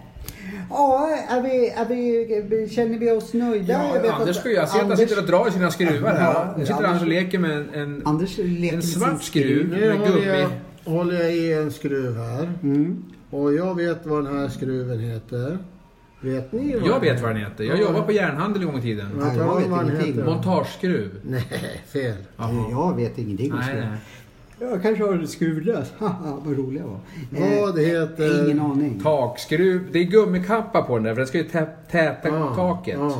S2: Ja, är vi, är vi, känner vi oss nöjda? Jag
S1: Ja,
S2: vet
S1: Anders
S2: att-
S1: ska ju, jag ser att han
S2: Anders-
S1: sitter och drar i sina skruvar här.
S2: Ja,
S1: Nu sitter han och leker med en, en,
S2: Anders leker
S1: en
S2: med sin
S1: svart skruv
S3: Nu
S1: med
S3: håller jag,
S1: gummi.
S3: håller jag i en skruv här.
S2: Mm.
S3: Och jag vet vad den här skruven heter. Vet ni vad
S1: Jag vet vad den heter. Jag
S3: Ja.
S1: jobbade på järnhandel en gång i tiden.
S3: Vet
S2: Nej,
S3: du
S2: jag
S3: vad
S2: vet
S3: den
S2: ingenting.
S3: heter?
S1: Montageskruv.
S3: Nej, fel.
S1: Jaha.
S2: Jag vet ingenting om
S1: Nej,
S2: skruv.
S1: nej.
S2: Jag kanske har en skruvlös. Haha, vad rolig jag var.
S3: Vad heter...
S2: Eh, Ingen aning.
S1: Takskruv. Det är gummikappa på den där för den ska ju tä- täta
S3: Ja,
S1: taket.
S3: ja.
S2: Jaha,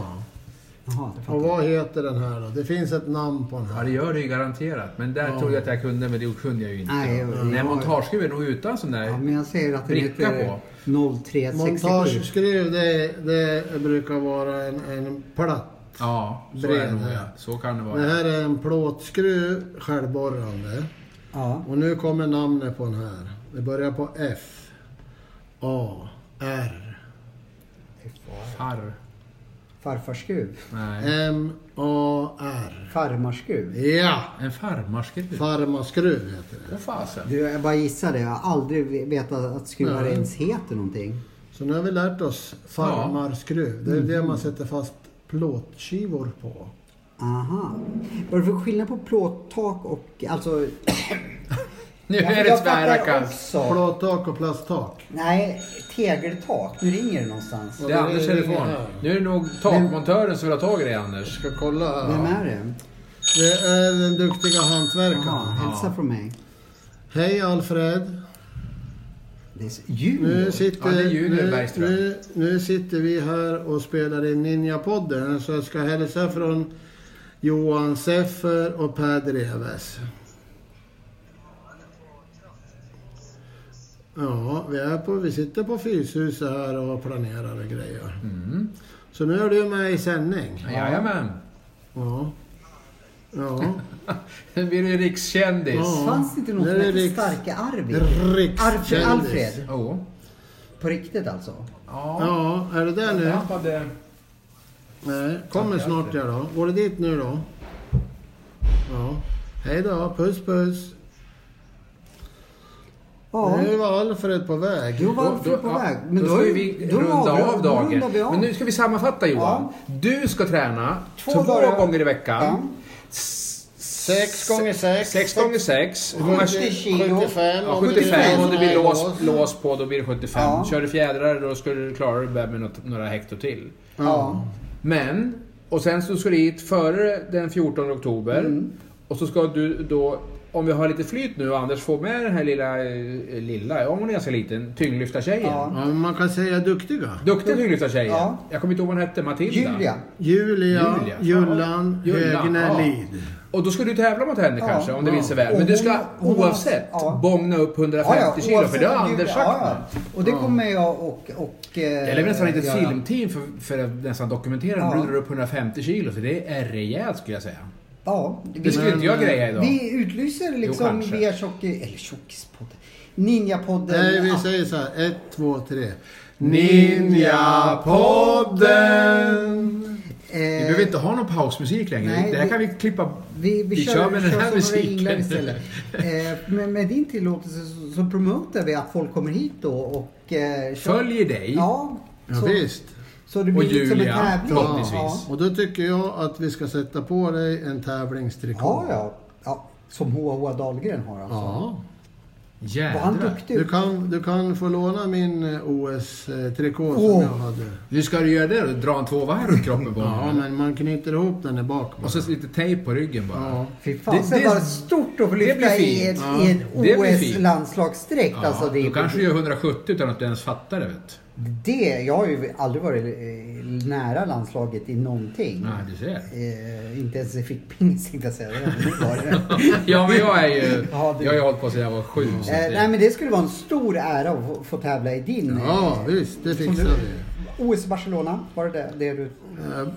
S2: jag
S3: Och
S2: fattar.
S3: vad heter den här då? Det finns ett namn på den
S1: Ja,
S3: här.
S1: det gör det ju garanterat. Men där
S3: Ja.
S1: trodde jag att jag kunde, men det kunde jag ju inte.
S2: Nej, jag-
S1: Nej,
S2: jag-
S1: montageskruv är nog utan sån där.
S2: Ja, men jag säger att den
S1: Bricka
S2: heter 0367.
S3: Montageskruv, det, det brukar vara en, en platt.
S1: Ja, så är det
S3: Bred,
S1: nog. ja.
S3: ja.
S1: Så kan det
S3: Det
S1: vara.
S3: här är en plåtskruv, självborrande.
S2: Ja.
S3: Och nu kommer namnet på den här. Det börjar på F. A. R.
S1: Farr.
S2: Farfarskruv.
S1: Nej.
S3: M. A. R.
S2: Farmarskruv.
S3: Ja!
S1: En farmarskruv.
S3: Farmaskruv heter det.
S1: Åh fasen.
S2: Du, jag bara gissade. Jag har aldrig vetat att skruvar
S3: Nej.
S2: ens heter någonting.
S3: Så nu har vi lärt oss farmarskruv. Det är det man sätter fast plåtskivor på.
S2: Aha. Vad är det för skillnad på plåttak och... Alltså...
S1: Nu är det tvärkast.
S2: också.
S3: Plåttak och plasttak.
S2: Nej, tegeltak. Nu ringer det någonstans.
S1: Det är Anders
S3: Det är-
S1: telefon.
S3: det är-
S1: Nu är det nog takmontören som vill ha tag i dig Anders.
S3: Ska kolla
S2: Vem är
S3: här.
S2: det?
S3: Det är den duktiga
S2: Jaha,
S3: hantverkaren.
S2: hälsa från mig.
S3: Hej Alfred.
S2: Det är så-
S3: Nu
S2: Junior?
S3: sitter,
S1: Mm. Ja, det är Junior
S3: nu,
S1: Bergström.
S3: nu, nu sitter vi här och spelar in Ninjapodden. Så jag ska hälsa från Johan Seffer och Per Dreves. Ja, vi, är på, vi sitter på Fyshuset här och planerar och grejer.
S1: Mm.
S3: Så nu är du med i sändning.
S1: Jajamän.
S3: Ja. Ja.
S1: Nu blir du rikskändis.
S3: Ja.
S2: Fanns det inte någon
S3: Nu är
S2: som
S3: det
S2: hette
S3: Riks-
S2: Starka Arvid? Arvid
S3: Rikskändis.
S2: Alfred?
S1: Jo.
S2: På riktigt alltså?
S1: Ja.
S3: Ja, är det där
S1: Jag
S3: nu?
S1: tappade...
S3: Nej, kommer snart jag då. Går det dit nu då? Ja. Hej då, puss puss.
S2: Ja.
S3: Nu var Alfred på väg.
S2: Jo, varför
S1: Då-
S2: är
S1: då-
S2: på
S1: ja,
S2: väg?
S1: Då
S2: har
S1: ska
S2: ju-
S1: vi
S2: då
S1: runda
S2: avru-
S1: av
S2: då
S1: dagen.
S2: rundar vi av.
S1: Men nu ska vi sammanfatta Johan. Du ska träna två,
S2: Två dagar.
S1: gånger i veckan.
S2: Ja.
S1: S-
S3: Sex gånger sex.
S1: Sex gånger sex. Hur många-
S2: 70 kilo.
S3: 75.
S1: Ja, 75 om det blir
S3: Nej,
S1: lås, lås på då blir det 75.
S2: Ja.
S1: Kör du fjädrar då skulle du klara dig med något, några hekto till.
S2: Ja.
S1: Men, och sen så ska du hit före den 14 oktober.
S2: Mm.
S1: Och så ska du då, om vi har lite flyt nu och Anders får med den här lilla, eh, lilla, ja hon är ganska liten, tyngdlyftartjejen.
S2: Ja.
S3: Ja, man kan säga duktiga.
S1: Duktig tyngdlyftartjejen.
S2: Ja.
S1: Jag kommer inte ihåg vad hon hette, Matilda.
S2: Julia.
S3: Julia,
S1: Julia.
S3: Jullan,
S1: Jullan,
S3: Högne,
S1: ja.
S3: Lid.
S1: Och då ska du tävla mot henne
S2: Ja.
S1: kanske, om det vill sig väl.
S2: Och
S1: Men du ska
S2: hon- hon-
S1: oavsett
S2: ja.
S1: bångna upp 150 kilo, för det har
S2: oavsett-
S1: Anders sagt.
S2: ja, ja. Och det kommer jag och... och eh,
S1: Jag lägger nästan ett litet
S2: göra.
S1: filmteam för, för att nästan dokumentera
S2: Ja.
S1: när du drar upp 150 kilo. Så det är rejält skulle jag säga.
S2: Ja.
S1: Det
S2: Vi,
S1: skulle inte jag
S3: Men,
S1: greja idag.
S2: vi utlyser liksom
S1: kanske.
S2: via tjock... Eller tjockispodden. Ninjapodden.
S3: Nej, vi
S2: Ja.
S3: säger så här. Ett, två, tre. Ninjapodden!
S1: Vi
S2: Eh,
S1: behöver inte ha någon pausmusik längre.
S2: Nej,
S1: det här
S2: vi-
S1: kan vi klippa.
S2: Vi,
S1: Vi
S2: vi, kör,
S1: kör med den
S2: kör
S1: här
S2: som
S1: musiken.
S2: ringlar istället. Eh, med, med din tillåtelse så, så promotar vi att folk kommer hit då och... Eh, kör-
S1: Följer dig.
S2: Ja.
S3: Ja,
S2: så,
S3: visst.
S2: så det
S1: Och
S2: blir liksom en
S1: Julia,
S2: tävling.
S1: förhoppningsvis.
S3: Och då tycker jag att vi ska sätta på dig en tävlingstrikå.
S2: Ja, ja. ja som H.H. Dahlgren har alltså.
S3: Ja.
S2: Var han
S1: Jädrar.
S2: duktig?
S3: Du kan, du kan få låna min eh, OS-trikå som
S2: Åh.
S3: jag hade.
S1: Nu ska du göra det då? Dra en tvåvarv runt kroppen på
S3: Ja,
S1: honom.
S3: men man knyter ihop den där bak bara.
S1: Och så lite tejp på ryggen bara.
S3: Ja.
S2: Fy fan,
S1: Det-
S2: det,
S1: det-
S2: det var stort att
S1: det
S2: få
S1: blir
S2: lyfta i
S1: fint.
S2: en,
S3: Ja,
S2: i en
S1: det blir fint.
S2: OS-landslagsdräkt.
S1: Ja,
S2: alltså, det,
S1: du
S2: är-
S1: kanske gör 170 utan att du ens fattar det. Vet.
S2: det, jag har ju aldrig varit eh, nära landslaget i någonting.
S1: Ja, du ser.
S2: Eh, inte ens i fickpingis tänkte jag säga. Det var inte bara-
S1: Ja, men jag är ju...
S2: Ja, det-
S1: Jag har ju hållit på sedan jag var sju. så
S2: Eh,
S1: det-
S2: nej men det skulle vara en stor ära att få, få tävla i din. eh,
S3: ja, visst, det
S2: Som
S3: fixar
S2: du,
S3: vi.
S2: OS Barcelona, var det det, det du...
S3: Eh, eh,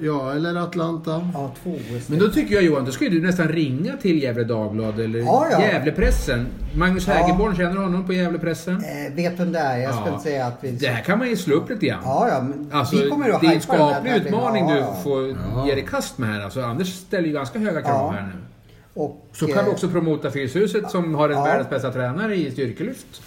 S3: Ja, eller Atlanta.
S2: Ja, två OS.
S1: Men då tycker jag Johan, då ska ju du nästan ringa till Gävle Dagblad eller
S2: Ja, ja.
S1: Gävlepressen. Magnus
S2: Ja.
S1: Hägerborn, känner du honom på Gävlepressen?
S2: eh, vet vem det är? Jag ska
S1: Ja.
S2: inte säga att vi...
S1: Det här kan man ju slå upp lite grann.
S2: Ja, ja, men
S1: Alltså,
S2: vi kommer att
S1: det är en
S2: hypa den här
S1: skaplig
S2: tävlingen.
S1: utmaning
S2: Ja,
S1: du
S2: ja.
S1: får ge dig i kast med här. Alltså, Anders ställer ju ganska höga krav
S2: Ja.
S1: här nu.
S2: Och,
S1: Så kan
S2: eh,
S1: vi också promota Fyshuset som har en
S2: Ja.
S1: världens bästa tränare i styrkelyft.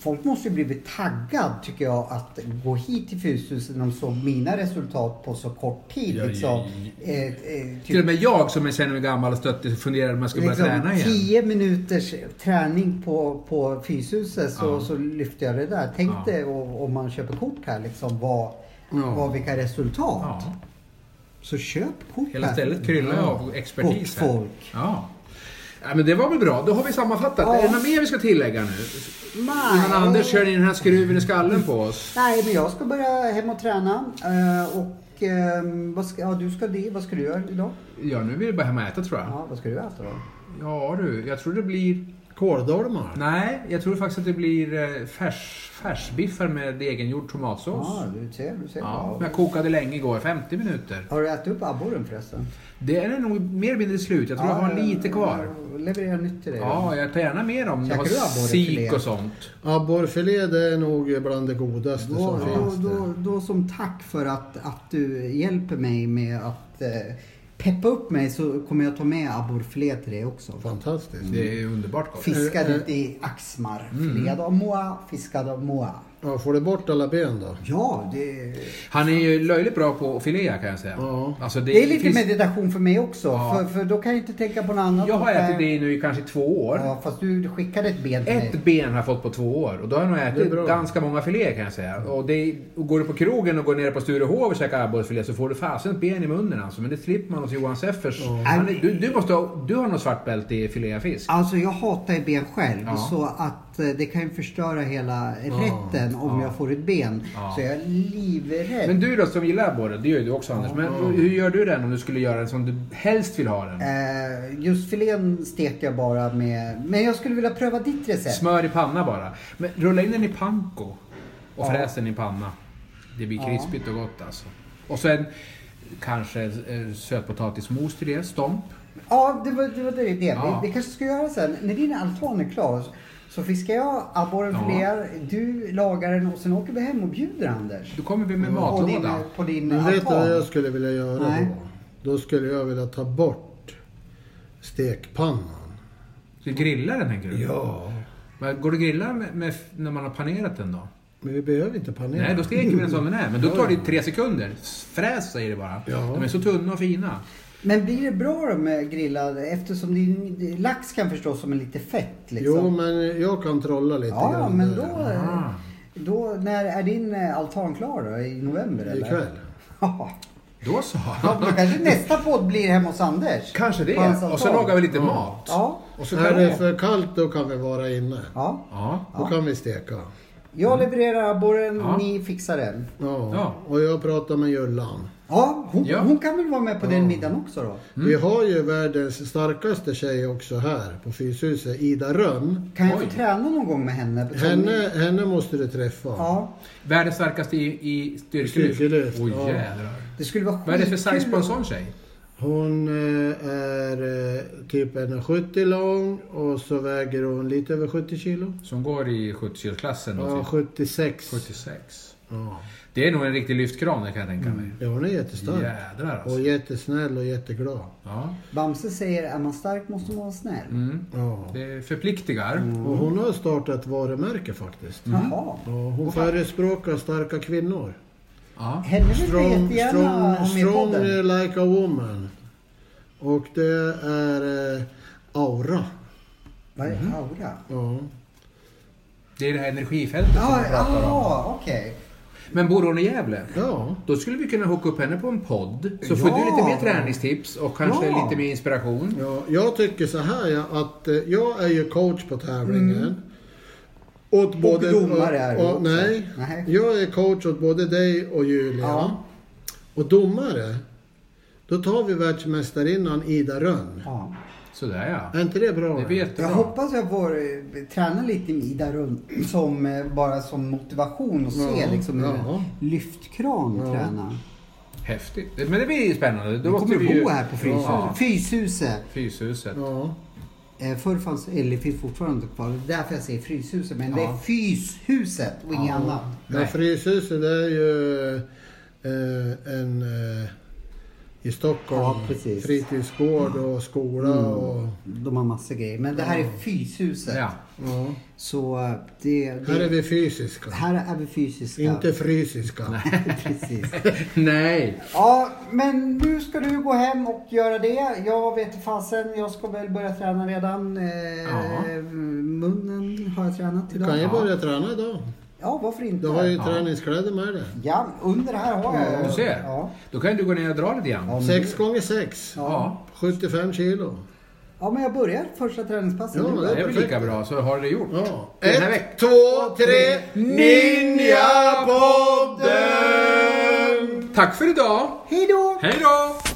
S2: folk måste ju blivit taggad tycker jag att gå hit till Fushuset när de såg mina resultat på så kort tid.
S5: Ja, ja,
S2: liksom. Eh, eh,
S1: Till och
S2: typ,
S1: med jag som är sen är gammal och stöttig funderar om jag ska börja
S2: liksom,
S1: träna igen.
S2: tio minuters träning på, på Fyshuset så,
S1: Ja.
S2: så lyfte jag det där. Tänk
S1: Ja.
S2: dig o- om man köper kort här liksom vad,
S3: Ja.
S2: vad vilka resultat.
S1: Ja.
S2: Så köp kort
S1: Hela
S2: här.
S1: stället kryllar ju av expertis
S2: Gott folk.
S1: Ja. ja. men det var väl bra. Då har vi sammanfattat.
S2: Ja.
S1: Är det något mer vi ska tillägga nu? Innan
S2: Nej.
S1: Anders kör in den här skruven i skallen på oss.
S2: Nej, men jag ska börja hem och träna. Eh, och ehm, vad ska, ja, du ska det. Vad ska du göra idag?
S1: Ja, nu vill jag bara hem och äta tror jag.
S2: Ja, vad ska du äta då?
S1: Ja du, jag tror det blir...
S3: Kåldolmar.
S1: Nej, jag tror faktiskt att det blir eh, färs, färsbiffar med egengjord tomatsås.
S2: Ja, du ser. Du ser.
S1: Ja,
S2: Ja.
S1: men jag kokade länge igår, 50 minuter.
S2: Har du ätit upp abborren förresten?
S1: Det är nog mer eller mindre slut. Jag tror jag har lite kvar.
S2: Jag levererar nytt till dig.
S1: Ja, jag tar gärna mer om det
S2: Käkar
S1: var
S2: du abborre
S1: sik
S2: filé?
S1: och sånt.
S3: Abborrfilé det är nog bland det godaste
S2: då,
S3: som
S2: då,
S3: finns.
S2: då, då som tack för att, att du hjälper mig med att eh, peppa upp mig så kommer jag ta med abborrfilé till dig också.
S3: Fantastiskt.
S1: Det är
S2: Mm.
S1: underbart gott.
S2: Fiskad ute i Axmar. Filé av moa, fiskad av moa.
S3: Ja, får du bort alla ben då?
S2: Ja, det...
S1: Han är ju löjligt bra på att filea kan jag säga.
S3: Ja.
S1: Alltså,
S2: Det är lite
S1: finns-
S2: meditation för mig också.
S1: Ja.
S2: För, för då kan jag inte tänka på något annat.
S1: Jag har
S2: Utan-
S1: ätit det nu i kanske två år.
S2: Ja, fast du skickade ett ben till mig.
S1: Ett ben har jag fått på två år och då har jag nog
S3: Det är bra.
S1: ätit ganska många filéer kan jag säga. Och, det, och går du på krogen och går ner på Sturehov och käkar abborrfilé så får du fasen ett ben i munnen alltså. Men det slipper man hos Johan Seffers. Han är- Du, du, måste ha, du har något svart bälte i filé av fisk.
S2: Alltså jag hatar ju ben själv
S1: Ja.
S2: så att eh, det kan ju förstöra hela rätten om jag får ett ben.
S1: Ja.
S2: Så jag är livrädd.
S1: Men du då som gillar abborre, det gör ju du också Anders. Men hur gör du den om du skulle göra den som du helst vill ha den?
S2: Eh, just filén steker jag bara med... Men jag skulle vilja pröva ditt recept.
S1: Smör i panna bara. Men rulla in den i panko och
S2: Ja.
S1: fräs den i panna. Det blir krispigt och gott alltså. Och sen kanske eh, sötpotatismos till det, stomp.
S2: Ja, det var det. Var det. det.
S1: Ja.
S2: Vi, vi kanske ska göra sen. När din altan är klar så fiskar jag abborren
S1: Ja.
S2: filéar, du lagar den och sen åker vi hem och bjuder Anders.
S1: Då kommer vi med
S2: på din,
S1: matlåda.
S2: på din
S3: Men vet du vad jag
S2: altan.
S3: skulle vilja göra
S2: Nej.
S3: då? Då skulle jag vilja ta bort stekpannan.
S1: Du grillar den tänker du?
S3: Ja.
S1: Men går det att grilla med, med, när man har panerat den då?
S3: Men vi behöver inte panera.
S1: Nej, då steker vi den som den är. Men då tar det tre sekunder. Fräs säger det bara.
S3: Ja.
S1: De är så tunna och fina.
S2: Men blir det bra då med grillad? Eftersom din lax kan förstås som är lite fett liksom.
S3: Jo, men jag kan trolla lite
S2: ja, ja,
S3: grann
S2: men
S3: där.
S2: då,
S1: Ah.
S2: då... När är din eh, altan klar då? I november eller?
S3: Ikväll.
S2: Ja,
S1: Då så.
S2: då kanske nästa podd blir hemma hos Anders.
S1: Kanske
S2: På hans
S1: det. Och så
S2: altan.
S1: lagar vi lite mat.
S2: Ja,
S1: Och så
S3: är
S1: kan
S3: det
S1: vi...
S3: för kallt då kan vi vara inne.
S2: ja.
S1: Ja.
S3: Då kan vi steka.
S2: Jag levererar abborren,
S1: Mm. Ja.
S2: ni fixar den.
S3: Ja.
S1: Ja. Mm.
S3: Och jag pratar med Jullan.
S2: Ja hon,
S1: Ja.
S2: hon kan väl vara med på den middagen också då?
S3: Vi har ju världens starkaste tjej också här på Fyshuset, Ida Rönn.
S2: Kan jag
S1: Oj.
S2: få träna någon gång med henne? Som-
S3: Henne, henne måste du träffa.
S2: Ja,
S1: Världens starkaste i, i styrkelyft.
S3: Styrkelyft,
S1: Oj
S3: ja.
S1: jädrar.
S2: det skulle vara
S1: Vad är det för
S2: skitkul
S1: size på en
S2: om-
S1: sån tjej?
S3: Hon eh, är eh, typ 1,70 lång och så väger hon lite över 70 kilo.
S1: Som går i 70-kilosklassen.
S3: Ja,
S1: och
S3: 76.
S1: 76.
S3: Ja.
S1: Det är nog en riktig lyftkran, det kan jag tänka
S2: Mm.
S1: mig.
S3: ja, hon är jättestark.
S1: Jädrar
S3: Och
S1: alltså.
S3: jättesnäll och jätteglad.
S1: Ja.
S2: Bamse säger är man stark måste man vara snäll.
S1: Mm.
S3: Ja.
S1: Det förpliktigar.
S2: Mm.
S3: Och hon har startat varumärke faktiskt.
S1: Mm.
S2: Jaha.
S3: Ja, hon förespråkar starka kvinnor.
S1: Ja.
S2: Henne vill vi
S3: Strong,
S2: jättegärna ha
S3: strong,
S2: med i
S3: strong
S2: podden.
S3: eh, like a woman. Och det är eh, aura.
S1: eh,
S2: Vad
S1: mm.
S2: är aura?
S3: Ja.
S1: Det är det här energifältet som
S2: Ja,
S1: vi pratar om.
S2: ah, okej.
S1: Men bor hon i Gävle?
S3: ja.
S1: Då skulle vi kunna hooka upp henne på en podd. Så får
S2: Ja.
S1: du lite mer träningstips och kanske
S2: Ja.
S1: lite mer inspiration.
S3: Ja, jag tycker så här ja, att eh, jag är ju coach på tävlingen. Åt både,
S2: Mm. domare är du
S3: och,
S2: också.
S3: nej,
S2: Nej.
S3: jag är coach åt både dig och Julia.
S2: Ja.
S3: Och domare, då tar vi världsmästarinnan Ida Rönn.
S2: Ja.
S1: Sådär ja.
S3: Är inte det bra?
S1: Det blir jättebra.
S2: Jag hoppas jag får eh, träna lite med Ida runt som eh, bara som motivation och se
S3: Ja,
S2: liksom hur
S3: ja.
S2: lyftkran träna.
S1: Häftigt. Men det blir spännande. Då
S2: Vi
S1: måste
S2: kommer
S1: vi ju...
S2: bo här på Fryshuset.
S1: Ja.
S2: Fryshuset.
S1: Fyshuset.
S3: Ja.
S2: Eh, Förr fanns, eller det finns fortfarande kvar, det är därför jag säger Fryshuset. Men det är
S1: Ja.
S2: Fyshuset och inget annat.
S3: Men
S1: Nej.
S3: Fryshuset det är ju eh, en eh, i Stockholm.
S2: Ja, precis.
S3: Fritidsgård och skola och...
S2: De har massor grejer. Men det här är Fyshuset.
S1: Ja.
S3: Ja.
S2: Så eh, det, det,
S3: Här är vi fysiska.
S2: här är vi fysiska.
S3: Inte fysiska.
S2: Precis.
S1: Nej.
S2: Ja, men nu ska du gå hem och göra det. Jag vet inte fasen, jag ska väl börja träna redan. Eh,
S1: Ja.
S2: munnen har jag tränat
S3: Du
S2: idag.
S3: kan ju börja träna idag.
S2: Ja, varför inte?
S3: Du har ju
S1: Ja.
S3: träningskläder med dig.
S2: Ja, under här har jag.
S1: Du ser.
S2: Ja.
S1: Då kan ju du gå ner och dra lite grann.
S2: Ja, men-
S3: Sex gånger sex.
S2: Ja.
S1: Ja.
S3: 75 kilo.
S2: ja, men jag börjar första träningspasset
S3: Ja,
S2: nu.
S1: Det är väl lika bra, så har du det gjort.
S3: Ja.
S1: Den här
S3: Ett,
S1: veck-
S3: två, tre. Ninjapodden!
S1: Tack för idag!
S2: Hej då!
S1: Hej då!